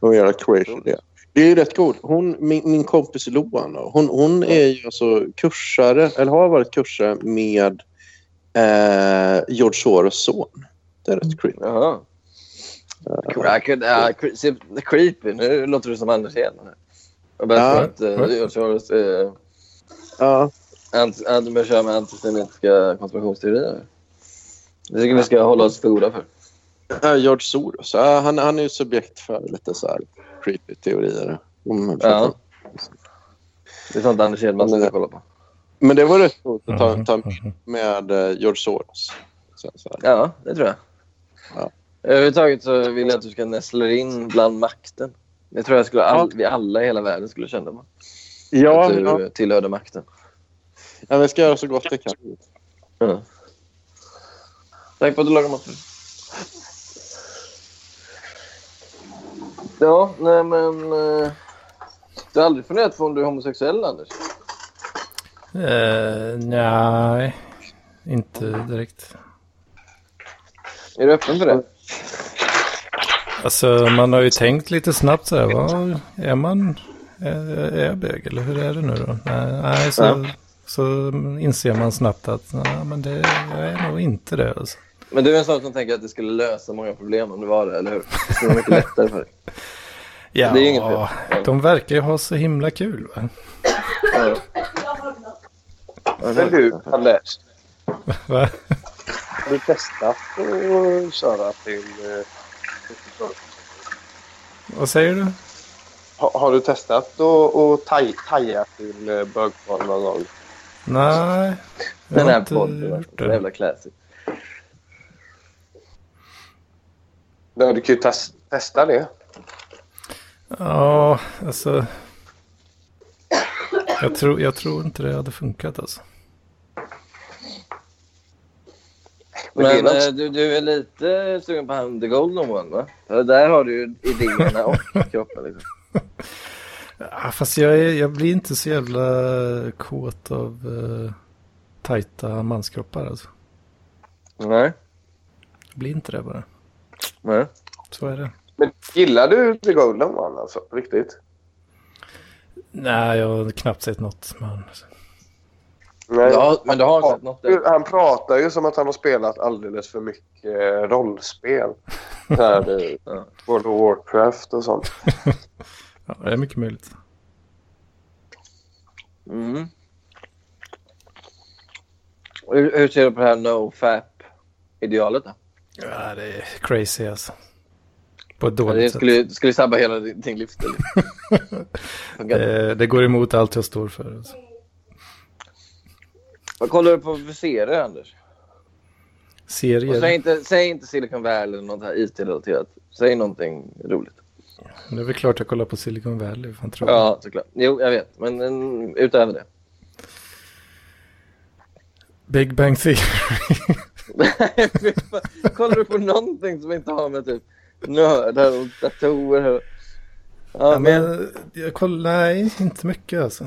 A: Och göra crazy det. Det är ju rätt coolt. Hon, min, min kompis Loan då, hon, hon är ju alltså kursare, eller har varit kursare med eh, George Soros son. Det är rätt creepy.
F: Jaha. Crack, uh, cre- se- creepy. Nu låter du som Anders Hedman. här. Jag börjar
A: Ja.
F: tro att eh, George Soros... eh,
A: Ja,
F: Ant- ant- man kör med antisemitiska konspirationsteorier. Det tycker vi ska hålla oss för goda för.
A: eh, George Soros. Ja, han, han är ju subjekt för lite så här creepy teorier. Om man fattar.
F: Ja. Det är sånt Anders Hedman ska kolla på.
A: Men det var rätt coolt att ta,
B: Mhm,
A: ta
B: mhm.
A: med eh, George Soros. Så, så här.
F: Ja, det tror jag.
A: Ja.
F: Överhuvudtaget så vill jag att du ska nästla dig in bland makten. Det tror jag skulle all, vi alla i hela världen skulle känna på.
A: Ja,
F: att du
A: ja.
F: tillhörde makten.
A: ja, vi ska göra så gott vi kan.
F: Tack för att du lagade mat. Ja, nej men... eh, Du har aldrig funderat på om du är homosexuell, Anders?
B: Eh, nej, inte direkt.
F: Är du öppen för det?
B: Alltså man har ju tänkt lite snabbt så här, vad är man, är, är jag bög eller hur är det nu då? Nej, nej så,
F: Ja.
B: så inser man snabbt att nej, men det, jag är nog inte det. Alltså.
F: Men du är en sån som tänker att det skulle lösa många problem om det var det, eller hur? Det skulle vara mycket lättare för dig.
B: Ja,
F: Det är ju inget fel.
B: de verkar ju ha så himla kul. Va?
F: Ja.
H: Men du, Kalle,
B: Va?
H: har du testat att köra till... eh,
B: Vad säger du?
H: Har, har du testat att att taj, taja till eh, bögporr någon gång?
B: Nej, jag
F: Den
B: har
F: här
B: inte
F: podden,
B: gjort
F: den
B: det.
F: jävla classic.
H: Nej, du kan ju tes- testa det.
B: Ja, alltså. Jag tror, jag tror inte det hade funkat alltså.
F: Men eh, du, du är lite sugen på han the golden one va? För där har du ju idéerna och kroppen liksom.
B: Ja, fast jag, är, jag blir inte så jävla kåt av eh, tajta manskroppar alltså.
F: Nej.
B: Jag blir inte det bara.
F: Nej.
B: Så är det.
G: Men gillar du The Golden One alltså? Riktigt?
B: Nej, jag har knappt sett något. alltså. Men...
G: Nej,
F: Ja, men du har
G: han,
F: sett något där.
G: han pratar ju som att han har spelat alldeles för mycket eh, rollspel. Så här, eh,
F: Ja.
G: World of Warcraft och sånt.
B: Ja, det är mycket möjligt.
F: Mm. Hur, hur ser du på det här no-fap-idealet då?
B: Ja, det är crazy alltså. På ett
F: Ja,
B: dåligt
F: Det
B: sätt.
F: skulle, skulle sabba hela din din livsstil. Funkar.
B: Eh, Det, det går emot allt jag står för. Alltså.
F: Vad kollar du på för serier Anders? Och säg,
B: Serier,
F: inte, säg inte Silicon Valley eller något här IT-relaterat. Säg någonting roligt.
B: det är väl klart jag kollar på Silicon Valley. Fan, tror jag.
F: Ja, såklart. Jo, jag vet. Men mm, utöver det.
B: Big Bang Theory.
F: Nej, fy fan. Kollar du på någonting som inte har med typ nördar och datorer och... Ja,
B: Ja,
F: men
B: men jag kollar, nej, inte mycket alltså.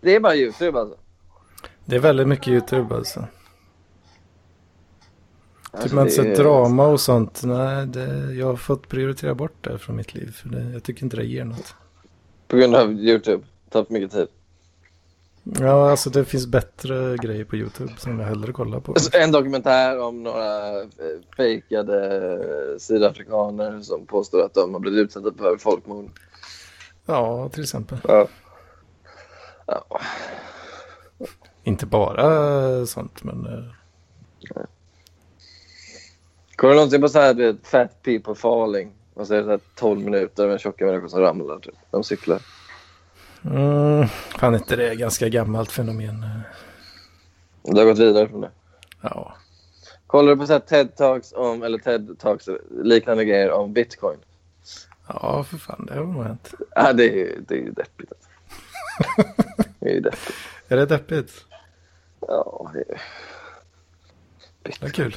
F: det är bara YouTube alltså.
B: Det är väldigt mycket YouTube alltså.
F: Alltså,
B: typ man
F: det
B: sett
F: är-
B: drama och sånt. Nej, det, jag har fått prioritera bort det från mitt liv. För det, jag tycker inte det ger något.
F: På grund av YouTube. Tar för mycket tid.
B: Ja, alltså det finns bättre grejer på YouTube som jag hellre kollar på.
F: Alltså, En dokumentär om några eh, fejkade eh, sydafrikaner som påstår att de har blivit utsatta för folkmord.
B: Ja, till exempel.
F: Ja. Ja.
B: Inte bara sånt, men... eh,
F: Kollar du någonsin typ på så här, du vet, fat people falling? Och så är det så här 12 minuter med tjocka människor som ramlar. Typ. De cyklar.
B: Mm, fan inte det är ganska gammalt fenomen. eh.
F: Du har gått vidare från det.
B: Ja.
F: Kollar du på så här TED-talks om, eller TED-talks, liknande grejer om bitcoin?
B: Ja, för fan, det har nog hänt.
F: Ja, det är ju det är ju deppigt. Alltså. det är ju deppigt.
B: Är det deppigt?
F: Ja, det är...
B: Det är kul.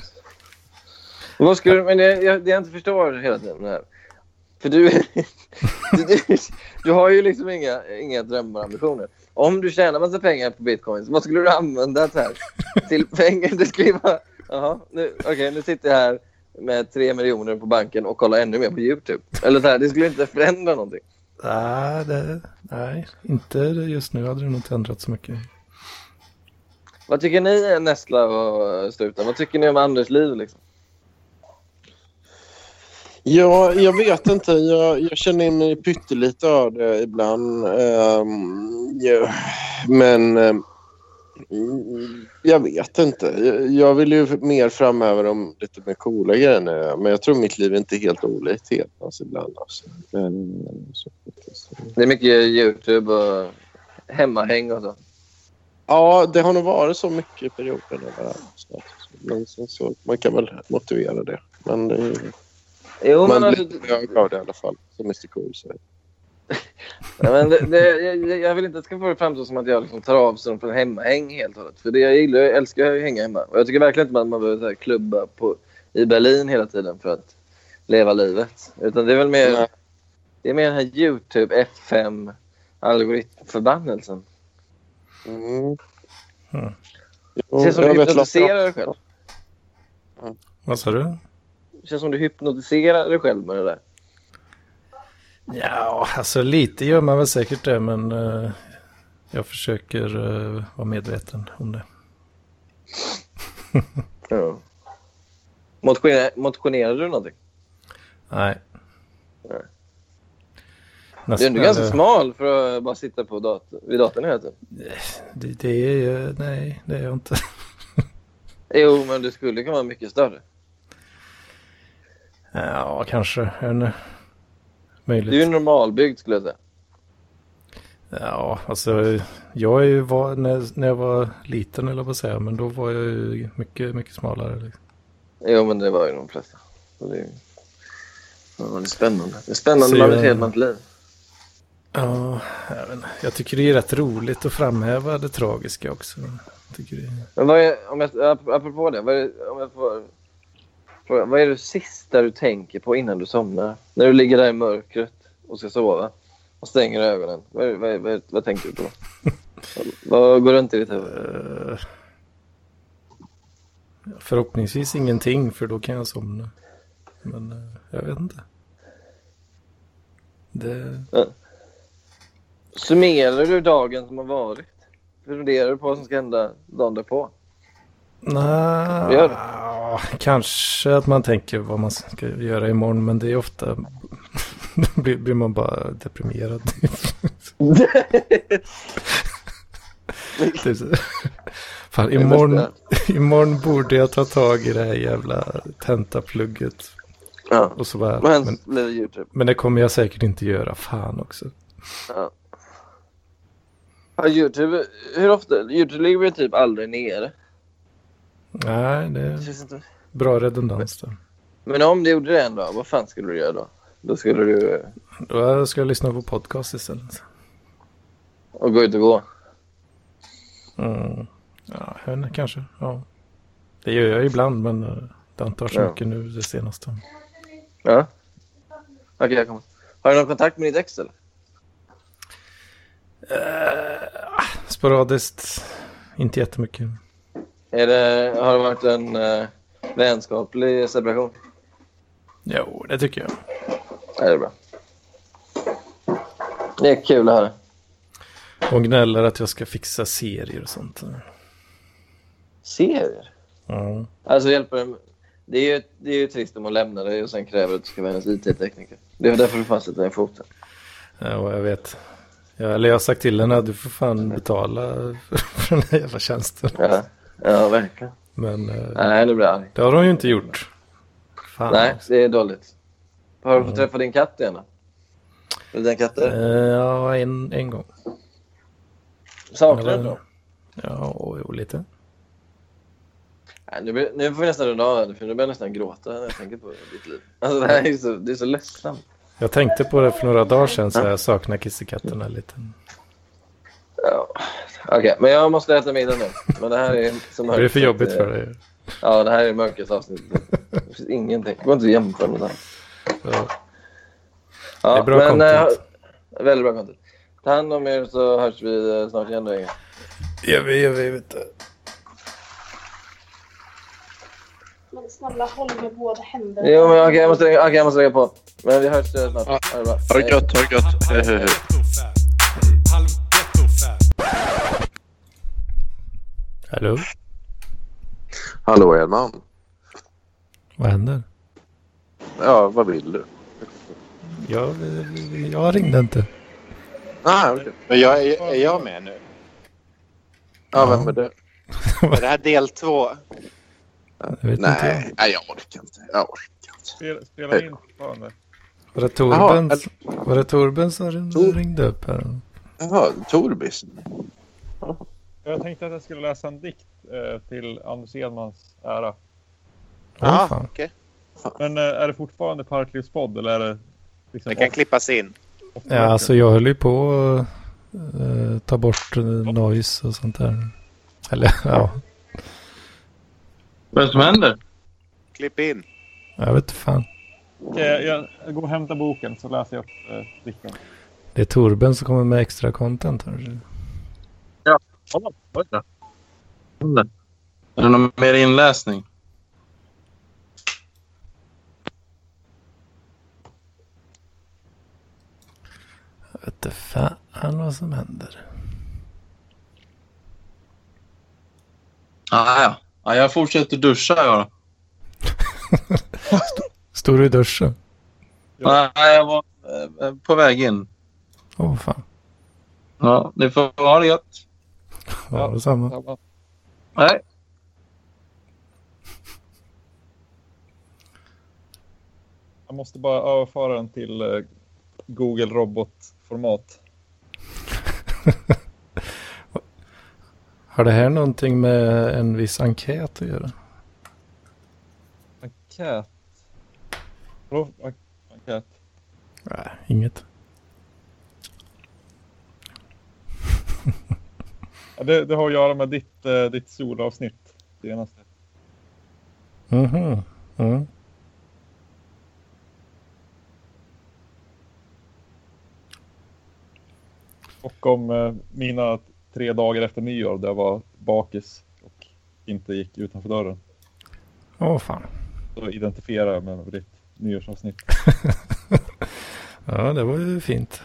F: Vad skulle du, men det jag, det jag inte förstår hela tiden här. För du, du, du, du har ju liksom inga, inga drömmar och ambitioner. Om du tjänar massa pengar på bitcoins, vad skulle du använda så här, till pengar? Du skulle ju bara, jaha, nu, okej, nu sitter jag här med tre miljoner på banken och kollar ännu mer på YouTube. Eller så här, det skulle inte förändra någonting.
B: Nej, det, nej, inte just nu hade det nog inte ändrat så mycket.
F: Vad tycker ni Nestla och Struten? Vad tycker ni om Anders liv? Liksom?
A: Ja, jag vet inte. Jag, jag känner mig pyttelite av det ibland. Ehm, ja, men ehm, mm, jag vet inte. Jag, jag vill ju mer framöver om lite mer coola grejer nu. Men jag tror mitt liv är inte helt olikt Hedmans ibland. Alltså. Men, så,
F: Det är mycket YouTube och hemmahäng och så.
A: ja, det har nog varit så mycket i perioden. överallt, så att- Men sen så, man kan väl motivera det. Men eh, det,
F: Jo, men
A: man
F: alltså,
A: blir hög av det i alla fall, som Mr Cool säger.
F: Ja, men det, det, jag, jag vill inte att det ska få det framstå som att jag liksom tar avstånd från hemmahäng helt och hållet. För det jag gillar, jag älskar ju att hänga hemma. Och jag tycker verkligen inte att man behöver så här, klubba på, i Berlin hela tiden för att leva livet. Utan det är väl mer,
A: Nej.
F: det är mer den här YouTube F5 algoritmförbannelsen.
A: Mm.
B: Mm.
A: Jo,
F: Det känns som
A: jag
F: du
A: vet
F: hypnotiserar dig själv.
B: Vad sa du?
F: Det känns som du hypnotiserar dig själv med det där.
B: Ja, alltså lite gör man väl säkert det, men eh, jag försöker eh, vara medveten om det.
F: Ja. Motionerar, motionerar du någonting?
B: Nej.
F: Nej. Du är
B: Nästan,
F: ändå ganska
B: eh,
F: smal för att bara sitta på dator, vid datorn hela tiden.
B: Det, det är, eh, nej, det är jag inte.
F: Jo, men du skulle kunna vara mycket större.
B: Ja, kanske. Jag vet inte.
F: Du är ju
B: Möjligt.
F: normalbyggd skulle jag säga.
B: Ja, alltså jag är ju var, när, när jag var liten eller vad säga, men då var jag ju mycket, mycket smalare. Liksom.
F: Jo, men det var ju de flesta. Så det... Ja, det är spännande. Det är spännande
B: Så
F: man
B: jag-
F: blir helt med ett liv.
B: Ja, jag, vet inte. jag tycker det är rätt roligt att framhäva det tragiska också. Jag tycker det är...
F: Men vad är, om jag, ap- apropå det, vad är, om jag får fråga, vad är det sista du tänker på innan du somnar? När du ligger där i mörkret och ska sova och stänger ögonen, vad, är- vad, är- vad, är- vad tänker du på? vad, vad går runt i ditt huvud?
B: Eh, Förhoppningsvis ingenting, för då kan jag somna. Men eh, jag vet inte. Det...
F: Summerar du dagen som har varit? Funderar du på vad som ska hända dagen därpå?
B: Nej,
F: Gör
B: kanske att man tänker vad man ska göra imorgon, men det är ofta... Då blir blir man bara deprimerad. Typ så. Fan, imorgon, imorgon borde jag ta tag i det här jävla tentaplugget.
F: Ja.
B: Och så bara,
F: Men,
B: men,
F: blir det Youtube.
B: men det kommer jag säkert inte göra. Fan också.
F: Ja. Ja, Youtube, hur ofta? Youtube ligger väl typ aldrig nere?
B: Nej, det
F: Det
B: är
F: känns inte...
B: bra redundans där.
F: Men om du gjorde det en dag, vad fan skulle du göra då? Då skulle du eh,
B: Då ska jag lyssna på podcast istället.
F: och gå ut och gå.
B: Mm. Ja, jag vet inte, kanske. Ja. Det gör jag ibland, men eh, det har inte varit så
F: Ja.
B: mycket nu det senaste.
F: Ja. Okej, jag kommer. Har du någon kontakt med ditt ex eller?
B: Sporadiskt, inte jättemycket.
F: Är det, har det varit en eh, vänskaplig separation?
B: Jo, det tycker jag.
F: Ja, det är bra. Det är kul att höra.
B: Hon gnäller att jag ska fixa serier och sånt.
F: Serier?
B: Ja.
F: Alltså hjälper det det är, ju, det är ju trist om hon lämnar dig och sen kräver att du ska vara hennes IT-tekniker. Det var därför du fanns sätta den foten.
B: Ja, Eh, och jag vet. Jag, eller jag har sagt till henne att du får fan betala för, för den här jävla tjänsten.
F: Ja, ja verkligen.
B: Men eh,
F: Nej, nu blir jag arg.
B: det har hon ju inte gjort. Fan
F: Nej,
B: också.
F: det är dåligt. Har du fått träffa din katt igen då? Eller den katten?
B: Eh, Ja, en, en gång.
F: Saknar du
B: eller-
F: dem?
B: Ja, och, och lite.
F: Nej, nu, blir- nu får vi nästan runda av här, för nu börjar jag nästan gråta när jag tänker på ditt liv. Alltså det här är ju så, det är så ledsamt.
B: Jag tänkte på det för några dagar sedan så jag saknar kissekatterna lite.
F: Ja. Okej, men jag måste äta middag nu. Men det här är så
B: Det
F: mörkt.
B: är för
F: så att
B: jobbigt
F: det-
B: för dig.
F: Ja, det här är det mörkaste avsnittet. Det finns ingenting. Det går inte att jämföra med det här.
B: Ja.
F: Ja,
B: Det är bra content.
F: eh, väldigt bra content. Ta hand om er så hörs vi eh, snart igen då, Inge.
B: Gör vi, gör vi, vet du.
I: Men snälla håll med båda händerna.
F: Jo, men okej, jag, måste lägga- okej, jag måste lägga på. Men vi hörs eh, snart. Ha det bra.
A: Ha det
F: Hej.
A: gött, ha det gött. Hej, hej, hej.
B: Hallå?
A: Hallå Edman.
B: Vad händer?
A: Ja, vad vill du?
B: Jag, jag ringde inte.
A: Ah, okej.
K: Men jag, är, är jag med nu?
A: Ja, vem är du?
K: Är det här del två?
B: Jag vet inte.
A: Nej, nej, jag orkar inte. Jag orkar inte.
H: Spela, spela in fortfarande.
B: Var det
A: Jaha,
B: Torben,
A: eller-
B: var det Torben som ringde,
A: Tor-
B: ringde upp här?
A: Jaha, Torbis.
H: Jag tänkte att jag skulle läsa en dikt eh, till Anders Edmans ära.
K: Ja,
B: Åh, fan.
K: okej.
H: Men eh, är det fortfarande Parklivspodd eller är det... Liksom
K: Det kan
H: off-
K: klippas in.
H: off-
B: Ja, alltså jag höll ju på att eh, ta bort eh, noise och sånt där. Eller ja,
J: Vad är det som händer?
K: Klipp in.
B: jag vet inte fan.
H: Okej, jag, jag går och hämtar boken så läser jag upp eh, dikten.
B: Det är Torben som kommer med extra content här.
J: Oj då. Är det någon mer inläsning?
B: Jag vet inte fan vad som händer.
J: Ah, ja. ja, jag fortsätter duscha jag då.
B: Står du i duschen?
J: Nej, jag var eh, på väg in.
B: Åh fan.
J: Ja, ni får ha det gött.
B: Ja, detsamma.
H: Ja,
J: Hej.
H: Jag måste bara överföra den till eh, Google robotformat.
B: Har det här någonting med en viss enkät att göra?
H: Enkät. Vadå? En- Ja.
B: Nej, inget.
L: Ja, Det, det har att göra med ditt, eh, ditt solavsnitt. Senaste.
B: Mhm. Mm.
L: Och om eh, mina tre dagar efter nyår där jag var bakis och inte gick utanför dörren.
B: Åh fan.
L: Då identifierar jag mig med ditt nyårsavsnitt.
B: Ja, det var ju fint.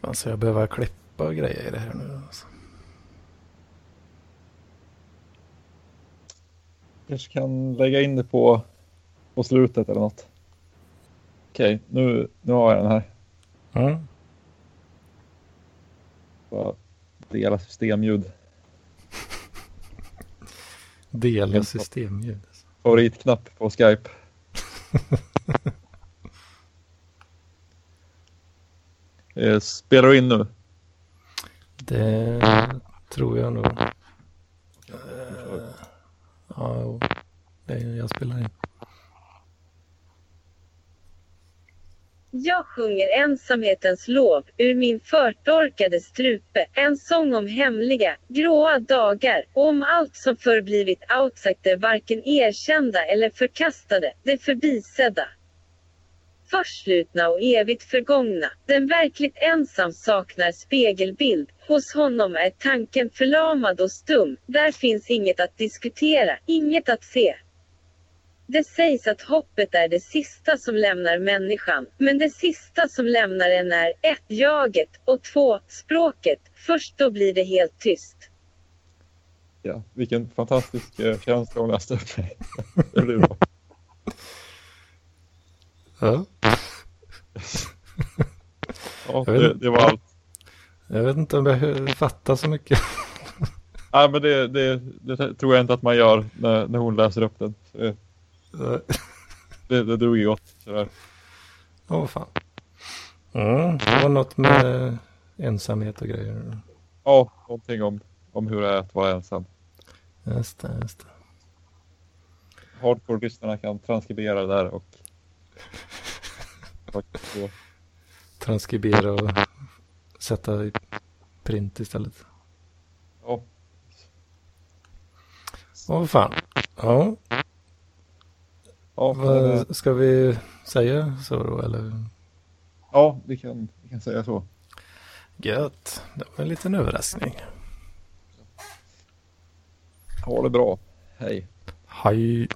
B: Alltså jag behöver klippa grejer i det här nu. Alltså.
L: kanske kan lägga in det på, på slutet eller något. Okej, nu, nu har jag den här.
B: Mm.
L: Bara dela systemljud.
B: Dela systemljud.
L: Favoritknapp på Skype. Eh, Spelar du in nu?
B: Det tror jag nog. Eh, Ja, jo. det, jag spelar in.
M: Jag sjunger ensamhetens lov ur min förtorkade strupe. En sång om hemliga, gråa dagar och om allt som förr blivit outsider varken erkända eller förkastade, det förbisedda. Förslutna och evigt förgångna. Den verkligt ensam saknar spegelbild. Hos honom är tanken förlamad och stum. Där finns inget att diskutera, inget att se. Det sägs att hoppet är det sista som lämnar människan. Men det sista som lämnar en är 1. Jaget och 2. Språket. Först då blir det helt tyst.
L: Ja, vilken fantastisk eh, känsla hon läste upp. Det blir bra.
B: Ja.
L: Ja,
B: Jag vet
L: det,
B: inte.
L: det var allt.
B: Jag vet inte om jag hö- fattar så mycket.
L: Nej, men det, det, det tror jag inte att man gör när, när hon läser upp den. Så det, det, det drog ju gott. Sådär.
B: Åh fan. Mm. Det var något med ensamhet och grejer.
L: Ja, någonting om, om hur det är att vara ensam.
B: Just det, just det.
L: Hardcore-lyssnarna kan transkribera det där och... och så.
B: Transkribera och sätta i print istället.
L: Ja.
B: Åh fan. Ja.
L: Ja, men,
B: Vad ska vi säga så då eller?
L: ja vi, kan, vi kan säga så.
B: Gött. Det var en liten överraskning.
L: Ha det bra. Hej.
B: Hej.